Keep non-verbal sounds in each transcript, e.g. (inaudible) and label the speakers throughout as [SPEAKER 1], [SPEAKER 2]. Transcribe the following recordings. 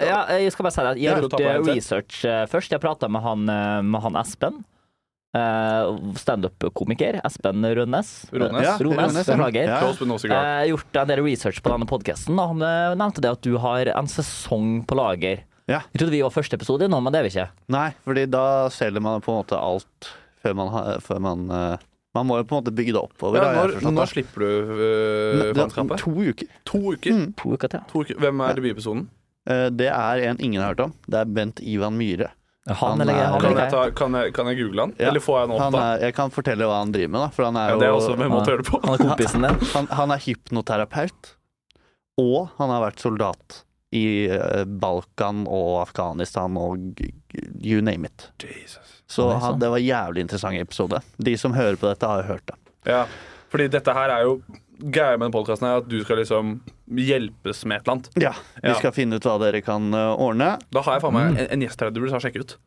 [SPEAKER 1] ja, jeg skal bare si det. Jeg har
[SPEAKER 2] Gidder du
[SPEAKER 1] gjort
[SPEAKER 2] å ta på
[SPEAKER 1] eh,
[SPEAKER 2] en til?
[SPEAKER 1] research eh, først. Jeg prata med, han, eh, med han Espen. eh, Standup-komiker Espen Rønnes.
[SPEAKER 2] Rønnes.
[SPEAKER 1] Ja,
[SPEAKER 2] Ja,
[SPEAKER 1] Rønnes,
[SPEAKER 3] Rønnes,
[SPEAKER 1] jeg
[SPEAKER 3] ja.
[SPEAKER 1] beklager.
[SPEAKER 3] Ja.
[SPEAKER 2] Close but no
[SPEAKER 1] Jeg
[SPEAKER 2] cigar.
[SPEAKER 1] har gjort en del research på denne podkasten, og han eh, nevnte det at du har en sesong på lager.
[SPEAKER 3] Ja.
[SPEAKER 1] Jeg trodde vi var første episode nå, men det er vi ikke.
[SPEAKER 3] Nei, fordi da selger man på en måte alt før man har før man, eh, man må jo på en måte bygge det oppover.
[SPEAKER 2] Ja,
[SPEAKER 3] har jeg
[SPEAKER 2] når,
[SPEAKER 3] forstått, da.
[SPEAKER 2] når slipper du uh,
[SPEAKER 3] Det er
[SPEAKER 2] fanskapet?
[SPEAKER 3] To uker.
[SPEAKER 2] To
[SPEAKER 3] Hmm.
[SPEAKER 2] uker.
[SPEAKER 1] To uker til.
[SPEAKER 2] to uker. Hvem er debutepisoden?
[SPEAKER 3] Eh, Det er en ingen har hørt om. Det er Bent Ivan Myhre.
[SPEAKER 1] Han,
[SPEAKER 3] Han
[SPEAKER 1] eller
[SPEAKER 3] er-
[SPEAKER 1] han,
[SPEAKER 2] Kan
[SPEAKER 1] eller jeg.
[SPEAKER 2] jeg, ta, kan, jeg, kan jeg google han?
[SPEAKER 3] Ja.
[SPEAKER 2] Eller får jeg han opp,
[SPEAKER 3] Han
[SPEAKER 2] da?
[SPEAKER 3] er, jeg kan fortelle hva han driver med, da. For han er
[SPEAKER 2] Ja,
[SPEAKER 3] jo
[SPEAKER 2] det er også en måte å gjøre det på.
[SPEAKER 1] han er kompisen
[SPEAKER 3] (laughs)
[SPEAKER 1] din.
[SPEAKER 3] han, han er hypnoterapeut, og han har vært soldat i eh, Balkan og Afghanistan og g- g- you name it.
[SPEAKER 2] Jesus.
[SPEAKER 3] Så
[SPEAKER 1] Oi,
[SPEAKER 3] han,
[SPEAKER 1] sant.
[SPEAKER 3] det var en jævlig interessant episode. De som hører på dette, har jo hørt det.
[SPEAKER 2] Ja, fordi dette her er jo Greia med den podkasten er at du skal liksom hjelpes med et eller annet.
[SPEAKER 3] Ja, Vi
[SPEAKER 2] Ja.
[SPEAKER 3] skal finne ut hva dere kan eh, ordne.
[SPEAKER 2] Da har jeg faen meg en, en gjest her du burde ta og sjekke ut.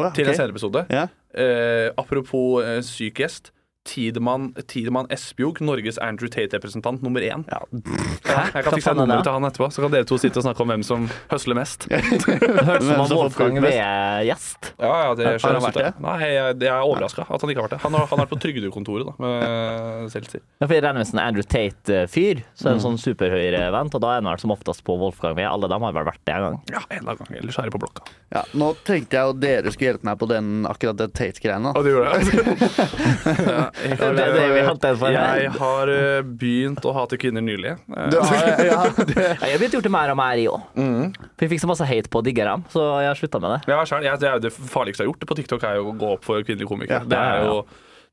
[SPEAKER 3] Å, ja,
[SPEAKER 2] Til
[SPEAKER 3] ok.
[SPEAKER 2] en senere episode.
[SPEAKER 3] Ja.
[SPEAKER 2] Eh, apropos eh, syk gjest. Tidemann, Tidemann Espejog, Norges Andrew Tate-representant nummer én.
[SPEAKER 3] Ja. (laughs)
[SPEAKER 2] Ja, jeg kan
[SPEAKER 1] Hva
[SPEAKER 2] fikse
[SPEAKER 1] faen er
[SPEAKER 2] nummeret
[SPEAKER 1] det?
[SPEAKER 2] til han etterpå, så kan dere to sitte og snakke om hvem som høsler mest. Ja,
[SPEAKER 1] Hørtes ut som
[SPEAKER 3] Hvem
[SPEAKER 1] han eh,
[SPEAKER 3] som får
[SPEAKER 1] Wolfgang
[SPEAKER 3] folk mest?
[SPEAKER 1] Wee-gjest.
[SPEAKER 2] ja, det
[SPEAKER 3] Har han
[SPEAKER 2] skjønner jeg
[SPEAKER 3] vært
[SPEAKER 2] ikke. Nei, jeg, jeg er overraska at han ikke har vært det. Han har, han har vært på Trygdekontoret, da. Med Seltzer.
[SPEAKER 1] Ja, for Jeg regner med sånn Andrew Tate-fyr, så er det en sånn superhøyrevent, og da er han vel som oftest på Wolfgang Wee. Alle dem har vel vært det en gang.
[SPEAKER 2] Ja, en eller annen gang. Eller skjære på blokka.
[SPEAKER 3] Ja, nå tenkte jeg jo dere skulle hjelpe meg på den akkurat det Tate-greiene. da.
[SPEAKER 2] Og det (laughs) gjorde jeg.
[SPEAKER 1] Det er det vi holdt den for.
[SPEAKER 2] Jeg har eh, begynt å hate kvinner nylig. Eh,
[SPEAKER 3] Du har- (laughs) ja, det-
[SPEAKER 1] Ja, Jeg har begynt å gjøre det mer og mer i år. For jeg fikk så masse hate på å digge dem, så jeg har slutta med det.
[SPEAKER 2] Ja, selv, jeg, det er jo det farligste jeg har gjort på TikTok, er jo å gå opp for kvinnelige komikere.
[SPEAKER 3] Ja.
[SPEAKER 2] det, er jo,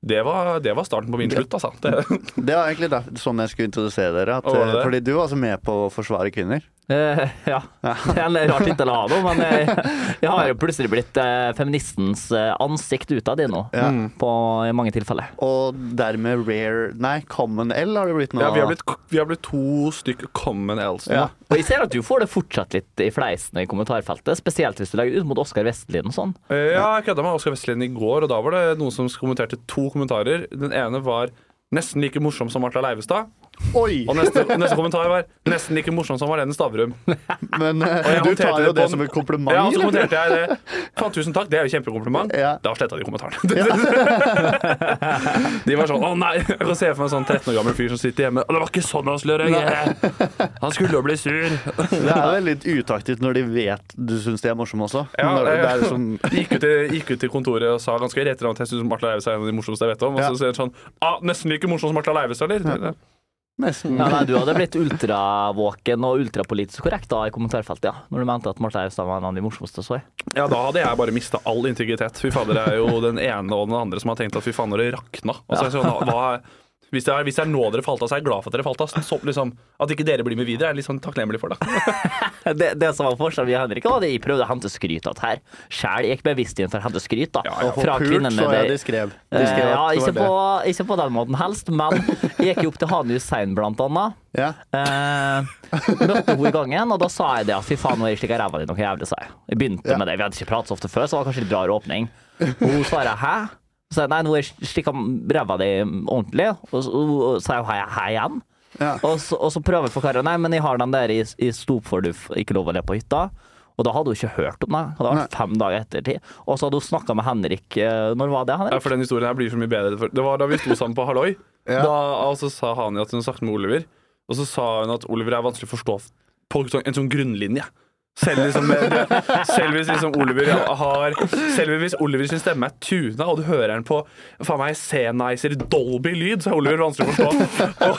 [SPEAKER 2] det, var, det var starten på min slutt, altså. Det,
[SPEAKER 3] Det var egentlig der, sånn jeg skulle introdusere dere. At,
[SPEAKER 2] Å, var det
[SPEAKER 3] eh,
[SPEAKER 2] det?
[SPEAKER 3] fordi du var også med på å forsvare kvinner.
[SPEAKER 1] Eh, ja. Det er en rar tittel å ha nå, men jeg, jeg har jo plutselig blitt eh, feministens eh, ansikt utad i nå. Mm. På, I mange tilfeller.
[SPEAKER 3] Og dermed rare Nei, common L har det blitt nå.
[SPEAKER 2] (laughs) ja, vi, har blitt, vi har blitt to stykker common else nå.
[SPEAKER 3] Ja.
[SPEAKER 1] Og jeg ser at du får det fortsatt litt i fleisen i kommentarfeltet, spesielt hvis du legger ut mot Oskar Vestlien og sånn.
[SPEAKER 2] Eh, Ja, jeg kødda med Oskar Vestlien i går, og da var det noen som kommenterte to kommentarer. Den ene var 'nesten like morsom som Martha Leivestad',
[SPEAKER 3] Oi!
[SPEAKER 2] og neste, neste kommentar var 'nesten like morsom som Marlene Stavrum'.
[SPEAKER 3] Men eh,
[SPEAKER 2] jeg
[SPEAKER 3] (laughs) du
[SPEAKER 2] håndterte
[SPEAKER 3] tar
[SPEAKER 2] det
[SPEAKER 3] jo
[SPEAKER 2] på
[SPEAKER 3] det
[SPEAKER 2] en-
[SPEAKER 3] som en kompliment.
[SPEAKER 2] Ja, og så
[SPEAKER 3] eller?
[SPEAKER 2] kommenterte jeg det. Faen, tusen takk, det er jo kjempekompliment.
[SPEAKER 3] Ja.
[SPEAKER 2] Da sletta de kommentaren. (laughs) de var sånn Å nei! Jeg kan se for meg en sånn 13 år gammel fyr som sitter hjemme. «Å, Det var ikke sånn han skulle reagere! Han skulle jo bli sur.
[SPEAKER 3] Det er vel litt utaktivt når de vet du syns de er morsomme også.
[SPEAKER 2] Ja,
[SPEAKER 3] når, det er
[SPEAKER 2] jeg-
[SPEAKER 3] liksom,
[SPEAKER 2] (laughs) Gikk ut, i, gikk ut til kontoret og sa ganske rett til at jeg syns Martha Leivestad er en av de morsomste jeg vet om. Og
[SPEAKER 3] Ja.
[SPEAKER 2] så sier han sånn ah, Nesten like morsom som Martha Leivestad, eller?
[SPEAKER 3] nesten,
[SPEAKER 1] Ja, nei, du hadde blitt ultravåken og ultrapolitisk korrekt da i kommentarfeltet, ja. Når du mente at Marte Austad var en av de morsomste, så jeg.
[SPEAKER 2] Ja, da hadde jeg bare mista all integritet. Fy fader, det er jo den ene og den andre som har tenkt at fy faen, når det rakna. Og så er det sånn, hva hvis det, er, hvis det er nå dere falt av, så er jeg glad for at dere falt av. Så, liksom, at ikke dere blir med videre, er jeg litt sånn takknemlig for. da
[SPEAKER 1] Det, det som var forskjellen med Henrik, var at jeg prøvde å hente skryt av det her. Sjæl gikk bevisst inn for å hente skryt, da.
[SPEAKER 2] Ja, ja.
[SPEAKER 3] Og for pult, så er de
[SPEAKER 1] det-
[SPEAKER 3] skrev. De
[SPEAKER 1] Eh,
[SPEAKER 3] skrev at
[SPEAKER 1] ja,
[SPEAKER 3] det var
[SPEAKER 1] ikke
[SPEAKER 3] det.
[SPEAKER 1] på, ikke på den måten helst, men
[SPEAKER 3] (laughs)
[SPEAKER 1] jeg gikk jo opp til Hane Hussein, blant annet.
[SPEAKER 3] Ja.
[SPEAKER 1] Eh, møtte henne i gangen, og da sa jeg det at fy faen, nå er jeg slik av ræva di noe jævlig, sa jeg. Jeg begynte
[SPEAKER 3] Ja.
[SPEAKER 1] med det, vi hadde ikke pratet så ofte før, så det var kanskje litt rar åpning. Og hun svarer hæ? Så sa jeg nei, nå er jeg slik av ræva di ordentlig, og så og så sa jeg hæ, hæ igjen.
[SPEAKER 3] Ja.
[SPEAKER 1] Og, så, og så prøver jeg å forklare nei, men jeg har den der i, i stop for du f- ikke lov å le på hytta. Og da hadde hun ikke hørt om det. Og det var fem dager ettertid. Og så hadde hun snakka med Henrik eh, Når var det,
[SPEAKER 2] Ja,
[SPEAKER 1] Henrik?
[SPEAKER 2] for den historien her blir så mye bedre. For det var da vi sto sammen på Halloi, da, og så sa Hani at hun snakket med Oliver. Og så sa hun at Oliver er vanskelig å forstå på sånn- en sånn grunnlinje. Selv, liksom, selv hvis liksom Oliver har Selv hvis Oliver sin stemme er tuna, og du hører den på faen meg C-nicer Dolby-lyd, så er Oliver vanskelig å forstå. Og,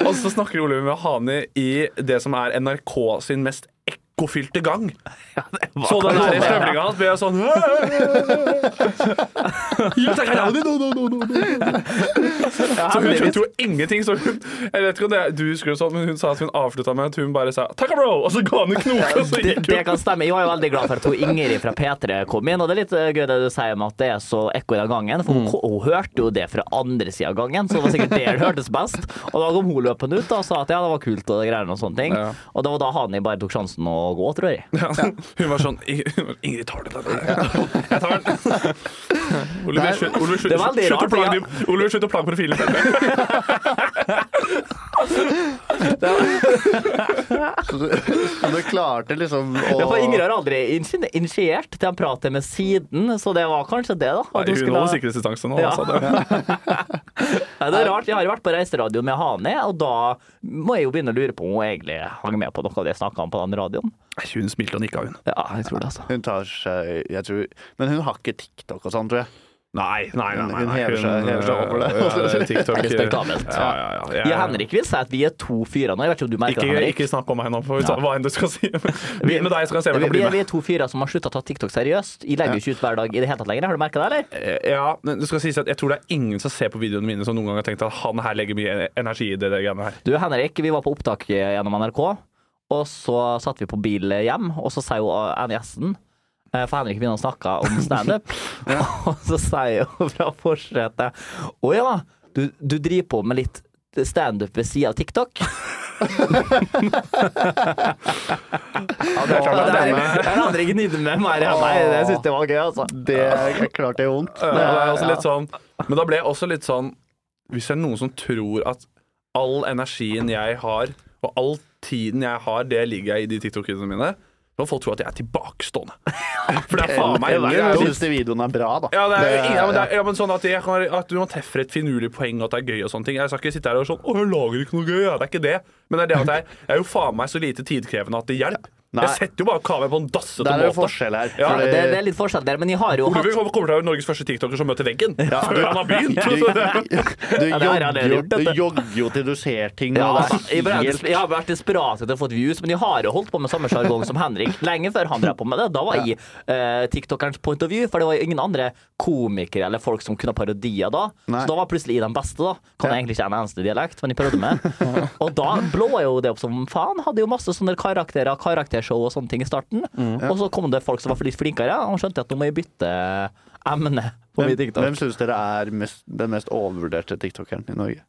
[SPEAKER 2] og så snakker Oliver med Hani i det som er NRK sin mest ekkofylte gang. Så den der støvlinga hans blir sånn Jo, takk, ja, det-
[SPEAKER 1] Ja,
[SPEAKER 2] så hun
[SPEAKER 1] heldigvis.
[SPEAKER 2] skjønte jo ingenting. Så hun, jeg vet ikke om det er, du husker det sånn, men hun sa at hun avslutta med at hun bare sa 'takka, bro', og så ga hun en knoke, og så
[SPEAKER 1] det,
[SPEAKER 2] gikk
[SPEAKER 1] (laughs) det
[SPEAKER 2] hun.
[SPEAKER 1] kan stemme. Jeg var jo veldig glad for at hun Ingrid fra P3 kom inn. Og det er litt eh, gøy det du sier om at det er så ekko i den gangen, for hun, hun hørte jo det fra andre sida av gangen, så det var sikkert det det hørtes best. Og da kom hun løpende ut da, og sa at ja, det var kult og det greiene og sånne ting.
[SPEAKER 2] Ja.
[SPEAKER 1] Og det var da Hani bare tok sjansen og å gå, tror jeg.
[SPEAKER 2] Ja. Hun var sånn "I- Ingrid, tar du den? der?" Jeg tar
[SPEAKER 1] (laughs)
[SPEAKER 2] den. Oliver, slutt, Oliver, slutt,
[SPEAKER 1] Det var veldig
[SPEAKER 2] slutt, å
[SPEAKER 1] rart,
[SPEAKER 2] plage,
[SPEAKER 1] ja.
[SPEAKER 2] de- Oliver, slutt å plage profilen. din.
[SPEAKER 3] Så du, så du klarte
[SPEAKER 2] (laughs)
[SPEAKER 3] liksom å
[SPEAKER 1] Ja, for Ingrid har aldri insi- initiert til han prater med siden, så det var kanskje det, da. at
[SPEAKER 2] Nei,
[SPEAKER 1] hun
[SPEAKER 2] Hun
[SPEAKER 1] skulle ha-
[SPEAKER 2] holder sikkerhetsdistanse nå.
[SPEAKER 1] Ja.
[SPEAKER 2] Altså,
[SPEAKER 1] (laughs)
[SPEAKER 2] det.
[SPEAKER 1] Nei, det er rart. Jeg har jo vært på reiseradioen med Hane, og da må jeg jo begynne å lure på om hun egentlig hang med på noe av det jeg snakka om på den radioen.
[SPEAKER 2] Nei, Hun smilte og nikka, hun.
[SPEAKER 1] Ja, jeg tror det, altså.
[SPEAKER 3] Hun tar seg jeg tror, Men hun har ikke TikTok og sånn, tror jeg.
[SPEAKER 2] Nei, nei, nei.
[SPEAKER 3] Hun-
[SPEAKER 2] nei,
[SPEAKER 3] hun
[SPEAKER 2] nei.
[SPEAKER 3] hever seg- hever seg over
[SPEAKER 1] (laughs)
[SPEAKER 3] det.
[SPEAKER 2] Ja, (laughs) TikTok.
[SPEAKER 1] Respektabelt.
[SPEAKER 2] Ja, ja, ja. Jeg-
[SPEAKER 1] Jeg og Henrik vil si at vi er to fyrer nå. Jeg vet ikke om du merker det,
[SPEAKER 2] Ikke,
[SPEAKER 1] Henrik.
[SPEAKER 2] ikke snakk om meg nå, for hva enn du skal si. Vi- Med deg skal jeg se hva
[SPEAKER 1] Vi, vi,
[SPEAKER 2] jeg kan bli
[SPEAKER 1] er,
[SPEAKER 2] med.
[SPEAKER 1] vi er to fyrer som har slutta å ta TikTok seriøst. Jeg legger jo ikke ut hver dag i det hele tatt lenger. Har du merka det, eller?
[SPEAKER 2] Eh, Ja, men det skal sies at jeg tror det er ingen som ser på videoene mine som noen gang har tenkt at han her legger mye energi i det, det greiene her.
[SPEAKER 1] Du, Henrik, vi var på opptak eh, gjennom NRK, og så satt vi på bil eh, hjem, og så sier jo Anne Gjesten eh, for Henrik begynner å snakke om
[SPEAKER 2] (laughs)
[SPEAKER 1] standup. (laughs) Og så sier hun fra forsetet Å ja, du, du driver på med litt standup ved sida av
[SPEAKER 2] (laughs)
[SPEAKER 1] TikTok?
[SPEAKER 3] Ja, det er
[SPEAKER 1] Og
[SPEAKER 3] klart at
[SPEAKER 1] der,
[SPEAKER 3] denne,
[SPEAKER 1] der hadde jeg gnidd med meg. Nei, det syns jeg var gøy, altså.
[SPEAKER 3] det er klart det gjør vondt.
[SPEAKER 2] Ja, det er også litt sånn, men da ble jeg også litt sånn Hvis det er noen som tror at all energien jeg har, og all tiden jeg har, det ligger jeg i de TikTok-videoene mine, da må folk tro at jeg er tilbakestående. For det er faen meg
[SPEAKER 3] Eller
[SPEAKER 2] det er jo-
[SPEAKER 3] syns de videoene er bra, da.
[SPEAKER 2] Ja, det er,
[SPEAKER 3] Det-
[SPEAKER 2] ja, men, det er, ja, men sånn at, jeg kan, at man treffer et finurlig poeng, og at det er gøy og sånne ting. Jeg skal ikke sitte her og sånn Å, jeg lager ikke noe gøy, jeg. Det er ikke det. Men det er det at jeg, jeg er jo faen meg så lite tidkrevende at det hjelper.
[SPEAKER 3] Nei.
[SPEAKER 2] Jeg setter jo bare kameraet på en
[SPEAKER 3] Der
[SPEAKER 2] dassete
[SPEAKER 3] er det
[SPEAKER 2] måte.
[SPEAKER 3] forskjell her.
[SPEAKER 2] Ja,
[SPEAKER 1] Det,
[SPEAKER 3] fordi-
[SPEAKER 1] det er litt forskjell der, men jeg har jo hatt
[SPEAKER 2] Oliver kommer til å være Norges første tiktoker som møter veggen før han har begynt. (laughs) altså,
[SPEAKER 3] Du, (laughs) du,
[SPEAKER 1] det har jeg
[SPEAKER 3] jogger,
[SPEAKER 1] aldri
[SPEAKER 3] jo,
[SPEAKER 1] gjort,
[SPEAKER 3] du
[SPEAKER 1] dette.
[SPEAKER 3] jogger jo til du ser ting.
[SPEAKER 1] Ja,
[SPEAKER 3] og det er
[SPEAKER 1] altså, jeg, (laughs) ble,
[SPEAKER 3] helt-
[SPEAKER 1] jeg har vært desperat etter å få views, men jeg har jo holdt på med samme sjargong som Henrik lenge før han drev på med det. Da var jeg eh, tiktokerens point of view, for det var jo ingen andre komikere eller folk som kunne parodier da.
[SPEAKER 3] Nei.
[SPEAKER 1] Så da var jeg plutselig i den beste, da. Kan
[SPEAKER 3] Ja.
[SPEAKER 1] jeg egentlig ikke en eneste dialekt, men jeg prøvde med. (laughs) Og da blå jeg jo det opp som faen. Hadde jo masse sånne karakterer, karaktershow og sånne ting i starten. Og så kom det folk som var for litt flinkere, og skjønte at nå må jeg bytte eh, emne på min
[SPEAKER 3] Hvem, hvem
[SPEAKER 1] TikTok.
[SPEAKER 3] syns dere er mest, den mest overvurderte tiktokeren i Norge?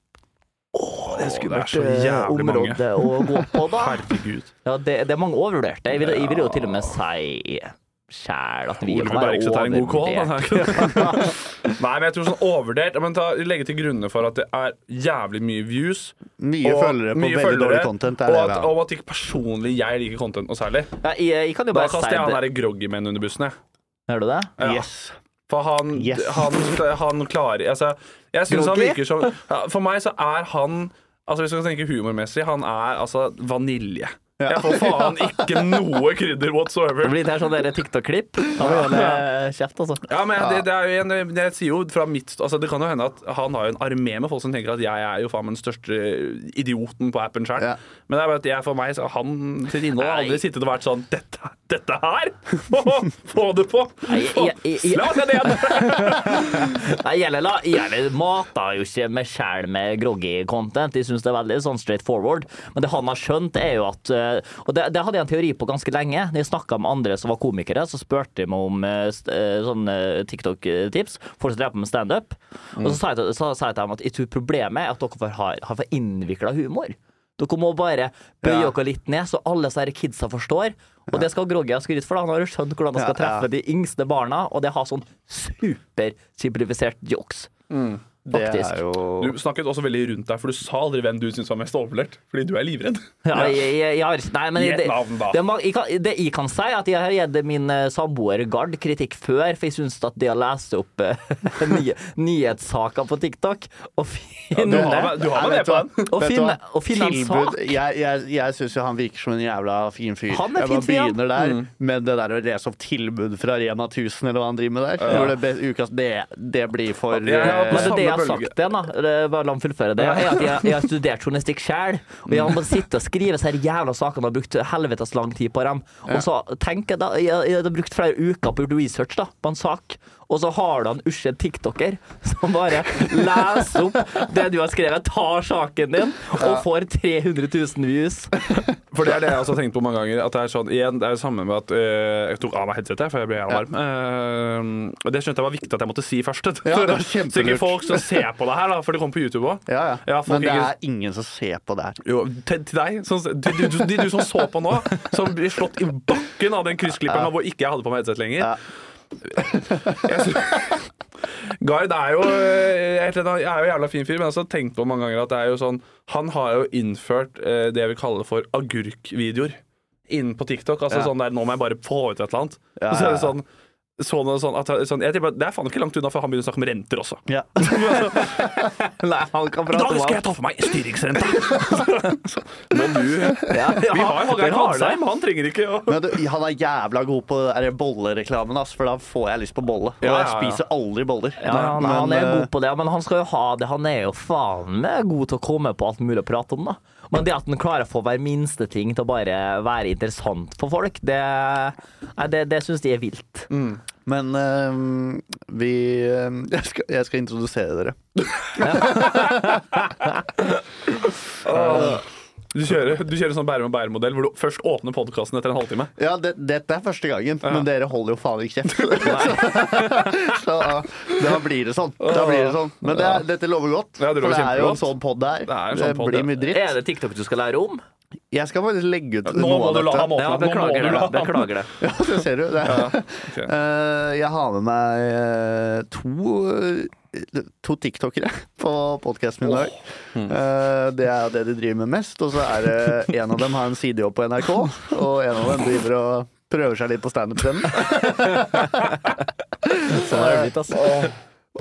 [SPEAKER 1] Det er
[SPEAKER 2] det er
[SPEAKER 1] skummelt
[SPEAKER 2] så
[SPEAKER 1] eh,
[SPEAKER 2] jævlig mange.
[SPEAKER 1] område å gå på, da.
[SPEAKER 2] (laughs) Herregud.
[SPEAKER 1] Ja, det, det er mange overvurderte. Jeg vil, jeg vil jo til og med si sjæl at vi
[SPEAKER 2] Oliver
[SPEAKER 1] han er
[SPEAKER 2] Bergstø tar en god altså. kål. da.
[SPEAKER 1] overvurdert.
[SPEAKER 2] (laughs) Nei, men jeg tror sånn overvurdert men ta, Legge til grunne for at det er jævlig mye views.
[SPEAKER 3] Mye følgere på
[SPEAKER 2] mye
[SPEAKER 3] veldig
[SPEAKER 2] følgere,
[SPEAKER 3] dårlig content. Det er
[SPEAKER 2] og,
[SPEAKER 3] det,
[SPEAKER 2] at,
[SPEAKER 3] vi har.
[SPEAKER 2] og at ikke personlig jeg liker content noe særlig.
[SPEAKER 1] Ja, jeg, jeg kan jo
[SPEAKER 2] Da
[SPEAKER 1] bare si
[SPEAKER 2] kaster jeg han
[SPEAKER 1] det.
[SPEAKER 2] derre groggy-menn under bussen, jeg.
[SPEAKER 1] Hører du det?
[SPEAKER 2] Ja.
[SPEAKER 3] Yes.
[SPEAKER 2] For han,
[SPEAKER 3] Yes.
[SPEAKER 2] han, han klarer altså, Jeg syns han
[SPEAKER 1] Groggy?
[SPEAKER 2] virker som ja, For meg så er han Altså Hvis vi skal tenke humormessig, han er altså vanilje. Jeg får
[SPEAKER 3] (laughs)
[SPEAKER 2] faen ikke noe krydder
[SPEAKER 1] Det
[SPEAKER 2] whatsoever.
[SPEAKER 1] blir litt her sånn der TikTok-klipp. Da må vi holde kjeft, altså.
[SPEAKER 2] Ja, men det, det er jo en, jeg, sier jo fra mitt altså Det kan jo hende at han har jo en armé med folk som tenker at jeg er jo faen meg den største idioten på appen sjøl.
[SPEAKER 3] Ja.
[SPEAKER 2] Men det er bare at jeg for meg så han sitt innhold har
[SPEAKER 1] Nei.
[SPEAKER 2] aldri sittet og vært sånn Dette, dette her! (laughs) Få det på!
[SPEAKER 1] Nei, jeg- jeg- jeg-
[SPEAKER 2] Slå deg ned!
[SPEAKER 1] (laughs) Nei, jeg, la, jeg mater jo ikke meg sjæl med groggy content. Jeg syns det er veldig sånn straight forward. Men det han har skjønt, er jo at eh, Og det, det hadde jeg en teori på ganske lenge. Når jeg snakka med andre som var komikere, så spurte jeg meg om eh, st- eh, sånne TikTok-tips. Folk som drev på med standup. Og så sa jeg til- så sa jeg til dem at jeg tror problemet er at dere for- har, har for innvikla humor. Dere må bare bøye
[SPEAKER 3] Ja.
[SPEAKER 1] dere litt ned, så alle disse her kidsa forstår. Og det skal Groggy ha skryt for, da. Han har jo skjønt hvordan han skal
[SPEAKER 3] Ja, ja.
[SPEAKER 1] treffe de yngste barna, og det har sånn supersimplifisert jokes.
[SPEAKER 2] Mm,
[SPEAKER 3] det
[SPEAKER 1] faktisk.
[SPEAKER 3] er jo
[SPEAKER 2] Du snakket også veldig rundt deg, for du sa aldri hvem du syntes var mest overvurdert. Fordi du er livredd.
[SPEAKER 1] Ja, jeg, jeg, jeg har ikke Nei, men
[SPEAKER 2] Gi
[SPEAKER 1] jeg-
[SPEAKER 2] et
[SPEAKER 1] det,
[SPEAKER 2] navn, da.
[SPEAKER 1] det, er mange- jeg kan, det jeg kan si, er at jeg har gitt min eh, samboer Gard kritikk før, for jeg syns at det å lese opp eh, (laughs) nye, nyhetssaker på TikTok og finne
[SPEAKER 2] du har- du har
[SPEAKER 3] Nei,
[SPEAKER 2] med
[SPEAKER 3] vet
[SPEAKER 2] det på
[SPEAKER 3] hva?
[SPEAKER 2] den.
[SPEAKER 1] Og
[SPEAKER 3] Vet du
[SPEAKER 1] finne-
[SPEAKER 3] hva?
[SPEAKER 1] og finne en
[SPEAKER 3] Tilbud.
[SPEAKER 1] sak.
[SPEAKER 3] Jeg, jeg, jeg syns jo han virker som en jævla fin fyr.
[SPEAKER 1] Han er
[SPEAKER 3] jeg bare
[SPEAKER 1] fin fyr, ja. Mm.
[SPEAKER 3] begynner der, men det der å lese opp tilbud fra Rema 1000 eller hva han driver med der, hvor det, be- ukas, det, det blir for
[SPEAKER 2] Ja,
[SPEAKER 3] eh,
[SPEAKER 1] Men det er det jeg har
[SPEAKER 2] Samme bølge.
[SPEAKER 1] sagt igjen, da. Eller, Bare la meg fullføre det. Er at jeg, jeg har studert journalistikk sjøl, og jeg må sitte og skrive disse her jævla sakene og har brukt helvetes lang tid på dem. Og så tenker jeg da Jeg, jeg har brukt flere uker på å gjøre research da, på en sak, og så har du en usje tiktoker som bare leser opp det du har skrevet, tar saken din, og får 300 000 views.
[SPEAKER 2] For det er det jeg også har tenkt på mange ganger. At det er sånn, igjen, det er det samme med at eh, jeg tok av meg headsetet, for jeg ble jævla varm. Eh, og det skjønte jeg var viktig at jeg måtte si først.
[SPEAKER 3] Ja, det
[SPEAKER 2] (laughs)
[SPEAKER 3] var
[SPEAKER 2] så
[SPEAKER 3] kjempelurt.
[SPEAKER 2] ikke folk som ser på det her, da, for det kommer på YouTube òg.
[SPEAKER 3] Ja, ja.
[SPEAKER 2] folk
[SPEAKER 3] Men det
[SPEAKER 2] ikke-
[SPEAKER 3] er ingen som ser på det her.
[SPEAKER 2] Jo, til, til deg, som, de, de, de, du som så på nå, som blir slått i bakken av den kryssklipperen hvor ikke jeg hadde på meg headset lenger. Jeg sy- Gard er jo eh, helt enig, jeg er jo en jævla fin fyr, men jeg har også tenkt på mange ganger at det er jo sånn Han har jo innført eh, det vi kaller for agurkvideoer inn på TikTok. Altså sånn der 'nå må jeg bare få ut et eller annet'. Og så er det sånn Sånn og sånn, at, sånn, jeg tipper, at Det er faen ikke langt unna før han begynner å snakke om renter også.
[SPEAKER 1] (laughs)
[SPEAKER 4] Ja.
[SPEAKER 1] Nei, han kan
[SPEAKER 2] Da
[SPEAKER 1] prate om
[SPEAKER 2] skal
[SPEAKER 1] alt.
[SPEAKER 2] jeg ta for meg (laughs) styringsrenta! Må du
[SPEAKER 1] Ja, ja,
[SPEAKER 2] vi har
[SPEAKER 1] der
[SPEAKER 2] jo
[SPEAKER 1] har
[SPEAKER 2] Hallgeir
[SPEAKER 1] du det.
[SPEAKER 2] Kvadsheim, han trenger ikke å
[SPEAKER 3] Men du, han er jævla god på det der bollereklamen, ass, for da får jeg lyst på bolle. Og
[SPEAKER 2] Ja,
[SPEAKER 3] jeg
[SPEAKER 2] ja, ja.
[SPEAKER 3] spiser aldri boller.
[SPEAKER 1] Ja, han,
[SPEAKER 3] Men,
[SPEAKER 1] han er
[SPEAKER 3] eh,
[SPEAKER 1] god på det, men han skal jo ha det. Han er jo faen meg god til å komme på alt mulig å prate om, da. Men det at han klarer å få hver minste ting til å bare være interessant for folk, det, nei, det, det syns de er vilt.
[SPEAKER 2] Mm.
[SPEAKER 3] Men ehm, vi ehm, jeg, skal, jeg skal introdusere dere.
[SPEAKER 2] Du kjører, du kjører sånn Bærum og Bærum-modell, hvor du først åpner podkasten etter en halvtime.
[SPEAKER 3] Ja, det, Dette er første gangen, men dere holder jo faen ikke kjeft. (laughs) så da blir det sånn. Da blir det sånn. Men det er, dette lover godt.
[SPEAKER 2] Ja, det lover
[SPEAKER 3] for det er jo en
[SPEAKER 2] kjempegodt.
[SPEAKER 3] sånn pod det
[SPEAKER 2] Det er en
[SPEAKER 3] her.
[SPEAKER 2] sånn
[SPEAKER 3] Det
[SPEAKER 2] podd, ja.
[SPEAKER 3] blir mye dritt.
[SPEAKER 1] Er det TikTok du skal lære om?
[SPEAKER 3] Jeg skal faktisk legge ut
[SPEAKER 2] Nå
[SPEAKER 3] noe
[SPEAKER 2] må
[SPEAKER 3] av
[SPEAKER 2] du la
[SPEAKER 3] dette.
[SPEAKER 2] ham åpne.
[SPEAKER 1] Ja,
[SPEAKER 2] Nå må
[SPEAKER 1] beklager
[SPEAKER 2] du
[SPEAKER 1] det.
[SPEAKER 2] la ham-
[SPEAKER 1] Beklager det.
[SPEAKER 3] Ja, (laughs) det ser du. Det.
[SPEAKER 2] ok.
[SPEAKER 3] Eh, jeg har med meg eh, to eh, To tiktokere på podkasten min i dag. Eh, det er jo det de driver med mest. Og så er det en av dem har en sidejobb på NRK, og en av dem driver og prøver seg litt på standup-scenen.
[SPEAKER 1] Sånn er det blitt, altså.
[SPEAKER 3] Eh,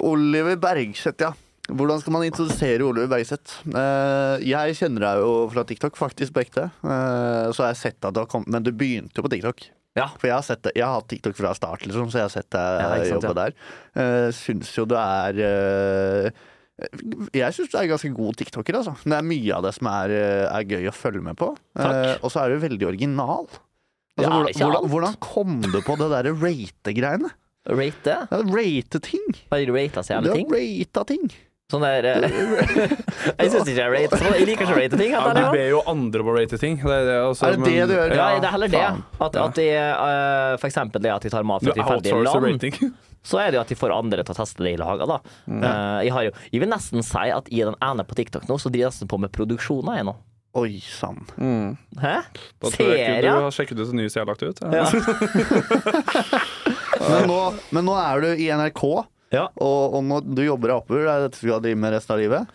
[SPEAKER 3] Oliver Bergseth, ja. Hvordan skal man introdusere Oliver Bergseth? Eh, jeg kjenner deg jo fra TikTok, faktisk, på ekte. Eh, så har jeg sett at du har kommet Men du begynte jo på TikTok.
[SPEAKER 1] Ja.
[SPEAKER 3] For jeg har, sett det, jeg har hatt TikTok fra start, liksom, så jeg har sett deg
[SPEAKER 1] Ja, ikke sant,
[SPEAKER 3] jobbe der. Uh, syns jo du er eh, Jeg syns du er en ganske god tiktoker, altså. Det er mye av det som er, eh, er gøy å følge med på. Eh,
[SPEAKER 1] Takk.
[SPEAKER 3] og så er du veldig original. Altså,
[SPEAKER 1] Ja,
[SPEAKER 3] hvordan,
[SPEAKER 1] ikke
[SPEAKER 3] hvordan,
[SPEAKER 1] alt.
[SPEAKER 3] hvordan kom du på det derre rate-greiene?
[SPEAKER 1] Rate det?
[SPEAKER 3] Ja, Rate ting?
[SPEAKER 1] Har du rata så
[SPEAKER 3] Du
[SPEAKER 1] jævlig
[SPEAKER 3] har
[SPEAKER 1] ting?
[SPEAKER 3] rata ting.
[SPEAKER 1] Sånn der
[SPEAKER 2] (laughs)
[SPEAKER 1] eh, (laughs) Jeg syns ikke jeg rater så Jeg liker ikke å rate ting.
[SPEAKER 2] Ja,
[SPEAKER 1] at
[SPEAKER 2] du
[SPEAKER 1] jeg-
[SPEAKER 2] ber jo andre om å rate ting. Det er det, altså,
[SPEAKER 3] Er det det du gjør?
[SPEAKER 1] Ja,
[SPEAKER 2] Ja,
[SPEAKER 1] det er heller det.
[SPEAKER 3] faen.
[SPEAKER 1] At, at de, eh, for eksempel det at de tar mat
[SPEAKER 2] du
[SPEAKER 1] fra tilfeldige
[SPEAKER 2] outsourcer
[SPEAKER 1] land.
[SPEAKER 2] rating. (laughs)
[SPEAKER 1] så er det jo at de får andre til å teste det i laga, da.
[SPEAKER 3] Mm.
[SPEAKER 1] Eh, jeg, har jo, jeg vil nesten si at i den ene på TikTok nå, så driver jeg nesten på med produksjoner jeg nå.
[SPEAKER 3] Oi
[SPEAKER 1] (laughs)
[SPEAKER 3] sann.
[SPEAKER 1] Hæ?
[SPEAKER 2] Da tror jeg ikke du
[SPEAKER 1] Serier?
[SPEAKER 2] har sjekket ut det nye jeg har lagt ut. Ja.
[SPEAKER 1] Ja.
[SPEAKER 3] Men, nå- men nå er du i NRK,
[SPEAKER 1] Ja.
[SPEAKER 3] og, og nå, du jobber deg oppover. Det er dette du skal drive med resten av livet.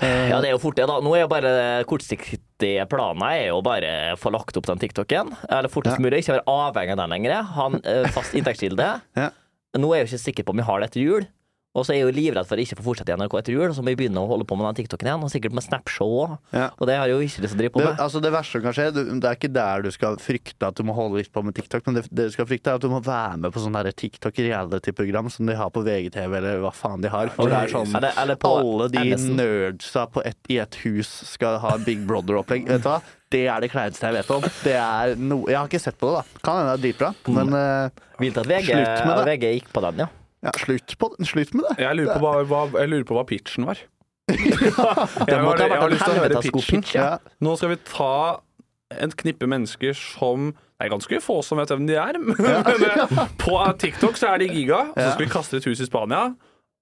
[SPEAKER 1] ja, det er jo fort det, da. Nå er jo bare kortsiktige planer er jo bare å få lagt opp den TikToken. Eller fortest mulig. Ikke være avhengig av den lenger. Ha en eh, fast inntektskilde.
[SPEAKER 3] (laughs) Ja.
[SPEAKER 1] Nå er jeg jo ikke sikker på om jeg har det etter jul. Og så er jeg jo livredd for at jeg ikke får fortsette i NRK etter jul, og så må jeg begynne å holde på med den TikToken igjen. Og sikkert med Snapshow òg.
[SPEAKER 3] Ja.
[SPEAKER 1] Og det har jeg jo ikke lyst til å drive på
[SPEAKER 3] Det,
[SPEAKER 1] med.
[SPEAKER 3] altså det verste som kan skje, du, det er ikke der du skal frykte at du må holde litt på med TikTok, men det, det du skal frykte, er at du må være med på sånn der TikTok-reality-program som de har på VGTV, eller hva faen de har. Hvor det er sånn
[SPEAKER 1] Eller, eller på
[SPEAKER 3] alle de
[SPEAKER 1] NSN.
[SPEAKER 3] nerdsa på ett- i ett hus skal ha Big Brother-opplegg. Vet du hva? Det er det kleineste jeg vet om. Det er no, jeg har ikke sett på det, da. Kan hende det er dritbra,
[SPEAKER 1] Mm.
[SPEAKER 3] men eh,
[SPEAKER 1] Vilt at VG,
[SPEAKER 3] Slutt med
[SPEAKER 1] VG gikk på den, ja.
[SPEAKER 3] ja, slutt, på, slutt med det.
[SPEAKER 2] Jeg, lurer på hva, hva, jeg lurer på hva pitchen
[SPEAKER 1] (laughs)
[SPEAKER 2] var. jeg,
[SPEAKER 1] Det
[SPEAKER 2] har,
[SPEAKER 1] måtte ha
[SPEAKER 2] jeg
[SPEAKER 1] vært
[SPEAKER 2] har
[SPEAKER 1] en
[SPEAKER 2] lyst til å høre
[SPEAKER 1] helvetes god
[SPEAKER 2] pitchen.
[SPEAKER 1] pitch. Ja.
[SPEAKER 2] Nå skal vi ta en knippe mennesker som Det er ganske få som vet hvem de er. (laughs) Men eh, på TikTok så er de giga. og Så skal vi kaste et hus i Spania.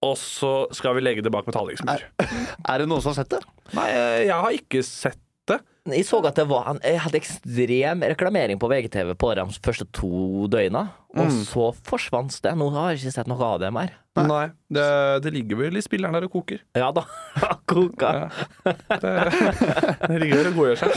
[SPEAKER 2] Og så skal vi legge det bak metallingsmur.
[SPEAKER 3] Er det noen som har sett det?
[SPEAKER 2] Nei, eh, jeg har ikke sett det.
[SPEAKER 1] Jeg så at det var en, jeg hadde ekstrem reklamering på VGTV på de første to døgna. Og
[SPEAKER 3] Mm.
[SPEAKER 1] så forsvant det. Nå har jeg ikke sett noe av det mer.
[SPEAKER 2] Nei, det, det ligger vel i spilleren der og koker.
[SPEAKER 1] Ja da. (laughs) Koka.
[SPEAKER 2] Det, det ligger der og godgjør seg.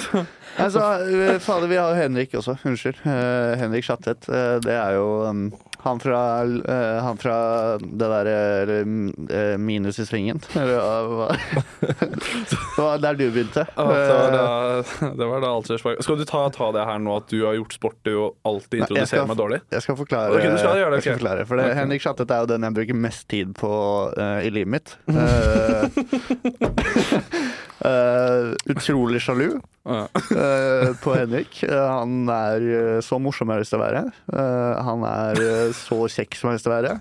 [SPEAKER 3] Altså, eh, fader, vi har jo Henrik også. Unnskyld. Eh, Henrik Schattet. eh, det er jo um, han, fra, eh, han fra det derre eh, Minus i svingen. (laughs)
[SPEAKER 2] (laughs)
[SPEAKER 3] Eller hva- hva? Det var der du begynte.
[SPEAKER 2] Ja, Det var
[SPEAKER 3] Eh,
[SPEAKER 2] da, det (laughs) var da alt skjer. Skal du ta, ta det her nå at du har gjort sport du jo alltid
[SPEAKER 3] Nei, jeg skal-
[SPEAKER 2] introduserer meg dårlig?
[SPEAKER 3] Jeg skal forklare.
[SPEAKER 2] Ok, du skal gjøre det,
[SPEAKER 3] jeg skal
[SPEAKER 2] ok.
[SPEAKER 3] forklare for det, Henrik Schattet er jo den jeg bruker mest tid på eh, i livet
[SPEAKER 2] (laughs)
[SPEAKER 3] mitt. Eh, (laughs) eh, utrolig sjalu
[SPEAKER 2] Ja. (laughs)
[SPEAKER 3] eh, på Henrik. Eh, han er eh, så morsom jeg har lyst til å være. Eh, han er eh, så kjekk som jeg har lyst til å være.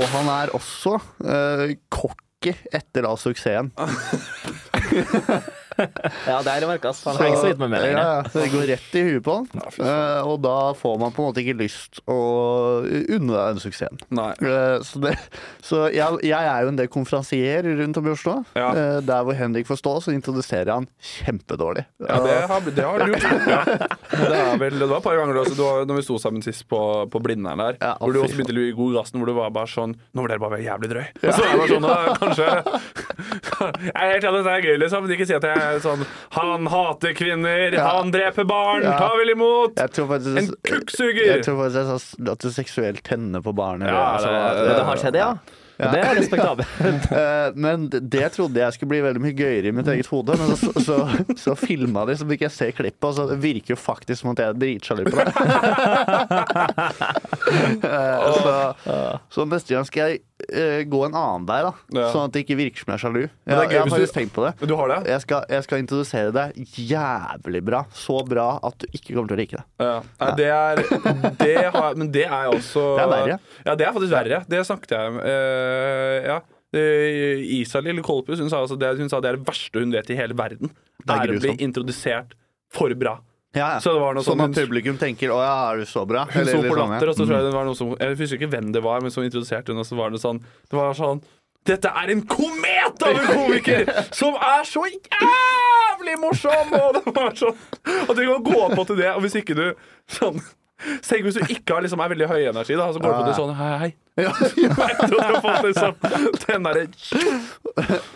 [SPEAKER 3] Og han er også eh, cocky etter da suksessen.
[SPEAKER 2] Ah,
[SPEAKER 1] Ja, det har jeg merka. Han henger så vidt med meg
[SPEAKER 3] ja,
[SPEAKER 1] lenger.
[SPEAKER 3] ja, så det går rett i huet på han. Eh, og da får man på en måte ikke lyst å unne deg den suksessen.
[SPEAKER 2] Nei.
[SPEAKER 3] Eh, Så, det, så jeg, jeg er jo en del konferansier rundt om i Oslo.
[SPEAKER 2] Ja.
[SPEAKER 3] Eh, Der hvor Henrik får stå, så introduserer jeg han kjempedårlig.
[SPEAKER 2] Ja, det har, det har du gjort. (laughs) Ja. Det, er vel, det var et par ganger da, så det var, når vi sto sammen sist på, på Blindern der,
[SPEAKER 3] Ja,
[SPEAKER 2] hvor du
[SPEAKER 3] fy
[SPEAKER 2] også
[SPEAKER 3] faen.
[SPEAKER 2] begynte å lue i god gassen, hvor du var bare sånn Nå ble dere bare jævlig drøy. Og så er jeg bare sånn, da, kanskje (laughs) Jeg er helt enig, det er gøy, liksom, men ikke si at jeg er sånn Han hater kvinner,
[SPEAKER 3] Ja.
[SPEAKER 2] han dreper barn,
[SPEAKER 3] Ja.
[SPEAKER 2] ta vel imot!
[SPEAKER 3] Jeg tror faktisk,
[SPEAKER 2] En kukksuger!
[SPEAKER 3] Jeg tror faktisk jeg sa at du seksuelt tenner på barnet.
[SPEAKER 2] Ja,
[SPEAKER 3] altså,
[SPEAKER 2] det-
[SPEAKER 1] Det har skjedd, ja. Det er respektabelt.
[SPEAKER 3] (laughs) Eh, Men det- det trodde jeg skulle bli veldig mye gøyere i mitt eget hode, men så, så, så filma de, så fikk jeg se klippet, og så det virker jo faktisk som at jeg er dritsjalu på det. (laughs) Eh, så, så neste gang skal jeg eh, gå en annen vei, da.
[SPEAKER 2] Ja.
[SPEAKER 3] Sånn at det ikke virker som jeg er sjalu.
[SPEAKER 2] Men det er
[SPEAKER 3] Jeg,
[SPEAKER 2] gøy
[SPEAKER 3] jeg har
[SPEAKER 2] hvis du-
[SPEAKER 3] faktisk tenkt på det.
[SPEAKER 2] Du har det?
[SPEAKER 3] Jeg skal, jeg skal introdusere deg jævlig bra. Så bra at du ikke kommer til å like det.
[SPEAKER 2] Ja. Nei, det er, det har, jeg- men det er jeg også
[SPEAKER 3] Det er verre.
[SPEAKER 2] Ja, det er faktisk verre. Det snakket jeg om. Eh, ja. Eh, Isalill Kolpus hun sa, altså det, hun sa det er det verste hun vet i hele verden.
[SPEAKER 3] Det er
[SPEAKER 2] er å bli
[SPEAKER 3] grusomt.
[SPEAKER 2] introdusert for bra.
[SPEAKER 3] Ja, ja.
[SPEAKER 2] Så det var noe
[SPEAKER 3] sånn
[SPEAKER 2] sånn
[SPEAKER 3] at publikum tenker 'Å ja, er du så bra?'
[SPEAKER 2] Hun så på
[SPEAKER 3] litt sånn, ja.
[SPEAKER 2] latter, altså. og så tror jeg det var noe som Jeg husker ikke hvem det var, men som introduserte hun, og så var det sånn Det var sånn Dette er en komet av en komiker
[SPEAKER 3] (laughs)
[SPEAKER 2] som er så jævlig morsom! Og det var sånn At du kan gå på til det, og hvis ikke du sånn Tenk hvis du ikke har liksom, er veldig høy energi, da, så går du på til sånn Hei,
[SPEAKER 3] (laughs)
[SPEAKER 2] hei. (laughs) Etter at du har fått liksom den derre
[SPEAKER 3] (laughs)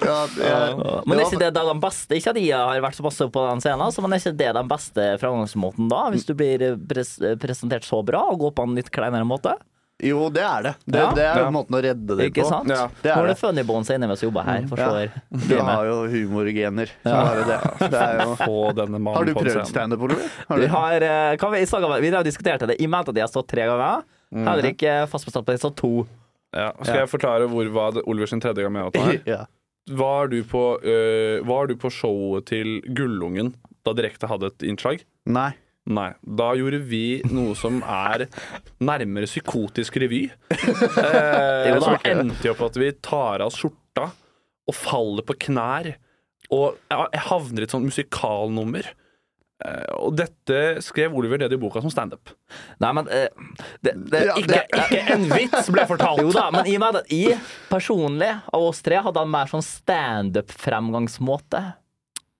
[SPEAKER 3] Ja, jeg-
[SPEAKER 1] Men er ikke det da de beste Ikke at jeg har vært så masse på den scenen, altså, men er ikke det den beste framgangsmåten da? Hvis du blir pres presentert så bra og går på en litt kleinere måte?
[SPEAKER 3] Jo, det er det. Det,
[SPEAKER 1] Ja.
[SPEAKER 3] det er
[SPEAKER 2] Ja.
[SPEAKER 3] måten å redde det
[SPEAKER 1] Ikke
[SPEAKER 3] på.
[SPEAKER 1] sant?
[SPEAKER 2] Ja,
[SPEAKER 3] det er
[SPEAKER 1] Nå er
[SPEAKER 3] det. Mm.
[SPEAKER 1] det funny bones inne mens vi jobber her. Forstår.
[SPEAKER 3] Du har jo humorgener. så er det det. Det er jo...
[SPEAKER 2] Få denne mannen
[SPEAKER 3] Har du
[SPEAKER 2] på en
[SPEAKER 3] prøvd
[SPEAKER 2] scene.
[SPEAKER 3] standup, Oliver? Har
[SPEAKER 1] Vi
[SPEAKER 3] du?
[SPEAKER 1] har, eh, hva vi, i saga- vi har diskutert det. Jeg mente at jeg har stått tre ganger. Henrik eh, fast bestemt på at jeg stått to.
[SPEAKER 2] Ja. Skal jeg forklare hvor var det Oliver sin tredje gang med
[SPEAKER 3] (laughs)
[SPEAKER 2] åt her?
[SPEAKER 3] Ja.
[SPEAKER 2] Var du på, øh, var du på showet til Gullungen da Direkte hadde et innslag?
[SPEAKER 3] Nei. (laughs)
[SPEAKER 2] Nei. Da gjorde vi noe som er nærmere psykotisk revy. Eh,
[SPEAKER 1] (laughs) Jo da.
[SPEAKER 2] som endte jo på at vi tar av skjorta og faller på knær. Og jeg jeg havner i et sånt musikalnummer. Eh, og dette skrev Oliver ned i boka som standup.
[SPEAKER 1] Nei, men eh, det, det,
[SPEAKER 3] Ja,
[SPEAKER 1] ikke,
[SPEAKER 3] det-
[SPEAKER 1] ikke en vits ble fortalt! Jo da, men i og med at jeg personlig av oss tre hadde en mer sånn standup-fremgangsmåte.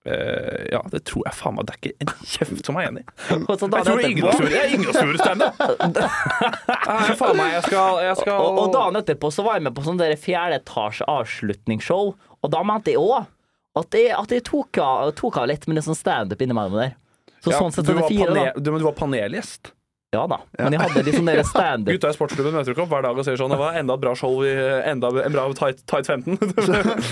[SPEAKER 2] Eh, ja, det tror jeg faen meg det er ikke en kjeft som er enig.
[SPEAKER 1] Og så da
[SPEAKER 2] Jeg tror
[SPEAKER 1] det
[SPEAKER 2] ingen
[SPEAKER 1] etterpå-
[SPEAKER 2] tror jeg er ingen som gjorde standup. (laughs) Nei, faen meg, jeg skal, jeg skal
[SPEAKER 1] Og, og dagen etterpå så var jeg med på sånn der fjerde etasje avslutningsshow, og da mente jeg òg at jeg, at jeg tok, av, tok av litt med litt sånn standup innimellom der. Så
[SPEAKER 2] Ja,
[SPEAKER 1] sånn sett
[SPEAKER 2] du,
[SPEAKER 1] er det
[SPEAKER 2] var
[SPEAKER 1] fire, da.
[SPEAKER 2] panel, du, men du var panelgjest.
[SPEAKER 1] Ja da. Men jeg hadde litt sånn (laughs) der standup
[SPEAKER 2] Gutta i sportsklubben møter ikke opp hver dag og sier sånn Det var enda et bra show, i, enda en bra tight, tight (laughs) 15.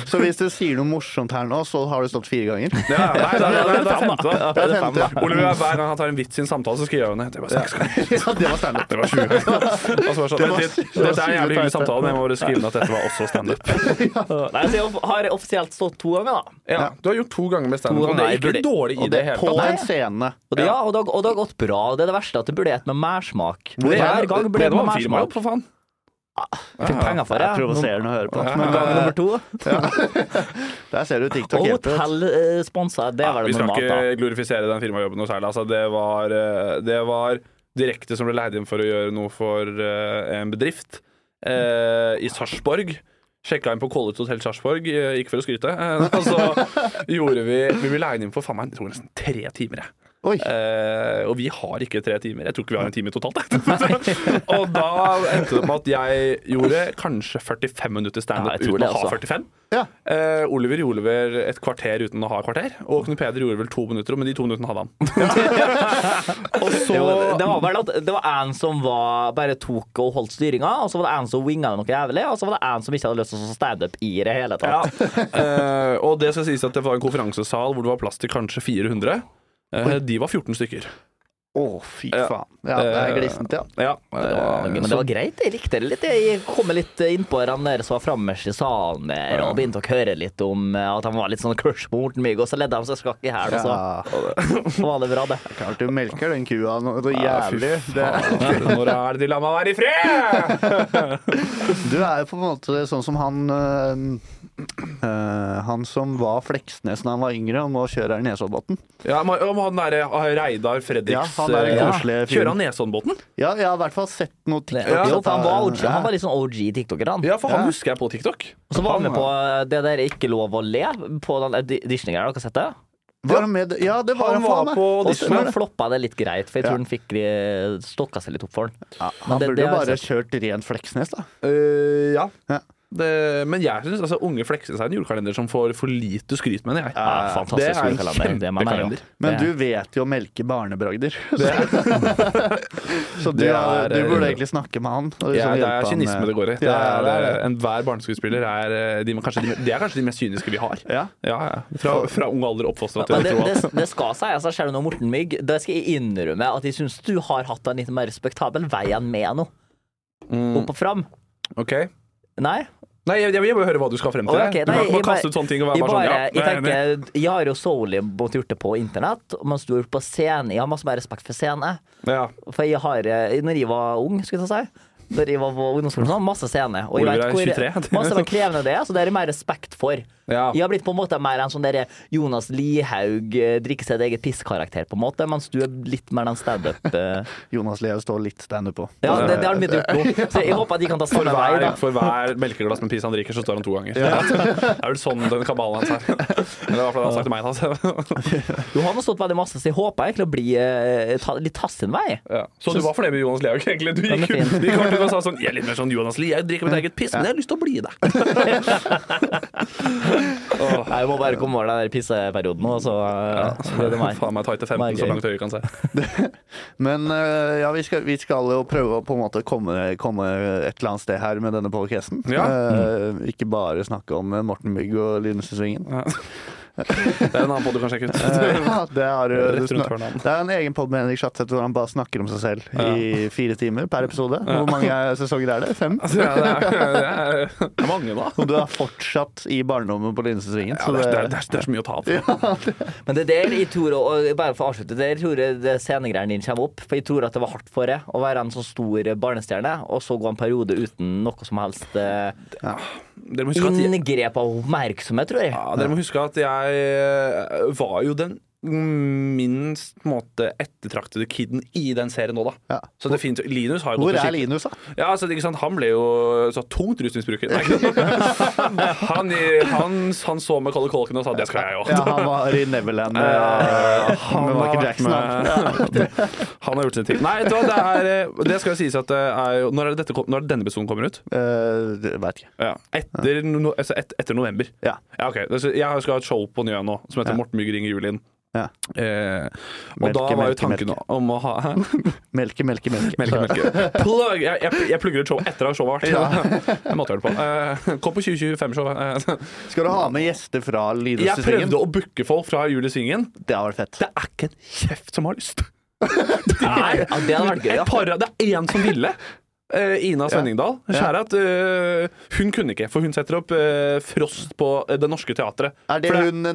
[SPEAKER 3] Så hvis du sier noe morsomt her nå, så har du stått fire
[SPEAKER 2] (laughs)
[SPEAKER 3] ganger?
[SPEAKER 2] ja, nei, nei, nei, nei, det er femte. da.
[SPEAKER 3] Det er femte.
[SPEAKER 2] Oliver, hver gang han tar en vits i en samtale, så skriver han ned. Det var seks ganger.
[SPEAKER 3] Ja, det var standup.
[SPEAKER 2] Det var sju ganger. (laughs) Og så var det sånn,
[SPEAKER 3] Det var-
[SPEAKER 2] Dette dette er en jævlig hyggelig samtale, men jeg må bare skrive ned at dette var også standup.
[SPEAKER 1] Nei, så jeg har offisielt stått to ganger, da.
[SPEAKER 2] Ja, du har gjort to ganger
[SPEAKER 1] To
[SPEAKER 2] med standup, og det
[SPEAKER 1] ganger,
[SPEAKER 2] er ikke
[SPEAKER 1] burde-
[SPEAKER 2] dårlig i
[SPEAKER 3] Og
[SPEAKER 2] det
[SPEAKER 3] det
[SPEAKER 2] hele
[SPEAKER 3] på
[SPEAKER 2] tatt.
[SPEAKER 3] en scene.
[SPEAKER 1] Og det, ja, og det, har- og det har gått bra. Det er det verste, at det burde hett med mersmak.
[SPEAKER 3] Hvor
[SPEAKER 1] Hver gang burde
[SPEAKER 2] det
[SPEAKER 1] det med
[SPEAKER 2] var en firmajobb,
[SPEAKER 1] mersmak.
[SPEAKER 2] for faen.
[SPEAKER 1] Fikk penger for det.
[SPEAKER 3] Jeg provoserer den å høre på.
[SPEAKER 1] Nummer- Gang nummer to.
[SPEAKER 3] Der ser du TikTok
[SPEAKER 1] Og
[SPEAKER 3] hjelper.
[SPEAKER 1] hotell eh, sponsa, det
[SPEAKER 2] Ja,
[SPEAKER 1] var
[SPEAKER 2] vi
[SPEAKER 1] det
[SPEAKER 2] skal
[SPEAKER 1] normalt, da.
[SPEAKER 2] ikke glorifisere den firmajobben noe særlig. Altså, det, var, eh, det var direkte som ble leid inn for å gjøre noe for eh, en bedrift eh, i Sarpsborg. Sjekka inn på College Hotel Sarpsborg, eh, ikke for å skryte. eh, Og
[SPEAKER 1] (laughs)
[SPEAKER 2] så gjorde vi Vi ble leid inn for faen meg, jeg tror nesten tre timer. jeg.
[SPEAKER 3] Oi.
[SPEAKER 2] Eh, og vi har ikke tre timer. Jeg (laughs) tror ikke vi har en time totalt. jeg. og da endte det med at jeg gjorde kanskje 45 minutter
[SPEAKER 1] Ja,
[SPEAKER 2] standup
[SPEAKER 1] jeg tror
[SPEAKER 2] uten
[SPEAKER 1] det,
[SPEAKER 2] å ha
[SPEAKER 1] altså.
[SPEAKER 2] 45.
[SPEAKER 3] Ja.
[SPEAKER 2] Eh, Oliver gjorde vel et kvarter uten å ha kvarter. Og Knut Peder gjorde vel to minutter, men de to minuttene hadde (laughs) han. og så
[SPEAKER 1] Jo, det- det var vel at det var en som var, bare tok og holdt styringa, og så var det en som winga det noe jævlig, og så var det en som ikke hadde lyst til å stå standup i det hele
[SPEAKER 2] ja.
[SPEAKER 1] tatt.
[SPEAKER 2] eh, Og det skal sies at det var en konferansesal hvor det var plass til kanskje 400. Eh, de var 14 stykker.
[SPEAKER 3] Å, fy
[SPEAKER 2] Ja. Eh.
[SPEAKER 3] faen. Ja, det er glissent, ja.
[SPEAKER 2] Ja,
[SPEAKER 1] Det var,
[SPEAKER 2] eh,
[SPEAKER 1] men det var greit. Jeg likte det litt. Jeg kom litt innpå han der som var fremmest i salen der, og begynte å høre litt om eh, at han var litt sånn crush på Morten Mygg, og så ledde han seg skakk i hæl, og så
[SPEAKER 3] ja.
[SPEAKER 1] så (laughs) var det bra, det.
[SPEAKER 3] Klart du melker den kua nå, det er
[SPEAKER 2] Ja, fy
[SPEAKER 3] jævlig. Det,
[SPEAKER 2] faen, (laughs) Når er det de lar meg være i fred?!
[SPEAKER 3] du er jo på en måte sånn som han øh, øh, Han som var Fleksnes da han var yngre, og nå kjører han Nesoddbotn.
[SPEAKER 2] Ja, men Om han derre Reidar Fredriks
[SPEAKER 3] Ja, han er en
[SPEAKER 2] eh,
[SPEAKER 3] koselig fyr.
[SPEAKER 2] Kjører han Nesoddenbåten?
[SPEAKER 3] Ja, jeg har i hvert fall sett noe TikTok.
[SPEAKER 2] Ja,
[SPEAKER 1] jo, for han var, OG,
[SPEAKER 3] Ja.
[SPEAKER 1] han var litt sånn OG tiktoker, han.
[SPEAKER 2] Ja, for han
[SPEAKER 3] Ja.
[SPEAKER 2] husker jeg på TikTok.
[SPEAKER 1] Og så var han med på eh, det der Ikke lov å le, på den Disney-greia. Har dere sett det?
[SPEAKER 3] Var han med? Ja, det var
[SPEAKER 2] Han
[SPEAKER 3] han, faen
[SPEAKER 2] var
[SPEAKER 3] meg.
[SPEAKER 2] på
[SPEAKER 1] Og så
[SPEAKER 2] Disney.
[SPEAKER 1] floppa det litt greit, for jeg
[SPEAKER 3] Ja.
[SPEAKER 1] tror han fikk eh, stokka seg litt opp for den.
[SPEAKER 3] Ja,
[SPEAKER 1] Men
[SPEAKER 3] han
[SPEAKER 1] det-
[SPEAKER 3] burde
[SPEAKER 1] det
[SPEAKER 3] jo
[SPEAKER 1] har jeg
[SPEAKER 3] bare kjørt ren Fleksnes, da.
[SPEAKER 2] Eh, ja.
[SPEAKER 3] Ja.
[SPEAKER 2] Det, men jeg syns altså, Unge Fleksnes er en julekalender som får for lite skryt, mener jeg.
[SPEAKER 1] Ja, Ah, fantastisk
[SPEAKER 2] det er en
[SPEAKER 1] julekalender, det mener jeg jo.
[SPEAKER 2] kjempekalender.
[SPEAKER 3] Men
[SPEAKER 1] Det-
[SPEAKER 3] du vet jo å melke
[SPEAKER 2] (laughs)
[SPEAKER 3] barnebragder. (laughs) Så du,
[SPEAKER 2] Det
[SPEAKER 3] har-
[SPEAKER 2] er- eh,
[SPEAKER 3] du burde egentlig snakke med han. og liksom
[SPEAKER 2] Ja, det
[SPEAKER 3] hjelpe
[SPEAKER 2] er
[SPEAKER 3] han
[SPEAKER 2] kynisme
[SPEAKER 3] med-
[SPEAKER 2] det går i. Det
[SPEAKER 3] Ja,
[SPEAKER 2] er, eh,
[SPEAKER 3] ja, det er det.
[SPEAKER 2] Enhver barneskuespiller er, eh, de, kanskje de, det er kanskje de mest kyniske vi har.
[SPEAKER 3] Ja.
[SPEAKER 2] Ja, ja. Fra, fra ung alder oppfostra til
[SPEAKER 1] Men
[SPEAKER 2] å
[SPEAKER 1] det,
[SPEAKER 2] tro
[SPEAKER 1] det,
[SPEAKER 2] at
[SPEAKER 1] det skal sies, altså, ser du nå Morten Mygg, da skal jeg innrømme at jeg syns du har hatt en litt mer respektabel vei enn meg nå.
[SPEAKER 2] Mm.
[SPEAKER 1] Opp og fram.
[SPEAKER 2] OK.
[SPEAKER 1] Nei?
[SPEAKER 2] Nei, jeg, jeg vil bare høre hva du skal frem til.
[SPEAKER 1] Å, ok, nei,
[SPEAKER 2] du kan ikke
[SPEAKER 1] jeg
[SPEAKER 2] bare kaste
[SPEAKER 1] bare-
[SPEAKER 2] ut sånne ting og være
[SPEAKER 1] Jeg,
[SPEAKER 2] bare sånn
[SPEAKER 1] bare,
[SPEAKER 2] ja,
[SPEAKER 1] jeg
[SPEAKER 2] nei, nei.
[SPEAKER 1] tenker, jeg har jo solely måttet gjort det på internett, mens du har gjort på scene. Jeg har masse mer respekt for scene.
[SPEAKER 2] Ja.
[SPEAKER 1] For jeg har, eh, når jeg var ung, skulle jeg ta si Når jeg var på ungdomsskolen, så hadde jeg masse scene. Og jeg
[SPEAKER 2] Oliver
[SPEAKER 1] vet
[SPEAKER 2] er
[SPEAKER 1] hvor
[SPEAKER 2] 23.
[SPEAKER 1] (laughs) masse hvor krevende det er, så det er jeg mer respekt for.
[SPEAKER 2] Ja.
[SPEAKER 1] Jeg har blitt på en måte mer en sånn der Jonas Lihaug eh, drikker sitt eget pisskarakter, på en måte, mens du er litt mer den standup
[SPEAKER 2] (laughs)
[SPEAKER 1] eh.
[SPEAKER 3] Jonas Leo står litt standup på.
[SPEAKER 1] Ja, det, det har han begynt å gjøre nå. Så jeg håper at de kan ta
[SPEAKER 2] For
[SPEAKER 1] samme vei,
[SPEAKER 2] hver,
[SPEAKER 1] da.
[SPEAKER 2] for hver melkeglass med pis han drikker, så står han to ganger. Det (laughs) er vel sånn den kabalen hans er. Eller i hvert fall han har sagt til meg. Altså.
[SPEAKER 1] Du har nå stått veldig masse, så jeg håper egentlig å bli eh, ta, litt tatt sin vei.
[SPEAKER 2] Ja. Så du var fornøyd med Jonas Lihaug, egentlig? Du
[SPEAKER 1] Den er
[SPEAKER 2] gikk jo
[SPEAKER 1] fin.
[SPEAKER 2] de kom til meg og sa sånn Jeg er litt mer sånn Jonas Lihaug, drikker mitt eget piss, men jeg har lyst til å bli det. Åh,
[SPEAKER 1] Nei, Jeg må bare komme over den der pisseperioden nå, så eh, blir det
[SPEAKER 2] (laughs)
[SPEAKER 1] meg.
[SPEAKER 2] Faen meg tight til 15, så langt øyet kan se.
[SPEAKER 3] Men øh, ja, vi skal, vi skal jo prøve å på en måte komme, komme et eller annet sted her med denne podcasten.
[SPEAKER 2] Ja.
[SPEAKER 3] Eh, ikke bare snakke om eh, Morten Mygg og Lynnesesvingen.
[SPEAKER 2] Ja. Det er en annen pod du kan sjekke ut.
[SPEAKER 3] Ja, (laughs) det, har, du-
[SPEAKER 2] Rett
[SPEAKER 3] du
[SPEAKER 2] rundt
[SPEAKER 3] snak-
[SPEAKER 2] hørnet.
[SPEAKER 3] det er en egen pod med Henrik Schatzeth hvor han bare snakker om seg selv i fire timer per episode. Hvor mange sesonger er det? Fem?
[SPEAKER 2] Altså, (laughs) ja, det, er, det, er, det er mange, da.
[SPEAKER 3] Og du er fortsatt i barndommen på Lynnesesvingen.
[SPEAKER 2] Ja, det, er, det, er, det, er, det er så mye å ta av.
[SPEAKER 1] Men det er der jeg tror, og bare for å avslutte, der tror jeg det scenegreiene dine kommer opp. For jeg tror at det var hardt for deg å være en så stor barnestjerne, og så gå en periode uten noe som helst eh,
[SPEAKER 2] Dere må huske at jeg,
[SPEAKER 1] inngrep av oppmerksomhet, tror jeg.
[SPEAKER 2] ja, dere må huske at jeg eh, var jo den minst på en måte ettertraktede kiden i den serien nå, da.
[SPEAKER 3] Ja.
[SPEAKER 2] Så det finnes jo Linus har jo
[SPEAKER 3] Hvor
[SPEAKER 2] gått
[SPEAKER 3] er
[SPEAKER 2] til
[SPEAKER 3] Linus, da?
[SPEAKER 2] Ja, altså, ikke sant? Han ble jo så tungt rusmisbruker. Nei, ikke sant? Han, i- han, han så med Colly Colkin og sa 'det skal jeg Eh,
[SPEAKER 3] Ja,
[SPEAKER 2] òg'.
[SPEAKER 3] han var i Neverland (laughs) med, med Michael Jackson. da.
[SPEAKER 2] (laughs) han har gjort sin ting. Nei, vet du hva, det, er, eh, det skal jo sies at det er jo Når er det, dette, kom- når er det denne episoden kommer ut?
[SPEAKER 3] Eh, det Vet ikke.
[SPEAKER 2] Ja. Etter, no, altså et, etter november.
[SPEAKER 3] Ja.
[SPEAKER 2] Ja, ok. Altså, Jeg skal ha et show på Njø nå, som heter Morten Mygg ringer Julien.
[SPEAKER 3] Ja.
[SPEAKER 2] Eh, og
[SPEAKER 3] Melke,
[SPEAKER 2] da var jo
[SPEAKER 3] melke,
[SPEAKER 2] tanken
[SPEAKER 3] melke.
[SPEAKER 2] om å ha
[SPEAKER 3] Melke, melke, melke.
[SPEAKER 2] Melke,
[SPEAKER 3] Så-
[SPEAKER 2] melke. (laughs) Plug! Jeg, jeg, jeg plugger et show etter at showet har vært. Jeg måtte gjøre (laughs) det på. Eh, kom på 2025-showet. Eh,
[SPEAKER 3] Skal du ha med gjester fra
[SPEAKER 2] (laughs) jeg
[SPEAKER 3] Lynnesesvingen?
[SPEAKER 2] prøvde å booke folk fra Jul i Svingen.
[SPEAKER 3] Det hadde vært fett.
[SPEAKER 2] Det er ikke en kjeft som har lyst.
[SPEAKER 1] Nei, ja, det hadde vært gøy,
[SPEAKER 2] Et
[SPEAKER 1] ja.
[SPEAKER 2] par, det er én som ville. Eh, Ina Svenningdal. Skjære at eh, hun kunne ikke, for hun setter opp eh, Frost på eh, Det Norske Teatret.
[SPEAKER 3] Er det
[SPEAKER 2] For
[SPEAKER 3] hun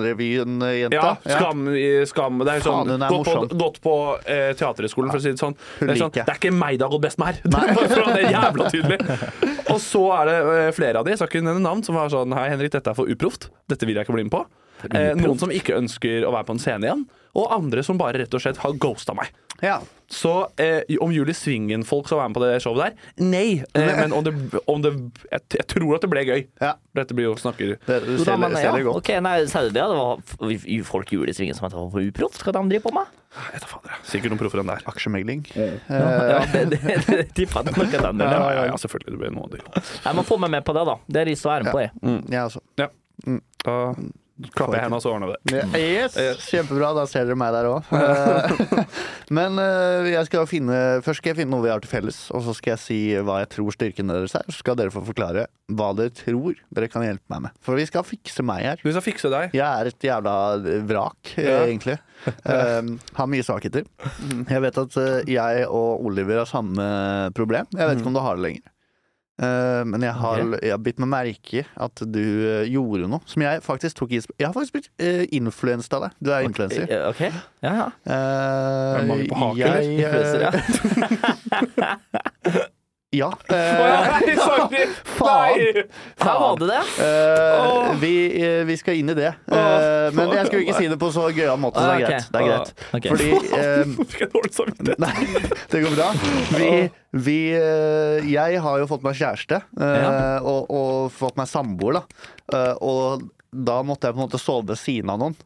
[SPEAKER 3] Nissen-revyen-jenta?
[SPEAKER 2] Ja, skam, i- skam Det er
[SPEAKER 3] Faen,
[SPEAKER 2] sånn
[SPEAKER 3] hun er
[SPEAKER 2] gått på,
[SPEAKER 3] morsom.
[SPEAKER 2] gått på eh, teaterhøgskolen, for å si det sånn.
[SPEAKER 3] Hun
[SPEAKER 2] Det er, sånn
[SPEAKER 3] liker jeg.
[SPEAKER 2] det er ikke meg det har gått best med her! Bare for å- (laughs) det er jævla tydelig Og så er det eh, flere av de, jeg skal ikke nevne navn, som var sånn Hei, Henrik, dette er for uproft. Dette vil jeg ikke bli med på. Eh, noen som ikke ønsker å være på en scene igjen. Og andre som bare rett og slett har ghosta meg.
[SPEAKER 3] Ja.
[SPEAKER 2] Så eh, om Julie Svingen-folk skal være med på det showet der, nei. Eh, men om det, om det jeg, jeg tror at det ble gøy.
[SPEAKER 3] Ja.
[SPEAKER 2] Dette blir jo snakker...
[SPEAKER 3] Det, du
[SPEAKER 1] Jo da,
[SPEAKER 3] ser,
[SPEAKER 1] men,
[SPEAKER 3] ser
[SPEAKER 1] ja.
[SPEAKER 3] det godt.
[SPEAKER 1] Ok, nei, sa du det? Det var f- folk i julesvingen som het for uproft? Hva de driver på med?
[SPEAKER 2] Jeg tar fader, jeg. Sikkert noen proffer enn der.
[SPEAKER 3] Aksjemegling. Eh.
[SPEAKER 1] Ja, det, det, det, tipper jeg at noen kan
[SPEAKER 2] Ja,
[SPEAKER 1] det.
[SPEAKER 2] ja, ja, selvfølgelig. Det blir noe av det.
[SPEAKER 1] Jeg må få meg med på det, da. Det er lyst til å være med på, jeg.
[SPEAKER 3] Ja, altså.
[SPEAKER 2] Ja. Da Klapper jeg hendene, så ordner det.
[SPEAKER 3] Ja, Yes, Mm. Eh, kjempebra. Da ser dere meg der òg. (laughs) Men eh, jeg skal finne, først skal jeg finne noe vi har til felles, og så skal jeg si hva jeg tror styrken deres er. Så skal dere få forklare hva dere tror dere kan hjelpe meg med. For vi skal fikse meg her.
[SPEAKER 2] Du skal fikse deg.
[SPEAKER 3] Jeg er et jævla vrak, eh,
[SPEAKER 2] Ja.
[SPEAKER 3] egentlig. Um, har mye svakheter. Jeg vet at eh, jeg og Oliver har samme problem. Jeg vet ikke om du har det lenger. Eh, men jeg har, jeg har bitt meg merke i at du eh, gjorde noe som jeg faktisk tok inspirasjon Jeg har faktisk blitt uh, influenset av deg. Du er influenser.
[SPEAKER 1] Ja, OK. Ja, ja.
[SPEAKER 3] Eh,
[SPEAKER 2] Er det mangel på hake, eller?
[SPEAKER 3] jeg, eh,
[SPEAKER 1] Influencer,
[SPEAKER 3] (laughs)
[SPEAKER 1] ja.
[SPEAKER 3] ja. Eh,
[SPEAKER 2] (laughs) Nei, sorry!
[SPEAKER 3] faen!
[SPEAKER 1] Her var det det.
[SPEAKER 3] Eh, vi, eh, vi skal inn i det. Eh, men jeg skulle ikke si det på så gøyal måte, så det er
[SPEAKER 1] Ah, ok.
[SPEAKER 3] greit. Det er greit.
[SPEAKER 1] Ok.
[SPEAKER 3] Fordi eh,
[SPEAKER 2] (laughs) Nå fikk jeg dårlig samvittighet.
[SPEAKER 3] (laughs) Nei, det går bra. Vi, vi, eh, jeg har jo fått meg kjæreste, eh,
[SPEAKER 1] Ja.
[SPEAKER 3] og, og fått meg samboer, da. Eh, Og da måtte jeg på en måte sove ved siden av noen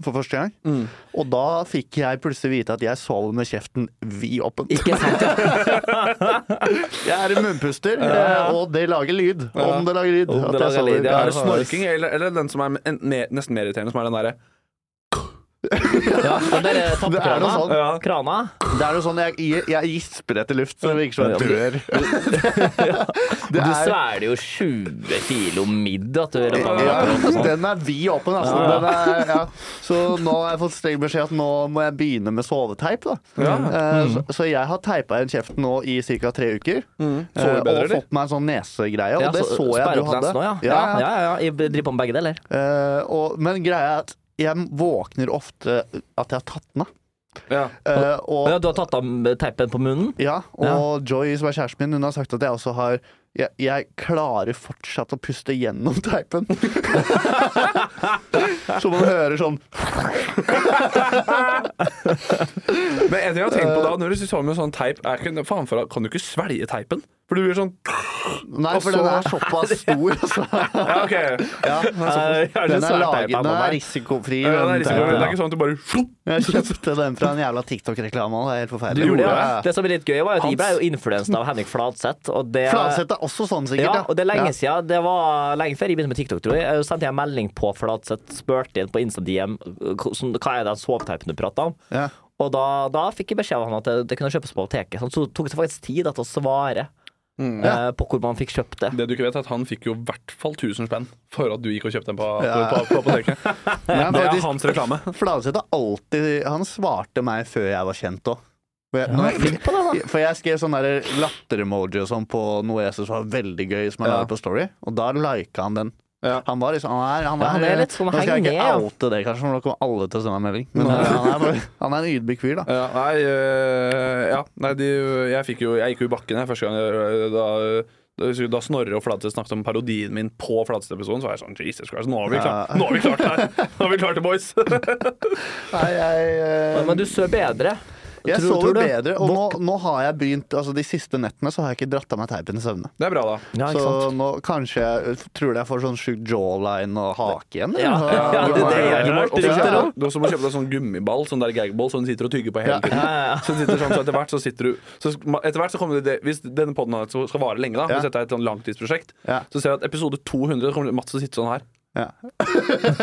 [SPEAKER 3] for første gang.
[SPEAKER 1] Mm.
[SPEAKER 3] Og da fikk jeg plutselig vite at jeg sover med kjeften vidåpen.
[SPEAKER 1] Ikke sant? ja.
[SPEAKER 3] Jeg er en munnpuster, eh, og det lager lyd. Om det lager lyd.
[SPEAKER 1] Om
[SPEAKER 3] at
[SPEAKER 1] det
[SPEAKER 3] jeg
[SPEAKER 1] lager lyd,
[SPEAKER 3] sover.
[SPEAKER 1] ja.
[SPEAKER 2] Er det snorking, eller, eller den som er en- mer- nesten mer irriterende, som er den derre
[SPEAKER 1] ja. Den der
[SPEAKER 3] Det er noe
[SPEAKER 1] tappkrana.
[SPEAKER 3] sånn,
[SPEAKER 2] ja.
[SPEAKER 1] Krana.
[SPEAKER 3] det er noe sånn jeg, jeg- jeg gisper etter luft, så det virker som jeg dør.
[SPEAKER 1] Du
[SPEAKER 3] Det er-
[SPEAKER 1] svelger jo 20 kilo midd. At du rammer
[SPEAKER 3] Ja,
[SPEAKER 1] opp.
[SPEAKER 3] den er vid åpen, altså. Den er, ja. Så nå har jeg fått streng beskjed at nå må jeg begynne med soveteip. Da. Eh, Så, så jeg har teipa igjen kjeften nå i ca. tre uker.
[SPEAKER 2] Sover bedre,
[SPEAKER 3] eh, og
[SPEAKER 2] eller?
[SPEAKER 3] fått meg en sånn nesegreie, og
[SPEAKER 1] Ja,
[SPEAKER 3] det så jeg
[SPEAKER 1] sperre
[SPEAKER 3] du
[SPEAKER 1] opp
[SPEAKER 3] hadde.
[SPEAKER 1] lensen Nå, ja. Ja,
[SPEAKER 3] Ja, ja.
[SPEAKER 1] ja, ja, Jeg driver på med begge deler.
[SPEAKER 3] Eh, og, men greia er at jeg våkner ofte at jeg har tatt den av.
[SPEAKER 2] ja.
[SPEAKER 3] Eh,
[SPEAKER 1] Å
[SPEAKER 3] og
[SPEAKER 1] Ja, du har tatt av teipen på munnen?
[SPEAKER 3] ja, og Joy, som er kjæresten min, hun har sagt at jeg også har jeg, jeg klarer fortsatt å puste gjennom teipen. (laughs) så man hører sånn
[SPEAKER 2] Men en ting jeg har tenkt på da, når du står med sånn teip, er ikke, faen for, kan du ikke svelge teipen? For du blir sånn
[SPEAKER 3] Nei,
[SPEAKER 2] Og
[SPEAKER 3] for
[SPEAKER 2] så-
[SPEAKER 3] den er såpass stor, altså.
[SPEAKER 2] (laughs) Ja, OK.
[SPEAKER 3] Ja.
[SPEAKER 1] Eh,
[SPEAKER 3] Den er, laget, den er risikofri.
[SPEAKER 2] Ja, det, er risiko, men
[SPEAKER 3] den
[SPEAKER 2] det
[SPEAKER 3] teipen.
[SPEAKER 2] er ikke sånn at du bare slupp.
[SPEAKER 3] Jeg kjøpte den fra en jævla TikTok-reklame. og Det er helt forferdelig.
[SPEAKER 2] Du gjorde
[SPEAKER 3] Ja,
[SPEAKER 2] det,
[SPEAKER 3] ja.
[SPEAKER 1] Det som er litt gøy, var at
[SPEAKER 2] Hans.
[SPEAKER 1] jeg ble jo influenset av Henrik Fladseth. Og det,
[SPEAKER 3] Fladseth er også sånn, sikkert.
[SPEAKER 1] Ja, og det er lenge
[SPEAKER 3] Ja.
[SPEAKER 1] siden. Det var lenge før jeg begynte med TikTok, tror jeg. Jeg sendte jeg en melding på Fladseth, spurte inn på Insta-DM sånn, hva er det soveteipen du prater om.
[SPEAKER 3] Ja.
[SPEAKER 1] Og da, da fikk jeg beskjed av han at det, det kunne kjøpes på apoteket. Så det tok det faktisk tid da, til å svare
[SPEAKER 3] Mm.
[SPEAKER 1] eh, på hvor man fikk kjøpt det.
[SPEAKER 2] Det du ikke vet, er at han fikk jo i hvert fall 1000 spenn for at du gikk og kjøpte den på, på, på, apoteket.
[SPEAKER 3] Men
[SPEAKER 2] Det er
[SPEAKER 3] faktisk,
[SPEAKER 2] hans reklame.
[SPEAKER 3] Fladseth har alltid Han svarte meg før jeg var kjent òg. For jeg skrev sånn der latter-emoji og sånn på noe jeg syntes var veldig gøy, som jeg la
[SPEAKER 2] Ja.
[SPEAKER 3] ut på Story, og da lika han den.
[SPEAKER 2] Ja.
[SPEAKER 3] Han var liksom Han er, han er,
[SPEAKER 1] Ja, han er litt sånn
[SPEAKER 3] Nå skal jeg
[SPEAKER 1] hengende, ja.
[SPEAKER 3] ikke oute det, kanskje, for nå kommer alle til å sende meg melding. Men eh, han, er bare, han er en ydmyk fyr, da.
[SPEAKER 2] Ja, nei, øh, ja, nei de, jeg, fikk jo, jeg gikk jo i bakken jeg, første gang jeg, da, da- da Snorre og Fladseth snakket om parodien min på Fladseth-episoden, så var jeg sånn Jesus Christ, nå har vi klart,
[SPEAKER 3] Ja.
[SPEAKER 2] nå har vi klart det her! Nå har vi klart det,
[SPEAKER 1] (laughs)
[SPEAKER 2] boys!
[SPEAKER 3] Nei, jeg, eh,
[SPEAKER 1] Men, men du sover bedre.
[SPEAKER 3] Jeg
[SPEAKER 1] Tror-
[SPEAKER 3] sover
[SPEAKER 1] tror du?
[SPEAKER 3] bedre, og nå, nå har jeg begynt Altså De siste nettene så har jeg ikke dratt av meg teipen i søvne.
[SPEAKER 2] Det er bra, da.
[SPEAKER 1] Ja, ikke sant?
[SPEAKER 3] så nå kanskje jeg tror jeg jeg får sånn sjuk jawline og hake igjen.
[SPEAKER 1] Ja.
[SPEAKER 3] eller?
[SPEAKER 1] Ja, det- det er
[SPEAKER 2] Du må-
[SPEAKER 1] rart,
[SPEAKER 2] og så-
[SPEAKER 1] rykter om.
[SPEAKER 2] Du også må kjøpe deg sånn gummiball, sånn der gagball, som du sitter og tygger på
[SPEAKER 3] Ja.
[SPEAKER 2] hele tiden.
[SPEAKER 1] Ja, ja, ja.
[SPEAKER 2] Så det sitter sånn, så etter hvert så sitter du så sk- Etter hvert så kommer det det Hvis denne podden her så skal vare lenge, da
[SPEAKER 3] Ja.
[SPEAKER 2] hvis dette er et sånn langtidsprosjekt,
[SPEAKER 3] Ja.
[SPEAKER 2] så ser jeg at episode 200 så kommer Mats til å sitte sånn her.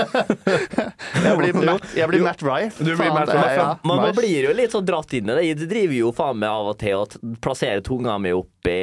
[SPEAKER 3] Jeg blir Matt, jeg blir Matt Rife.
[SPEAKER 2] Du blir
[SPEAKER 3] Faen,
[SPEAKER 2] Matt
[SPEAKER 3] det er
[SPEAKER 2] Rife, ja.
[SPEAKER 3] jeg.
[SPEAKER 1] Man, man
[SPEAKER 3] Nice.
[SPEAKER 1] blir jo litt sånn dratt inn i det. Jeg driver jo faen meg av og til og t- plasserer tunga mi oppi,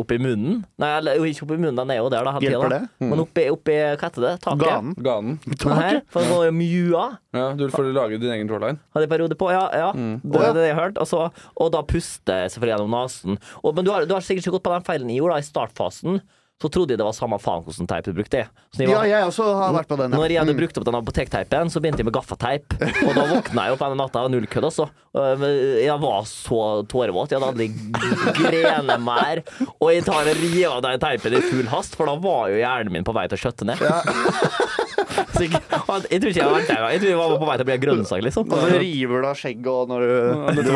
[SPEAKER 1] oppi munnen. Nei, eller jo, ikke oppi munnen, den er jo der da, hele
[SPEAKER 3] Hjelper
[SPEAKER 1] tida.
[SPEAKER 3] det? Mm.
[SPEAKER 1] Men oppi, oppi hva heter det? Taket.
[SPEAKER 3] Ganen.
[SPEAKER 2] Ganen.
[SPEAKER 1] Her, for å mjua.
[SPEAKER 2] Ja, du får lage din egen jawline.
[SPEAKER 1] Hadde jeg periode på, ja. ja.
[SPEAKER 3] Mm.
[SPEAKER 1] Det er det jeg hørte. Og, så, og da puste jeg selvfølgelig gjennom nesen. Og, men du har, du har sikkert ikke gått på den feilen jeg gjorde da, i startfasen. Så trodde jeg det var samme faen hvordan teip du brukte. Så jeg
[SPEAKER 3] Ja,
[SPEAKER 1] var,
[SPEAKER 3] jeg også har vært på den.
[SPEAKER 1] Når
[SPEAKER 3] Ja. mm.
[SPEAKER 1] jeg hadde brukt opp den apotekteipen, så begynte jeg med gaffateip. Og da våkna jeg opp denne natta, null kødd altså. Øh, men Jeg var så tårevåt. Jeg hadde aldri grene mer. Og jeg tar og rir av den teipen i full hast, for da var jo hjernen min på vei til å skjøtte ned. (laughs) Så jeg, og jeg tror ikke jeg var der, jeg tror jeg var på vei til å bli en grønnsak, liksom.
[SPEAKER 3] Og så river du av skjegget og når du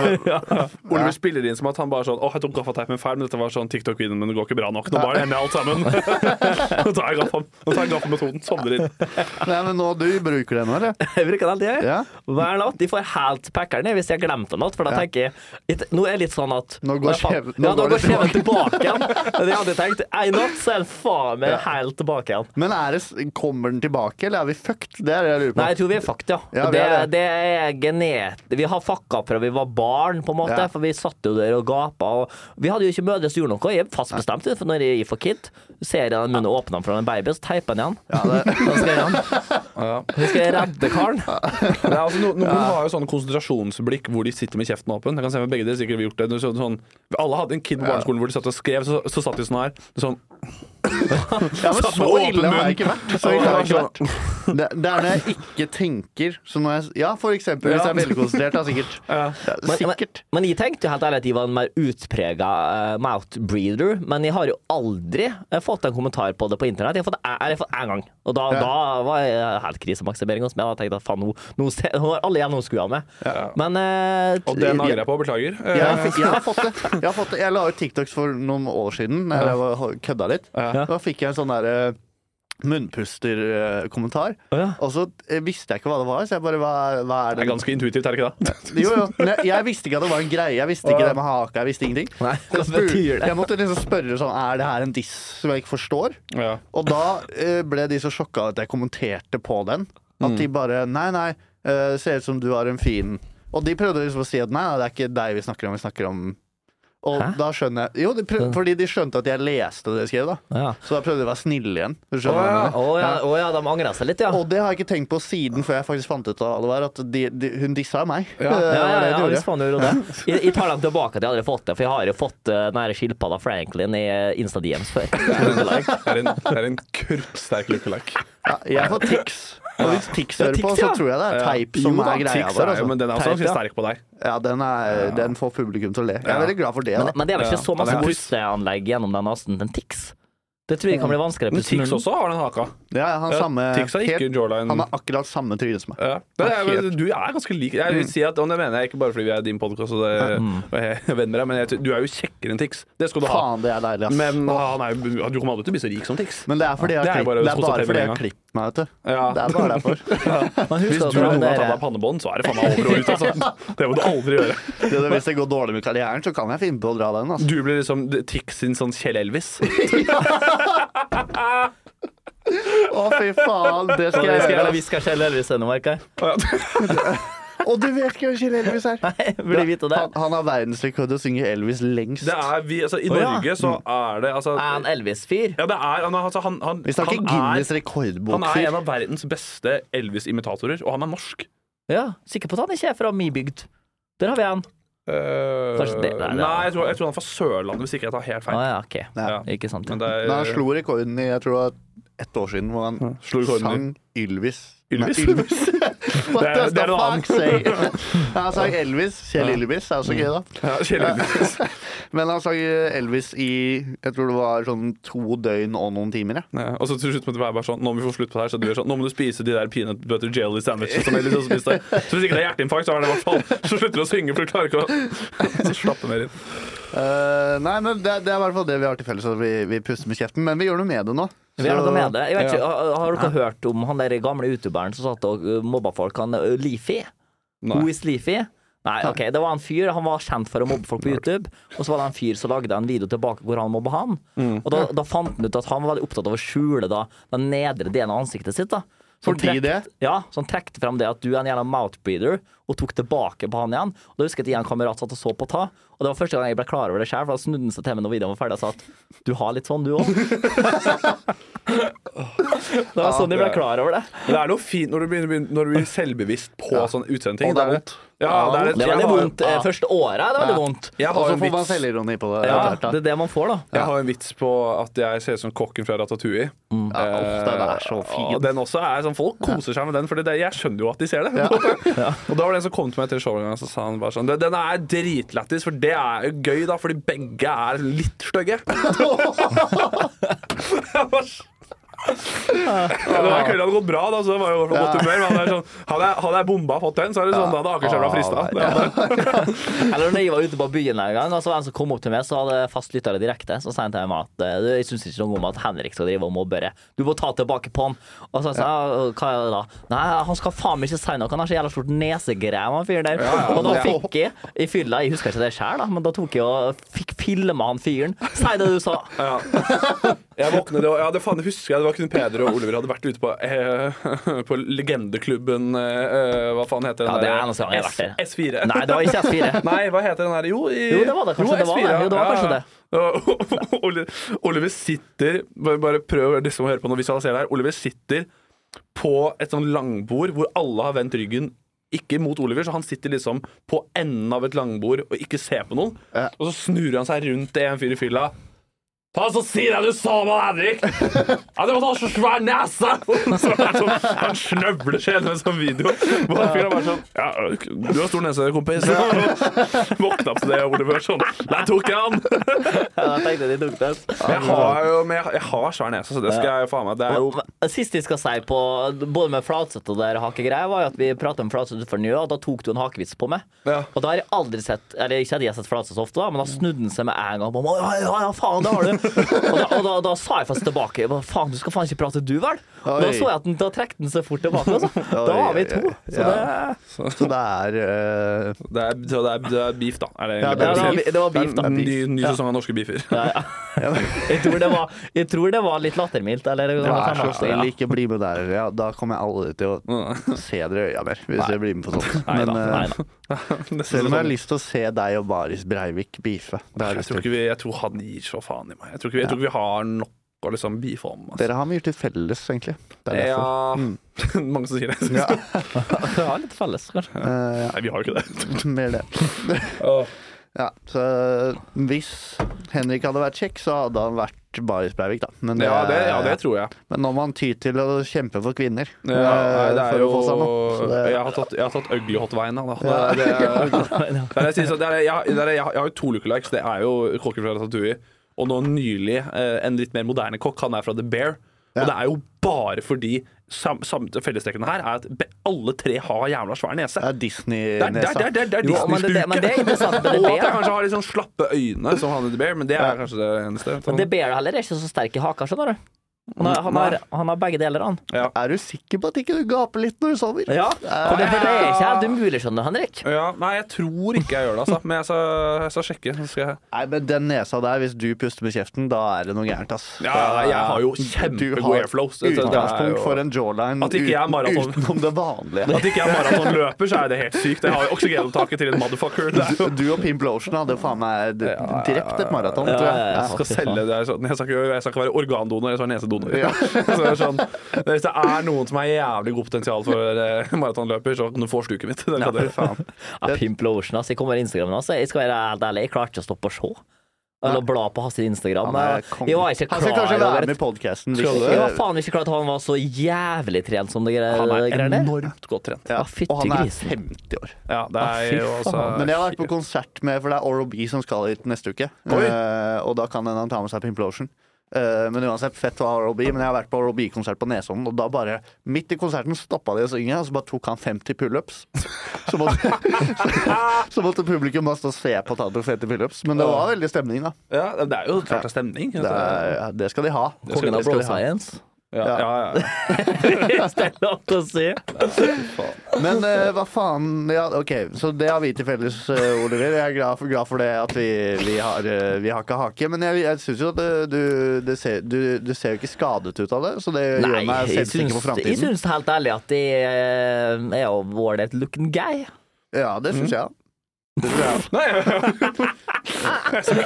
[SPEAKER 3] (laughs)
[SPEAKER 2] Oliver spiller inn som at han bare sånn Åh, jeg tok gaffateip med feil, men dette var sånn TikTok-videoen, men det går ikke bra nok. Nå bare ender jeg alt sammen. (laughs) igjen. Nå tar jeg gaffametoden. Nå tar jeg gaffametoden. Sovner inn.
[SPEAKER 3] Nei, men nå, du bruker den, eller?
[SPEAKER 1] Jeg bruker den alltid.
[SPEAKER 3] Ja.
[SPEAKER 1] jeg. Hver natt. De får helt packeren hvis jeg glemte noe, for da tenker jeg litt- Nå er det litt sånn at
[SPEAKER 3] Nå går
[SPEAKER 1] Å, faen.
[SPEAKER 3] skjev- nå
[SPEAKER 1] Ja, nå
[SPEAKER 3] går
[SPEAKER 1] går
[SPEAKER 3] det
[SPEAKER 1] skjeven tilbake
[SPEAKER 3] (laughs)
[SPEAKER 1] igjen. Det hadde jeg tenkt. En natt så er den faen meg helt tilbake igjen.
[SPEAKER 3] Men er det, s- kommer den tilbake, eller er vi fucked? Det er det jeg lurer på.
[SPEAKER 1] Nei, jeg tror vi er fucked, ja.
[SPEAKER 3] Ja, vi
[SPEAKER 1] det,
[SPEAKER 3] er
[SPEAKER 1] er, det er genet... Vi har fucka fra vi var barn, på en måte.
[SPEAKER 3] Ja.
[SPEAKER 1] For vi satt jo der og gapa. Og vi hadde jo ikke mødre som gjorde noe. Jeg er fast bestemt, for når jeg får kid, ser jeg den munnen åpna fra en baby, så teiper jeg den igjen.
[SPEAKER 3] Ja, det,
[SPEAKER 1] Da skal jeg, igjen. Da skal jeg redde karen.
[SPEAKER 2] Nei, altså, no, noen har jo sånne konsentrasjonsblikk hvor de sitter med kjeften åpen. Jeg kan se med begge dere sikkert har gjort det. Du så- Sånn, alle hadde en kid på barneskolen hvor de satt og skrev, så, så satt de sånn her. Sånn,
[SPEAKER 3] ja, men
[SPEAKER 2] Satt med
[SPEAKER 3] så
[SPEAKER 2] åpen
[SPEAKER 3] ille har
[SPEAKER 2] munn.
[SPEAKER 3] jeg ikke vært. Så ille har jeg ikke vært. Det, det er når jeg ikke tenker. Så når jeg, ja, for eksempel. Hvis jeg er velkonsentrert, da, sikkert. Ja,
[SPEAKER 1] Men,
[SPEAKER 3] sikkert.
[SPEAKER 1] men, men jeg tenkte jo helt ærlig at jeg var en mer utprega mouthbreather, men jeg har jo aldri eh, fått en kommentar på det på internett. Jeg har fått, jeg, jeg har fått en gang, og da, da var jeg eh, helt krisemaksimering hos meg. Da tenkte jeg at faen, nå, nå, se- nå har alle gjennomskua meg. Men eh,
[SPEAKER 2] og det angrer jeg på, beklager. Eh,
[SPEAKER 3] Jeg, fikk, jeg har fått det. Jeg, har fått det. jeg la ut TikToks for noen år siden, eller jeg var- kødda litt.
[SPEAKER 2] Ja.
[SPEAKER 3] Da fikk jeg en sånn derre munnpusterkommentar.
[SPEAKER 1] Å ja.
[SPEAKER 3] Og så eh, visste jeg ikke hva det var, så jeg bare Hva, hva er
[SPEAKER 2] Det
[SPEAKER 3] det?
[SPEAKER 2] er ganske intuitivt, er det ikke det?
[SPEAKER 3] Jo, jo. Men jeg, jeg visste ikke at det var en greie. Jeg visste ikke det med haka. Jeg visste ingenting.
[SPEAKER 1] Nei,
[SPEAKER 3] Så
[SPEAKER 1] hva
[SPEAKER 3] jeg spurte-
[SPEAKER 1] betyr det?
[SPEAKER 3] Jeg måtte liksom spørre sånn Er det her en diss som jeg ikke forstår?
[SPEAKER 2] (laughs) Ja.
[SPEAKER 3] Og da eh, ble de så sjokka at jeg kommenterte på den. At de bare Nei, nei, eh, ser ut som du har en fin Og de prøvde liksom å si at nei, nei, det er ikke deg vi snakker om, vi snakker om Og
[SPEAKER 1] Hæ?
[SPEAKER 3] da skjønner jeg Jo, de prøv, fordi de skjønte at jeg leste det de skrev, da.
[SPEAKER 1] Å ja.
[SPEAKER 3] Så da prøvde de å være snille igjen. Du
[SPEAKER 1] Å
[SPEAKER 3] skjønner hva
[SPEAKER 1] ja.
[SPEAKER 3] jeg mener?
[SPEAKER 1] å ja, å ja, de angrer seg litt, ja.
[SPEAKER 3] Og det har jeg ikke tenkt på siden før jeg faktisk fant ut av det var at de, de, hun dissa meg.
[SPEAKER 2] Ja.
[SPEAKER 3] Eh,
[SPEAKER 1] Ja,
[SPEAKER 3] (laughs) det var
[SPEAKER 1] ja, ja,
[SPEAKER 3] det hun
[SPEAKER 1] hvis
[SPEAKER 3] gjorde.
[SPEAKER 1] faen du gjorde det. Jeg, jeg tar dem tilbake at jeg aldri har fått det, for jeg har jo fått eh, den her skilpadda Franklin i Insta-DMs før.
[SPEAKER 2] Det er en, det er en kurvsterk lookalike.
[SPEAKER 3] Ja, jeg får tics. Og hvis Tix hører på,
[SPEAKER 1] tics,
[SPEAKER 3] så
[SPEAKER 1] ja.
[SPEAKER 3] tror jeg det er teip som
[SPEAKER 2] Jo da,
[SPEAKER 3] er greia
[SPEAKER 2] tics
[SPEAKER 3] der.
[SPEAKER 2] jo- Men
[SPEAKER 3] Altså.
[SPEAKER 2] den er også
[SPEAKER 1] Teip,
[SPEAKER 2] ganske
[SPEAKER 1] ja.
[SPEAKER 2] sterk på deg.
[SPEAKER 3] Ja, den, er, den får publikum til å le. Jeg er
[SPEAKER 2] Ja.
[SPEAKER 3] veldig glad for det.
[SPEAKER 1] Men,
[SPEAKER 3] Da.
[SPEAKER 1] men det er vel ikke
[SPEAKER 2] Ja,
[SPEAKER 1] så
[SPEAKER 2] han er
[SPEAKER 1] masse
[SPEAKER 2] god.
[SPEAKER 1] pusteanlegg gjennom den nasen til Tix. Det tror jeg kan bli vanskeligere. å
[SPEAKER 2] Men
[SPEAKER 1] puste
[SPEAKER 2] Tix
[SPEAKER 1] munnen.
[SPEAKER 2] også har den haka.
[SPEAKER 3] Ja, han,
[SPEAKER 2] Ja,
[SPEAKER 3] samme,
[SPEAKER 2] Tix har ikke
[SPEAKER 3] helt-
[SPEAKER 2] jawline.
[SPEAKER 3] han har akkurat samme tryne som meg.
[SPEAKER 2] Ja. Det er,
[SPEAKER 3] Helt.
[SPEAKER 2] men du er ganske lik. Jeg vil si at, og det mener jeg ikke bare fordi vi er din podkast og, det- og jeg er venn med deg, men jeg, du er jo kjekkere enn Tix. Det skal du ha.
[SPEAKER 3] Faen, det er deilig, ass.
[SPEAKER 2] Men han er, jo- du kommer aldri til å bli så rik som Tix.
[SPEAKER 3] (laughs) Men det er fordi jeg
[SPEAKER 2] Det
[SPEAKER 3] har
[SPEAKER 2] er bare sånn
[SPEAKER 3] klipp- det er
[SPEAKER 2] å
[SPEAKER 3] bare fordi jeg
[SPEAKER 2] konstatere
[SPEAKER 3] har klippet meg, vet du.
[SPEAKER 2] Ja.
[SPEAKER 3] Det er bare derfor.
[SPEAKER 2] (laughs)
[SPEAKER 1] Men husk
[SPEAKER 2] Hvis
[SPEAKER 1] at
[SPEAKER 2] du
[SPEAKER 1] den
[SPEAKER 2] noen gang
[SPEAKER 1] der-
[SPEAKER 2] tar deg pannebånd, så er det faen meg over og ut. Altså. Det må du aldri gjøre.
[SPEAKER 3] Det er det, hvis det går dårlig med karrieren, så kan jeg finne på å dra den.
[SPEAKER 2] (laughs)
[SPEAKER 3] Altså.
[SPEAKER 2] Du blir liksom Tix sin sånn Kjell Elvis.
[SPEAKER 3] Å, fy faen, det
[SPEAKER 1] Skal
[SPEAKER 3] skal jeg
[SPEAKER 1] eller
[SPEAKER 3] gjøre.
[SPEAKER 1] vi skal skjelle Elvis ennå, merker jeg.
[SPEAKER 3] ass. Og du vet ikke hvem Kjell Elvis
[SPEAKER 1] (laughs)
[SPEAKER 3] er?
[SPEAKER 1] Burde jeg vite det.
[SPEAKER 3] Han, han har verdensrekord i å synge Elvis lengst.
[SPEAKER 2] Det er vi, altså, I
[SPEAKER 1] Å, ja.
[SPEAKER 2] Norge så er det altså,
[SPEAKER 1] Er han Elvis-fyr?
[SPEAKER 2] Ja, det er han, altså, han, han,
[SPEAKER 3] vi snakker
[SPEAKER 2] han,
[SPEAKER 3] Guinness
[SPEAKER 2] er, han er en
[SPEAKER 3] rekordbokfyr.
[SPEAKER 2] av verdens beste Elvis-imitatorer, og han er norsk.
[SPEAKER 1] Ja, sikker på at han ikke er fra mi bygd. Der har vi han.
[SPEAKER 2] Eh,
[SPEAKER 1] Kanskje det- nei, det er-
[SPEAKER 2] nei, jeg tror, jeg tror han er fra Sørlandet, hvis ikke jeg tar helt
[SPEAKER 1] Å
[SPEAKER 2] feil.
[SPEAKER 1] ja, OK.
[SPEAKER 2] Ja.
[SPEAKER 1] Ikke sant.
[SPEAKER 2] Men
[SPEAKER 1] Ja.
[SPEAKER 2] det er,
[SPEAKER 3] Men han slo rekorden i jeg tror det var ett år siden, hvor han
[SPEAKER 2] slo rekorden i-
[SPEAKER 3] sang Ylvis.
[SPEAKER 2] eh, Ylvis?
[SPEAKER 3] Nei, Ylvis. What
[SPEAKER 2] Det er-
[SPEAKER 3] does
[SPEAKER 2] det
[SPEAKER 3] the
[SPEAKER 2] er noe annet.
[SPEAKER 3] fuck say? Han sang Elvis. Kjell Ylvis er også gøy, da.
[SPEAKER 2] (laughs) Ja, Kjell Elvis.
[SPEAKER 3] (laughs) Men han sang Elvis i jeg tror det var sånn to døgn og noen timer. Ja.
[SPEAKER 2] Ja, Eh, og så til slutt måtte det være bare sånn Nå må vi få slutt på det her, så du gjør sånn Nå må du spise de der peanut butter jelly sandwichene som Elvis også spiste. Så hvis ikke det er hjerteinfarkt, så er det i hvert fall Så slutter du å (laughs) synge, for du klarer ikke å Så slappe mer inn.
[SPEAKER 3] Eh, nei, men det, det er i hvert fall det vi har til felles, at vi, vi puster med kjeften. Men vi gjør noe med det nå.
[SPEAKER 1] Vi har
[SPEAKER 3] Så-
[SPEAKER 1] noe med det. Jeg vet ikke, har har dere hørt om han der gamle youtuberen som satt og uh, mobba folk? Han uh, Leafy? Who is Leafy? Nei, ok, det var en fyr, Han var kjent for å mobbe folk på YouTube. Og så var det en fyr som lagde en video tilbake hvor han mobba han.
[SPEAKER 2] Mm.
[SPEAKER 1] Og da, da fant han ut at han var veldig opptatt av å skjule da, den nedre delen av ansiktet sitt. da Så han
[SPEAKER 3] Fordi
[SPEAKER 1] trekk-
[SPEAKER 3] det?
[SPEAKER 1] Ja, Så han trekte frem det at du er en jævla mouthbreather, og tok tilbake på han igjen. Og da husker jeg at jeg og en kamerat satt og så på ta, og det var første gang jeg ble klar over det sjøl, for da snudde han seg til meg når videoen var ferdig og sa at du har litt sånn, du
[SPEAKER 2] (laughs)
[SPEAKER 1] òg. det var sånn jeg ble klar over det.
[SPEAKER 2] Men det er noe fint når du begynner, begynner- når du blir selvbevisst på sånn sånne utseende ting.
[SPEAKER 3] Og det er
[SPEAKER 2] litt- Ja, det er litt
[SPEAKER 1] Det er veldig
[SPEAKER 2] jeg har-
[SPEAKER 1] vondt. eh, Første året er det veldig vondt.
[SPEAKER 2] Jeg
[SPEAKER 3] Og
[SPEAKER 2] har
[SPEAKER 3] så
[SPEAKER 2] en
[SPEAKER 3] får man
[SPEAKER 2] vits
[SPEAKER 3] selvironi på det.
[SPEAKER 1] Ja,
[SPEAKER 3] etter hvert, da.
[SPEAKER 1] det er det man får, da.
[SPEAKER 2] Jeg har en vits på at jeg ser ut som kokken fra Ratatouille.
[SPEAKER 3] Ja, uff, den
[SPEAKER 2] (laughs)
[SPEAKER 3] er så fin.
[SPEAKER 2] Og den også er sånn, Folk koser seg med den, for det, jeg skjønner jo at de ser (laughs) det. og da var det en som kom til meg til showet en gang, så sa han bare sånn Den er dritlættis, for det er jo gøy, da, (laughs) fordi begge er litt stygge. Jeg bare, Det var kvelden hadde gått bra, da, så det var jo i hvert fall godt humør. Men han er sånn, hadde jeg, hadde jeg bomba og fått den, så er det sånn, da hadde Akerselva frista.
[SPEAKER 3] Ah,
[SPEAKER 2] Det hadde-
[SPEAKER 1] Eller når jeg var ute på byen en gang, og så var det en som kom opp til meg, så hadde jeg fast lyttere direkte. Så sa han til meg at eh, du, jeg syns ikke noe om at Henrik skal drive og mobbe deg. Du må ta tilbake på han. Og så sa jeg «Ja, hva er det da? Nei, han skal faen meg ikke si noe. Han har så jævla stort nesegrev, han fyren der. Og da
[SPEAKER 3] ja.
[SPEAKER 1] fikk jeg i fylla, jeg husker ikke det sjøl, da, men da tok jeg og fikk filma han fyren. Si det du sa.
[SPEAKER 2] Ja. Jeg våknet, og ja, det faen, det husker jeg, det var kun Peder og Oliver hadde vært ute på, eh, (laughs) på legendeklubben eh, Hva faen heter den
[SPEAKER 1] Ja, det er
[SPEAKER 2] der?
[SPEAKER 1] eneste gang jeg har vært der.
[SPEAKER 2] S, S4.
[SPEAKER 1] Nei, det var ikke S4.
[SPEAKER 2] (laughs) Nei, hva heter den her? Jo, i,
[SPEAKER 1] Jo, det var det kanskje, det var
[SPEAKER 2] S4,
[SPEAKER 1] det. Jo, det var
[SPEAKER 2] ja,
[SPEAKER 1] kanskje
[SPEAKER 2] ja.
[SPEAKER 1] det.
[SPEAKER 2] (laughs) Og- Oli- Oliver sitter Bare, bare prøv disse å høre på når vi visualiserer det her. Oliver sitter på et sånn langbord hvor alle har vendt ryggen ikke mot Oliver, så han sitter liksom på enden av et langbord og ikke ser på noen.
[SPEAKER 3] Ja.
[SPEAKER 2] Og så snur han seg rundt til en fyr i fylla. Ta så Si deg du sa om han Henrik! Ja, det var da så svær nese! (laughs) Så er det sånn, han snøvler seg gjennom en sånn video. Hvor han fyren er bare sånn Ja, du har stor nese, kompis.
[SPEAKER 1] (laughs)
[SPEAKER 2] (laughs) Våkna opp til det, og Oliver var sånn Der tok jeg han!
[SPEAKER 1] Ja, (laughs) jeg tenkte de tok den.
[SPEAKER 2] Jeg har jo men jeg, jeg har svær nese, så det skal jeg jo faen meg Det er jo
[SPEAKER 1] Men Sist jeg skal si på både med Flatseth og der hakegreier, var jo at vi pratet om Flatseth for nå, og da tok du en hakevits på meg.
[SPEAKER 2] Ja.
[SPEAKER 1] Og da har jeg aldri sett Eller ikke at jeg har sett Flatseth så ofte, da, men da snudde han seg med en gang. Og bare, ja, ja, ja, faen, det har du. og da, og da, da sa jeg faktisk tilbake jeg bare, Faen, du skal faen ikke prate, du vel? Og Da
[SPEAKER 3] Oi.
[SPEAKER 1] så jeg at den, da trekte den seg fort tilbake.
[SPEAKER 3] (laughs)
[SPEAKER 1] Altså. Da var vi to. Så det,
[SPEAKER 3] Ja. Så det er eh,
[SPEAKER 2] Det er, så det er, det er beef, da. Er det
[SPEAKER 3] Ja,
[SPEAKER 2] egentlig
[SPEAKER 1] det,
[SPEAKER 2] det,
[SPEAKER 1] var,
[SPEAKER 2] vi sier?
[SPEAKER 1] det var beef,
[SPEAKER 2] det
[SPEAKER 1] da.
[SPEAKER 2] er en ny, ny sesong av norske beefer.
[SPEAKER 1] Jeg tror det var, jeg tror det var litt lattermildt. Eller,
[SPEAKER 3] det er så
[SPEAKER 1] Ja.
[SPEAKER 3] snill, ikke bli med der. Ja, da kommer jeg aldri til å se dere i øya mer, hvis jeg blir med på sånt.
[SPEAKER 1] Nei da.
[SPEAKER 3] Men eh,
[SPEAKER 1] Nei da. (laughs)
[SPEAKER 2] (laughs) Neste
[SPEAKER 3] selv om jeg har
[SPEAKER 2] sesong.
[SPEAKER 3] lyst til å se deg og Baris Breivik beefe. Det har
[SPEAKER 2] Jeg
[SPEAKER 3] jeg lyst
[SPEAKER 2] tror,
[SPEAKER 3] til.
[SPEAKER 2] ikke vi, jeg tror han gir så faen i meg. Jeg tror ikke vi, jeg tror ikke vi har nok å liksom beefe om. Altså.
[SPEAKER 3] Dere har mye til felles, egentlig. Det er derfor. Mm.
[SPEAKER 2] Ja (laughs) Mange som sier det.
[SPEAKER 1] Vi har litt felles, kanskje.
[SPEAKER 3] Eh, ja, (laughs)
[SPEAKER 2] Nei, vi har jo ikke det.
[SPEAKER 3] mer det. Ja, så hvis Henrik hadde vært kjekk, så hadde han vært Baris Breivik, da. Men,
[SPEAKER 2] Ja, det, ja, det tror jeg.
[SPEAKER 3] men nå må han ty til å kjempe for kvinner
[SPEAKER 2] Ja,
[SPEAKER 3] eh,
[SPEAKER 2] nei, det er
[SPEAKER 3] for
[SPEAKER 2] jo
[SPEAKER 3] å få seg noe. Så det-
[SPEAKER 2] Jeg har tatt, jeg har tatt ugly hot-veien, da. Det er, det
[SPEAKER 3] (laughs)
[SPEAKER 2] det er, det jeg, sier, så det er, jeg, har- det er, jeg, har- jeg har jo to lookalikes. Det er jo kokken fra Ratatouille. Og nå nylig eh, en litt mer moderne kokk. Han er fra The Bear. Og det er jo bare fordi sam, sam, fellestrekkene her er at be, alle tre har jævla svær nese.
[SPEAKER 3] Det
[SPEAKER 2] Det er-
[SPEAKER 3] er
[SPEAKER 2] det er-
[SPEAKER 3] Disney-nesa.
[SPEAKER 2] det er- det er- det er
[SPEAKER 1] Jo, men det,
[SPEAKER 2] Disney-sluket.
[SPEAKER 1] men det er interessant med det
[SPEAKER 2] (laughs) Og at jeg
[SPEAKER 1] der.
[SPEAKER 2] kanskje har litt sånn slappe øyne, som han i The Bear, men det er kanskje det eneste.
[SPEAKER 1] Men det Bear heller er ikke så sterk i haka, skjønner du. Han har, han har, han har begge deler, han.
[SPEAKER 3] Er du sikker på at ikke du gaper litt når du sover?
[SPEAKER 1] Ja, for det, for det er ikke helt umulig, skjønner du, Henrik.
[SPEAKER 2] Sånn- Ja, nei, jeg tror ikke jeg gjør det, altså. Men jeg skal, jeg skal sjekke. Så skal jeg...
[SPEAKER 3] Nei, men den nesa der, hvis du puster med kjeften, da er det noe gærent, ass.
[SPEAKER 2] Ja, jeg har jo
[SPEAKER 3] Du
[SPEAKER 2] kjempegod
[SPEAKER 3] har
[SPEAKER 2] airflows. Det- det- det er
[SPEAKER 3] utgangspunkt
[SPEAKER 2] jo-
[SPEAKER 3] for en jawline
[SPEAKER 2] At ikke jeg er
[SPEAKER 3] uten-
[SPEAKER 2] maraton.
[SPEAKER 3] utenom det vanlige.
[SPEAKER 2] (laughs) At ikke jeg er maratonløper, så er det helt sykt. Jeg har jo oksygenopptaket til en motherfucker. Det er jo-
[SPEAKER 3] Du og Pimp Lotion hadde faen meg d-
[SPEAKER 2] Ja, ja, ja,
[SPEAKER 3] drept et maraton,
[SPEAKER 1] Ja,
[SPEAKER 3] tror
[SPEAKER 1] ja, ja.
[SPEAKER 3] jeg.
[SPEAKER 2] Jeg skal selge det. Jeg skal, jeg skal, ikke, jeg skal ikke være organdonor, jeg skal være nesedonor.
[SPEAKER 3] Ja.
[SPEAKER 2] (laughs) Så det er sånn, hvis det er noen som har jævlig godt potensial for eh, maratonløper, så kan du få stuket mitt. (laughs) Det kan dere faen.
[SPEAKER 1] Ja, Pimp Lotion, ass. Jeg kommer i Instagram nå, så jeg skal være helt ærlig, jeg klarte ikke å stoppe å se. Eller bla på hans Instagram.
[SPEAKER 3] Han er konge.
[SPEAKER 1] Jeg var ikke
[SPEAKER 3] Han
[SPEAKER 1] klar
[SPEAKER 3] skal kanskje
[SPEAKER 1] over
[SPEAKER 3] være med i podkasten.
[SPEAKER 2] Skal du?
[SPEAKER 1] Jeg var faen ikke klar over at han var så jævlig trent som det gre-
[SPEAKER 2] Han er
[SPEAKER 1] greier der.
[SPEAKER 2] enormt godt trent.
[SPEAKER 1] Å,
[SPEAKER 3] Ja.
[SPEAKER 1] fytti
[SPEAKER 3] Og han er
[SPEAKER 1] grisen.
[SPEAKER 3] 50 år.
[SPEAKER 2] Ja, det er jo altså
[SPEAKER 3] Men jeg har vært på konsert med For det er Oral B som skal hit neste uke.
[SPEAKER 2] Oi.
[SPEAKER 3] Eh, og da kan hende han ta med seg Pimplotion. Eh, men uansett, fett å ha Oral B. Men jeg har vært på Oral B-konsert på Nesodden, og da bare Midt i konserten stoppa de å synge, og så bare tok han 50 pullups. (laughs) Så, måtte- (laughs) så måtte publikum bare stå og se på at han tok 50 pullups. Men det var veldig stemning, da.
[SPEAKER 2] ja, det er jo klart det er stemning.
[SPEAKER 3] Det, er, det skal de ha.
[SPEAKER 1] Kongen
[SPEAKER 3] Det
[SPEAKER 1] av
[SPEAKER 3] skal
[SPEAKER 1] Bro
[SPEAKER 3] de ha.
[SPEAKER 1] Science.
[SPEAKER 2] Ja, ja, ja.
[SPEAKER 1] (laughs) Det er lov til å si.
[SPEAKER 3] Men eh, hva faen ja, OK, så det har vi til felles, eh, Oliver. Jeg er glad for, glad for det at vi, vi, har, eh, vi har ikke hake. Men jeg, jeg syns jo at eh, du, det ser, du, du ser jo ikke skadet ut av det, så det gjør meg
[SPEAKER 1] jeg
[SPEAKER 3] selvsikker
[SPEAKER 1] syns,
[SPEAKER 3] for
[SPEAKER 1] jeg
[SPEAKER 3] framtiden.
[SPEAKER 1] syns helt ærlig at de eh, er jo ålreit looking guy.
[SPEAKER 3] Ja, det syns jeg.
[SPEAKER 2] (laughs) Nei,
[SPEAKER 3] (laughs)
[SPEAKER 2] ja, ja.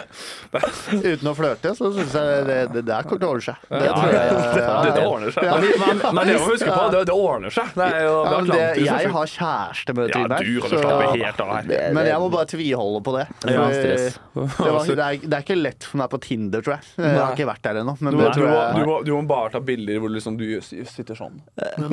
[SPEAKER 3] Uten å flørte, så syns jeg det, det der kommer til å holde seg. Det
[SPEAKER 1] Ja,
[SPEAKER 3] tror jeg.
[SPEAKER 2] Det, det ordner seg.
[SPEAKER 1] Men, men,
[SPEAKER 2] Men
[SPEAKER 1] men
[SPEAKER 2] det
[SPEAKER 1] hvis-
[SPEAKER 2] må vi huske på, det, det ordner seg. Det er jo
[SPEAKER 3] Ja, men det,
[SPEAKER 2] Atlantis,
[SPEAKER 3] jeg
[SPEAKER 2] altså.
[SPEAKER 3] har kjæreste med det
[SPEAKER 2] Ja, du kan jo slappe helt av her.
[SPEAKER 1] det-
[SPEAKER 3] Men jeg må bare tviholde på det.
[SPEAKER 1] er
[SPEAKER 3] For,
[SPEAKER 1] stress.
[SPEAKER 3] det, var, det, er, det er ikke lett for meg på Tinder, tror jeg. Jeg har ikke vært der ennå. Men
[SPEAKER 2] Du må,
[SPEAKER 3] det
[SPEAKER 2] du,
[SPEAKER 3] tror
[SPEAKER 2] må,
[SPEAKER 3] jeg-
[SPEAKER 2] du, må, du må bare ta bilder hvor liksom du sitter sånn.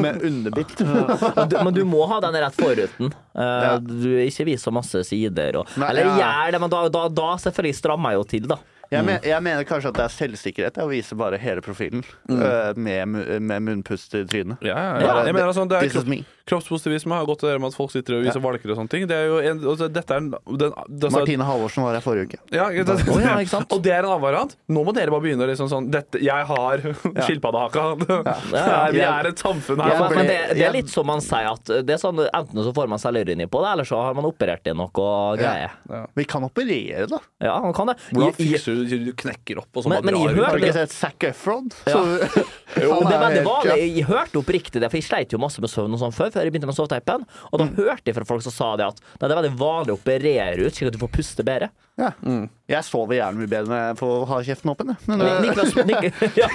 [SPEAKER 3] med underbitt.
[SPEAKER 1] Men du, men du må ha den rett foruten. Eh, Du ikke vis så masse sider. Og,
[SPEAKER 3] Nei,
[SPEAKER 1] eller
[SPEAKER 3] ja.
[SPEAKER 1] gjør det, men da, da, da selvfølgelig strammer jeg jo til, da.
[SPEAKER 3] Jeg, men, jeg mener kanskje at det er selvsikkerhet jeg, å vise bare hele profilen
[SPEAKER 1] Mm.
[SPEAKER 3] øh, med, mu- med munnpust i trynet.
[SPEAKER 2] Ja, ja, ja.
[SPEAKER 3] Bare,
[SPEAKER 2] Jeg mener, altså, det er
[SPEAKER 3] This is
[SPEAKER 2] kropp,
[SPEAKER 3] me.
[SPEAKER 2] kroppspositivisme har gått til det med at folk sitter og viser valker og sånne ting. Det er jo en, altså, dette er en, den, altså,
[SPEAKER 3] Martine Halvorsen var her forrige uke.
[SPEAKER 2] Ja, ikke sant?
[SPEAKER 1] Å, ja, ikke sant?
[SPEAKER 2] (laughs) Og det er en avvarant. Nå må dere bare begynne å liksom sånn dette, Jeg har (laughs) skilpaddehaka. (laughs) Nei, Vi er et samfunn her.
[SPEAKER 3] Ja,
[SPEAKER 1] Ja,
[SPEAKER 2] som-
[SPEAKER 1] men, men det, det
[SPEAKER 3] jeg-
[SPEAKER 1] er litt som man sier at det er sånn, Enten så får man selvironi på det, eller så har man operert i noe greie.
[SPEAKER 3] Vi kan operere, da.
[SPEAKER 1] Ja, man kan det.
[SPEAKER 2] Hvordan
[SPEAKER 1] I, i,
[SPEAKER 2] fikser du Du knekker opp og så
[SPEAKER 1] Men-
[SPEAKER 2] bare
[SPEAKER 1] men i
[SPEAKER 2] drar
[SPEAKER 1] høl-
[SPEAKER 3] Har
[SPEAKER 2] ut?
[SPEAKER 3] du ikke sett Zac Efron?
[SPEAKER 1] Ja. (laughs)
[SPEAKER 3] Så-
[SPEAKER 1] Og
[SPEAKER 3] Han
[SPEAKER 1] det
[SPEAKER 3] er
[SPEAKER 1] er veldig
[SPEAKER 3] helt-
[SPEAKER 1] vanlig. Jeg hørte oppriktig det, for jeg sleit jo masse med søvn og sånn før, før jeg begynte med sovetapen. Og da hørte jeg fra folk som sa det at nei, det er veldig vanlig å operere ut, slik at du får puste bedre.
[SPEAKER 3] Ja.
[SPEAKER 1] Mm.
[SPEAKER 3] Jeg sover gjerne mye bedre når jeg får ha kjeften åpen, jeg. men
[SPEAKER 1] Ni-
[SPEAKER 3] øh,
[SPEAKER 1] Niklas, Nik (laughs) ja.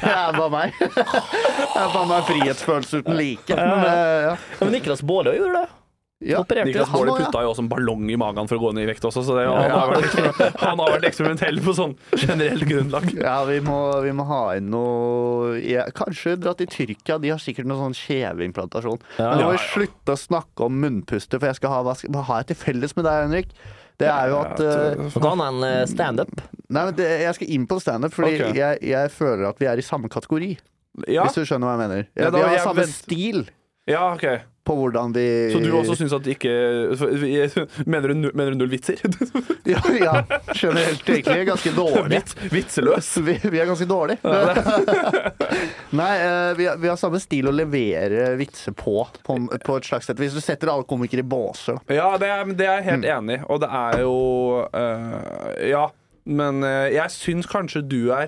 [SPEAKER 3] det er bare meg. (laughs) Det er bare meg frihetsfølelse uten like. Men, øh, ja.
[SPEAKER 1] Men Niklas Baarli gjorde det.
[SPEAKER 3] Ja.
[SPEAKER 1] Opererte.
[SPEAKER 2] Niklas
[SPEAKER 3] Han
[SPEAKER 2] Baarli
[SPEAKER 3] også, ja.
[SPEAKER 2] putta jo også en ballong i magen for å gå ned i vekt også, så det, han, har vært, liksom- han har vært eksperimentell på sånn generelt grunnlag.
[SPEAKER 1] (laughs)
[SPEAKER 3] Ja, vi må, vi må ha inn noe ja, Kanskje dra til Tyrkia. De har sikkert noe sånn kjeveimplantasjon. Men nå må vi slutte å snakke om munnpuster, for jeg skal ha, hva, skal, hva har jeg til felles med deg, Henrik? Det er jo at eh,
[SPEAKER 1] Du kan ha en eh, standup.
[SPEAKER 3] Nei, men det, jeg skal inn på standup, fordi
[SPEAKER 2] Ok.
[SPEAKER 3] jeg, jeg føler at vi er i samme kategori.
[SPEAKER 2] Ja,
[SPEAKER 3] Hvis du skjønner hva jeg mener.
[SPEAKER 2] Ja, da
[SPEAKER 3] vi
[SPEAKER 2] vil
[SPEAKER 3] har
[SPEAKER 2] jeg
[SPEAKER 3] samme
[SPEAKER 2] vent-
[SPEAKER 3] stil
[SPEAKER 2] ja, ok.
[SPEAKER 3] på hvordan vi
[SPEAKER 2] Så du
[SPEAKER 3] (laughs)
[SPEAKER 2] også syns at ikke Mener du, nu- mener du null vitser? (laughs)
[SPEAKER 3] Ja, ja skjønner helt egentlig. er Ganske dårlig.
[SPEAKER 2] Vits, vitseløs?
[SPEAKER 3] Vi, vi er ganske dårlige. (laughs) Nei, eh, vi, har- vi har samme stil å levere vitser på, på, på et slags sett. Hvis du setter alle komikere i båser, da.
[SPEAKER 2] Ja, det er, men det er jeg helt enig i, og det er jo øh, Ja. Men øh, jeg syns kanskje du er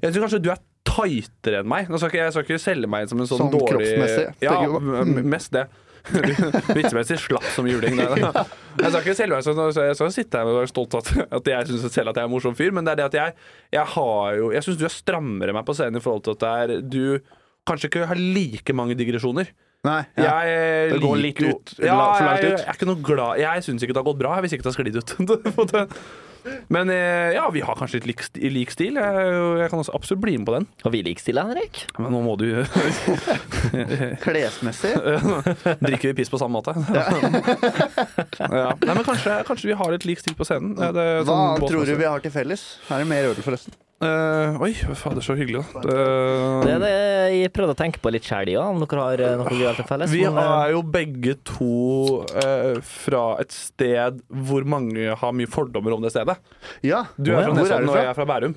[SPEAKER 2] Jeg syns kanskje du er tightere enn meg. Nå skal ikke, jeg skal ikke selge meg inn som en sånn,
[SPEAKER 3] Sånn
[SPEAKER 2] dårlig
[SPEAKER 3] kroppsmessig,
[SPEAKER 2] Ja,
[SPEAKER 3] tenker du på?
[SPEAKER 2] m- mest det. (laughs) Vitsemessig slapp som juling. nei, (laughs) nei. Jeg skal ikke selge meg sånn, så jeg skal sitte her og være stolt av at, at jeg syns selv at jeg er en morsom fyr, men det er det at jeg, jeg har jo Jeg syns du er strammere enn meg på scenen i forhold til at det er du kanskje ikke har like mange digresjoner.
[SPEAKER 3] Nei, ja.
[SPEAKER 2] Jeg
[SPEAKER 3] Det går
[SPEAKER 2] liker
[SPEAKER 3] litt
[SPEAKER 2] jo-
[SPEAKER 3] ut,
[SPEAKER 2] Ja,
[SPEAKER 3] la- for langt
[SPEAKER 2] jeg, jeg
[SPEAKER 3] ut.
[SPEAKER 2] er ikke noe glad Jeg syns ikke det har gått bra hvis ikke det har sklidd ut. (laughs) På det. Men eh, ja, vi har kanskje litt lik, sti- lik stil. Jeg, er jo- jeg kan også absolutt bli med på den.
[SPEAKER 1] Har vi lik stil, Henrik?
[SPEAKER 2] Men nå må du (laughs)
[SPEAKER 3] klesmessig.
[SPEAKER 2] Drikker vi piss på samme måte? (laughs) ja. Nei, men kanskje, kanskje vi har litt lik stil på scenen. Ja, Det, er
[SPEAKER 3] Hva
[SPEAKER 2] sånn
[SPEAKER 3] annet tror du
[SPEAKER 2] båtmessig.
[SPEAKER 3] vi har til felles? Her er det mer øl, forresten.
[SPEAKER 2] Eh, Oi, fader, så hyggelig, da.
[SPEAKER 1] Det
[SPEAKER 2] Det-
[SPEAKER 1] er det jeg prøvde å tenke på litt sjæl, ja, om dere har eh, noe gøy til felles.
[SPEAKER 2] Vi
[SPEAKER 1] men, eh,
[SPEAKER 2] er jo begge to eh, fra et sted hvor mange har mye fordommer om det stedet.
[SPEAKER 3] Ja.
[SPEAKER 2] Du
[SPEAKER 1] Å,
[SPEAKER 2] er
[SPEAKER 1] ja.
[SPEAKER 2] fra
[SPEAKER 3] Hvor er
[SPEAKER 2] Nesodden,
[SPEAKER 3] du
[SPEAKER 2] og
[SPEAKER 3] fra?
[SPEAKER 2] jeg er fra Bærum.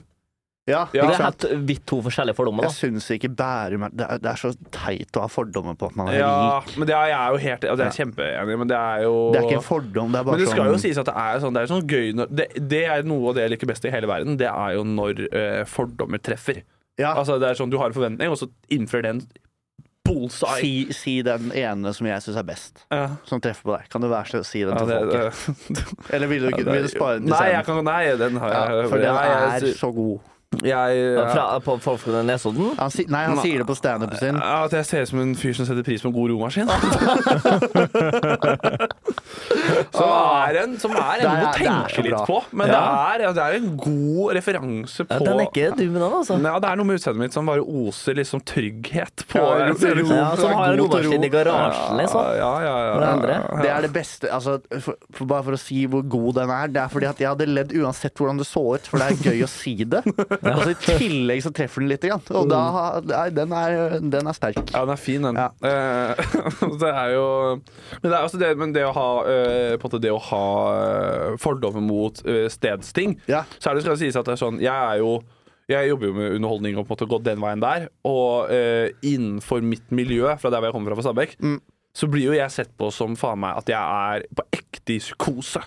[SPEAKER 3] ja.
[SPEAKER 2] Ja.
[SPEAKER 1] det er helt vidt to forskjellige fordommer,
[SPEAKER 3] Jeg
[SPEAKER 1] da.
[SPEAKER 3] syns ikke Bærum er det, er det er så teit å ha fordommer på at man er
[SPEAKER 2] Ja,
[SPEAKER 3] rik.
[SPEAKER 2] men det er, jeg er jo helt altså, Jeg er kjempeenig, men det er jo
[SPEAKER 3] Det er ikke en fordom, det er bare
[SPEAKER 2] men det skal jo
[SPEAKER 3] sånn
[SPEAKER 2] sies at det er sånn, det er sånn gøy når, det, det er noe av det jeg liker best i hele verden. Det er jo når eh, fordommer treffer.
[SPEAKER 3] ja,
[SPEAKER 2] Altså det er sånn Du har en forventning, og så innfører den bullseye.
[SPEAKER 3] si, si den ene som jeg syns er best,
[SPEAKER 2] Ja,
[SPEAKER 3] som treffer på deg. Kan du være så snill å si den
[SPEAKER 2] ja,
[SPEAKER 3] til
[SPEAKER 2] det, det,
[SPEAKER 3] folket? Eller (laughs) vil du, ikke, vil du spare den til
[SPEAKER 2] nei, jeg
[SPEAKER 3] senere?
[SPEAKER 2] kan, nei, den har jeg
[SPEAKER 3] Ja, for den
[SPEAKER 2] nei,
[SPEAKER 3] er
[SPEAKER 2] Eh, jeg,
[SPEAKER 3] så god.
[SPEAKER 2] jeg,
[SPEAKER 1] Fra, på folk fra Nesodden?
[SPEAKER 3] Han, si- nei, han sier det på standupen sin.
[SPEAKER 2] Ja, At jeg ser ut som en fyr som setter pris på en
[SPEAKER 1] (laughs)
[SPEAKER 2] god romaskin. som er en Som er en
[SPEAKER 3] Det er-
[SPEAKER 2] du må
[SPEAKER 3] det er så
[SPEAKER 2] tenke litt
[SPEAKER 3] bra.
[SPEAKER 2] på. Men
[SPEAKER 1] Ja.
[SPEAKER 2] det, er, ja, det er en god referanse
[SPEAKER 1] Ja,
[SPEAKER 2] på
[SPEAKER 1] den er ikke dum, den, altså.
[SPEAKER 2] Nei, ja, det er noe med utseendet mitt som bare oser liksom trygghet på
[SPEAKER 3] Ja, ro- ro-
[SPEAKER 1] Ja, som har
[SPEAKER 3] god til
[SPEAKER 1] romaskinn
[SPEAKER 3] ro.
[SPEAKER 1] i garasjen, liksom.
[SPEAKER 2] Ja, ja, ja,
[SPEAKER 1] For det andre.
[SPEAKER 3] Det er det beste altså, for, for Bare for å si hvor god den er. Det er fordi at jeg hadde ledd uansett hvordan det så ut, for det er gøy å si
[SPEAKER 2] (laughs)
[SPEAKER 3] det. Og så I tillegg så treffer den litt. Grann. Og da,
[SPEAKER 2] Mm.
[SPEAKER 3] nei, den, er, den er sterk.
[SPEAKER 2] Ja, den er fin, den.
[SPEAKER 3] Ja.
[SPEAKER 2] Eh, (laughs) det er jo Men det, er også det, men det å ha, eh, på en måte det å ha eh, fordommer mot eh, stedsting
[SPEAKER 3] Ja.
[SPEAKER 2] Så er det skal det sies at det er sånn Jeg er jo jeg jobber jo med underholdning og på en måte gått den veien der. Og eh, innenfor mitt miljø, fra der hvor jeg kommer fra, fra Stabekk,
[SPEAKER 3] Mm.
[SPEAKER 2] så blir jo jeg sett på som faen meg at jeg er på ekte i psykose.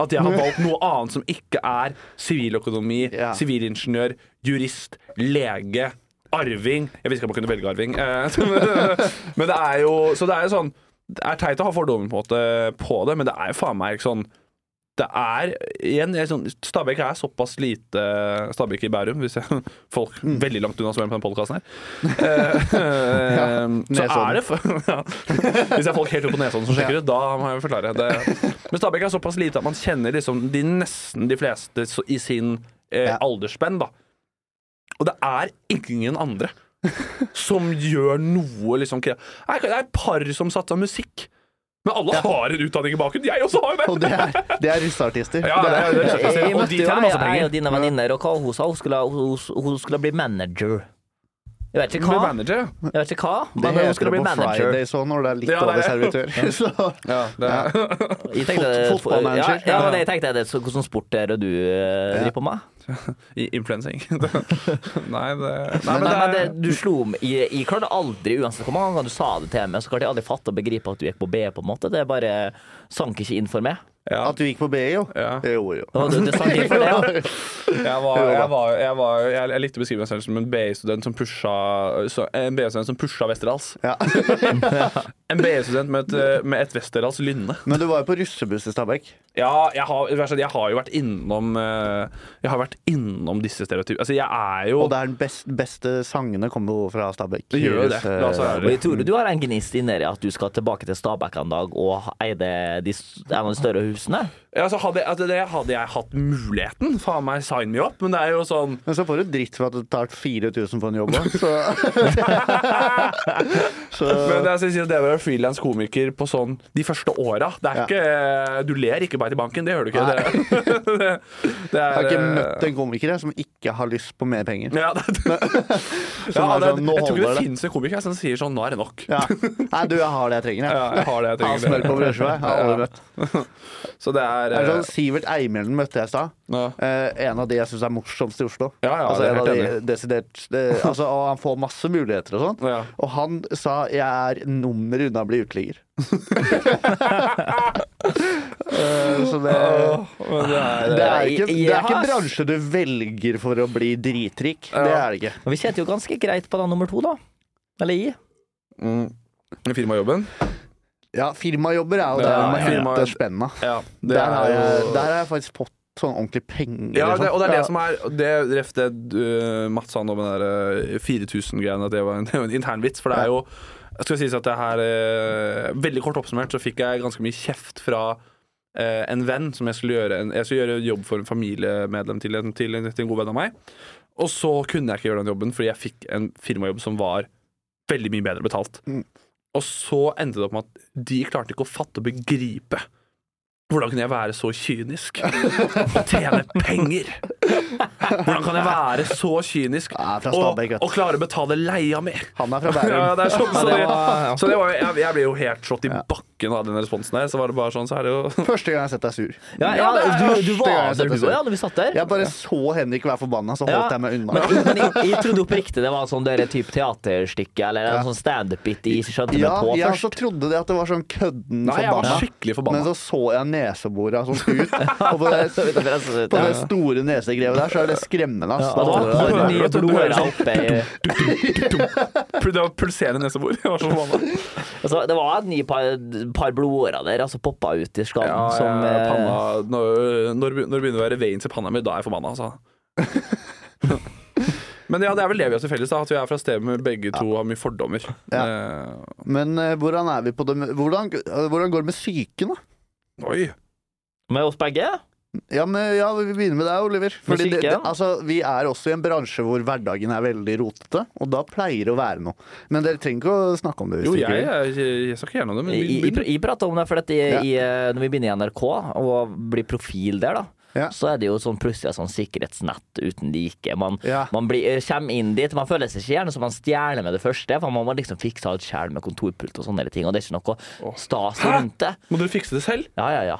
[SPEAKER 2] At jeg har valgt noe annet som ikke er siviløkonomi,
[SPEAKER 3] Ja.
[SPEAKER 2] sivilingeniør, jurist, lege, arving Jeg visste ikke om jeg kunne velge arving. eh, (laughs) men det er jo Så det er jo sånn Det er teit å ha fordommer på, en måte på det, men det er jo faen meg ikke sånn det er igjen jeg er sånn, Stabæk er såpass lite Stabæk i Bærum, hvis jeg, folk
[SPEAKER 3] Mm.
[SPEAKER 2] veldig langt unna som er med på denne podkasten
[SPEAKER 3] (laughs)
[SPEAKER 2] her. Eh, eh, så
[SPEAKER 3] Nesodden.
[SPEAKER 2] er det for, (laughs) ja. Hvis det er folk helt oppe på Nesodden som sjekker ut, da må jeg forklare. Det. Men Stabæk er såpass lite at man kjenner liksom de nesten de fleste så- i sin eh,
[SPEAKER 3] Ja.
[SPEAKER 2] aldersspenn. da Og det er ingen andre som gjør noe liksom kre- Det er det er et par som satser musikk. Men alle har en utdanning i bakgrunnen. Jeg også har jo
[SPEAKER 3] Og
[SPEAKER 2] det!
[SPEAKER 3] det er, det er russeartister.
[SPEAKER 2] Ja, det er, det er,
[SPEAKER 1] Jeg, jeg
[SPEAKER 2] og
[SPEAKER 1] møtte
[SPEAKER 2] de
[SPEAKER 1] jo
[SPEAKER 2] tjener masse
[SPEAKER 1] ei
[SPEAKER 2] penger.
[SPEAKER 1] av dine venninner, og hva hun sa? Hun skulle, hun, hun skulle bli manager. Jeg vet
[SPEAKER 2] Hun
[SPEAKER 1] ikke
[SPEAKER 2] ble
[SPEAKER 1] hva,
[SPEAKER 2] manager, ja.
[SPEAKER 1] jeg vet ikke hva
[SPEAKER 3] Det
[SPEAKER 1] men hun
[SPEAKER 3] heter
[SPEAKER 1] skulle
[SPEAKER 3] det
[SPEAKER 1] bli
[SPEAKER 3] på
[SPEAKER 1] manager.
[SPEAKER 3] Fridays òg, når det er litt
[SPEAKER 2] Ja, det er
[SPEAKER 3] over
[SPEAKER 2] det.
[SPEAKER 3] servitør. (laughs) Så,
[SPEAKER 2] Ja, det er.
[SPEAKER 1] Jeg tenkte,
[SPEAKER 3] Fot- fotballmanager.
[SPEAKER 1] Ja, ja, men jeg tenkte det, så, Hvordan sport er det du eh, driver på med?
[SPEAKER 2] (laughs) I influensing. (laughs) nei, det, nei, men
[SPEAKER 1] Nei,
[SPEAKER 2] det
[SPEAKER 1] men
[SPEAKER 2] er
[SPEAKER 1] det, du slo om- Jeg, jeg klarte aldri, uansett hvor mange ganger du sa det til meg, så klarte jeg aldri fatte og begripe at du gikk på B, på en måte. Det bare sank ikke inn for meg.
[SPEAKER 2] ja.
[SPEAKER 3] at du gikk på BI, jo.
[SPEAKER 2] Ja.
[SPEAKER 3] Jo, jo.
[SPEAKER 1] Det, var- det, det sank inn for det, ja.
[SPEAKER 2] Jeg, var, jeg, var, jeg, var, jeg, jeg likte å beskrive meg selv som en BI-student som pusha så, En BI-student som pusha Westerdals.
[SPEAKER 3] Ja. (laughs)
[SPEAKER 2] En BI-student med et, eh, med et Westerdals lynne.
[SPEAKER 3] Men du var jo på russebuss i Stabekk.
[SPEAKER 2] Ja, jeg har, det verste er at jeg har jo vært innom eh, Jeg har vært innom disse stereotypene. Altså, jeg er jo
[SPEAKER 3] Og det er den best, beste sangene kommer jo fra Stabekk.
[SPEAKER 2] Det gjør jo det.
[SPEAKER 3] Russe-
[SPEAKER 2] La oss være
[SPEAKER 1] Og jeg tror du har en gnist inni deg at du skal tilbake til Stabæk en dag og eie de, s- en av de større husene.
[SPEAKER 2] Ja, altså, hadde, jeg- altså, det, hadde jeg hatt muligheten, faen meg, sign me up. Men det er jo sånn
[SPEAKER 3] Men så får du dritt for at du tar 4000 for en jobb òg,
[SPEAKER 2] (laughs)
[SPEAKER 3] så, så
[SPEAKER 2] Men jeg synes det å være frilanskomiker på sånn de første åra Det er
[SPEAKER 3] Ja.
[SPEAKER 2] ikke Du ler ikke bare til banken, det gjør du ikke. (laughs) Det, det, det
[SPEAKER 3] Jeg har
[SPEAKER 2] er
[SPEAKER 3] ikke møtt en komiker jeg, som ikke har lyst på mer penger.
[SPEAKER 2] eh, ja, (laughs) det,
[SPEAKER 3] Som
[SPEAKER 2] ja,
[SPEAKER 3] er
[SPEAKER 2] det,
[SPEAKER 3] sånn, nå
[SPEAKER 2] Jeg tror ikke
[SPEAKER 3] holder
[SPEAKER 2] det
[SPEAKER 3] det.
[SPEAKER 2] finnes en komiker som sier sånn Nå er det nok.
[SPEAKER 3] Ja. Nei, du, jeg har det jeg trenger,
[SPEAKER 2] Ja,
[SPEAKER 3] jeg.
[SPEAKER 2] jeg har det jeg
[SPEAKER 3] Jeg har smør
[SPEAKER 2] trenger.
[SPEAKER 3] på brødskiva. jeg. Jeg har aldri
[SPEAKER 2] (laughs)
[SPEAKER 3] møtt.
[SPEAKER 2] Så det er,
[SPEAKER 3] Det er
[SPEAKER 2] eh,
[SPEAKER 3] sånn Sivert Eimelen møtte jeg i stad.
[SPEAKER 2] ja.
[SPEAKER 3] Eh, en av de jeg syns er morsomst i Oslo.
[SPEAKER 2] Ja, ja,
[SPEAKER 3] altså,
[SPEAKER 2] det er
[SPEAKER 3] en av
[SPEAKER 2] helt
[SPEAKER 3] de desidert eh, altså, Og han får masse muligheter og sånn.
[SPEAKER 2] Ja.
[SPEAKER 3] Og han sa 'jeg er nummer unna å bli
[SPEAKER 2] (laughs)
[SPEAKER 3] uteligger'. Eh, så det
[SPEAKER 2] Men det er
[SPEAKER 3] det er ikke,
[SPEAKER 1] Jeg- jeg
[SPEAKER 3] det er ikke
[SPEAKER 1] har-
[SPEAKER 3] en bransje du velger for å bli dritrik. Det er det ikke.
[SPEAKER 1] Men vi tjente jo ganske greit på den nummer to, da. Eller i.
[SPEAKER 2] mm, Firmajobben?
[SPEAKER 3] Ja, firmajobber er jo
[SPEAKER 2] Ja,
[SPEAKER 3] det med
[SPEAKER 2] firma-
[SPEAKER 3] hente spenna.
[SPEAKER 2] Ja. Det
[SPEAKER 3] Der har, jeg,
[SPEAKER 2] jo-
[SPEAKER 3] der har jeg faktisk fått sånn ordentlig penger.
[SPEAKER 2] ja, det,
[SPEAKER 3] liksom.
[SPEAKER 2] og det er
[SPEAKER 3] Ja.
[SPEAKER 2] det som er Det ref det uh, Mats sa nå med den eh, 4000-greiene, at det var en, (laughs) det var en internvits. For det er jo Jeg skal sies at det her eh, Veldig kort oppsummert så fikk jeg ganske mye kjeft fra eh, en venn som jeg skulle gjøre en, Jeg skulle gjøre jobb for en familiemedlem til en, til, en, til en god venn av meg. Og så kunne jeg ikke gjøre den jobben fordi jeg fikk en firmajobb som var veldig mye bedre betalt.
[SPEAKER 3] Mm.
[SPEAKER 2] Og så endte det opp med at de klarte ikke å fatte og begripe hvordan kunne jeg være så kynisk og tjene penger? Hvordan kan jeg være så kynisk
[SPEAKER 3] Ja, fra
[SPEAKER 2] og,
[SPEAKER 3] Stabæk, vet du.
[SPEAKER 2] og klare å betale leia mi?
[SPEAKER 3] Han er fra Bærum.
[SPEAKER 2] (laughs) Ja, det er sånn, så,
[SPEAKER 3] Ja,
[SPEAKER 2] det,
[SPEAKER 3] det var-
[SPEAKER 2] så det var, jo- jeg, jeg ble jo helt slått i bakken av den responsen der. Så var det bare sånn, så er det jo (laughs)
[SPEAKER 3] Første gang jeg har sett deg sur.
[SPEAKER 1] Ja,
[SPEAKER 2] Ja,
[SPEAKER 1] ja,
[SPEAKER 2] det er
[SPEAKER 1] du, du
[SPEAKER 3] første gang
[SPEAKER 1] var
[SPEAKER 3] jeg har sett
[SPEAKER 1] der
[SPEAKER 3] det
[SPEAKER 1] du
[SPEAKER 3] selv.
[SPEAKER 1] ja, når vi satt der.
[SPEAKER 3] Jeg bare så Henrik være forbanna, så holdt
[SPEAKER 1] Ja.
[SPEAKER 3] jeg meg unna.
[SPEAKER 1] Men, men jeg, jeg trodde oppriktig det var sånn der type teaterstykke eller en
[SPEAKER 3] Ja.
[SPEAKER 1] sånn standup-bit de ikke skjønte
[SPEAKER 3] ja,
[SPEAKER 1] meg på
[SPEAKER 3] jeg
[SPEAKER 1] først.
[SPEAKER 3] også trodde det at det var sånn kødden
[SPEAKER 2] Nei, jeg var
[SPEAKER 3] forbanna.
[SPEAKER 2] skikkelig
[SPEAKER 3] Men
[SPEAKER 2] forbanna.
[SPEAKER 3] så så jeg nesebora sånn ut. Og på det, på det
[SPEAKER 1] Ja.
[SPEAKER 3] store nesegrevet der, så er det skremmende. Ass.
[SPEAKER 1] Og
[SPEAKER 3] Da
[SPEAKER 1] det var
[SPEAKER 3] tror jeg-
[SPEAKER 1] par nye
[SPEAKER 2] Vet du, du hører
[SPEAKER 1] blodårer
[SPEAKER 2] sånn-
[SPEAKER 1] oppe i-
[SPEAKER 2] Det var pulserende nesebor. Jeg var så forbanna.
[SPEAKER 1] altså, Det var et nye par, par blodårer der, altså poppa ut i skallen
[SPEAKER 2] Ja,
[SPEAKER 1] som
[SPEAKER 2] jeg-
[SPEAKER 1] eh,
[SPEAKER 2] panna, når, når, når det begynner å være veins i panna mi, da er jeg forbanna, altså. Men ja, det er vel det vi har til felles, da, at vi er fra steder med begge to har mye fordommer. Eh,
[SPEAKER 3] Men eh, hvordan er vi på det med- hvordan, eh, hvordan går det med psyken, da?
[SPEAKER 2] oi.
[SPEAKER 1] Med oss begge?
[SPEAKER 3] Ja, men, ja, vi begynner med deg, Oliver. Fordi det, det,
[SPEAKER 1] Musikken?
[SPEAKER 3] altså, vi er også i en bransje hvor hverdagen er veldig rotete, og da pleier det å være noe. Men dere trenger ikke å snakke om det. hvis
[SPEAKER 2] Jo,
[SPEAKER 3] dere
[SPEAKER 2] jeg,
[SPEAKER 3] ikke vil.
[SPEAKER 2] jeg, jeg skal ikke gjerne det, men
[SPEAKER 1] Jeg, jeg,
[SPEAKER 2] begynn.
[SPEAKER 1] jeg prata om det, for at jeg, jeg, når vi begynner i NRK og blir profil der, da,
[SPEAKER 3] Ja.
[SPEAKER 1] så er det jo sånn plutselig et sånn sikkerhetsnett uten like. Man,
[SPEAKER 3] Ja.
[SPEAKER 1] man blir, eh, kommer inn dit, man føler seg ikke gjerne som en stjerne med det første, for man må liksom fikse alt sjæl med kontorpult og sånne ting, og det er ikke noe stas rundt det.
[SPEAKER 2] Må dere fikse det selv?
[SPEAKER 1] Ja, ja, ja.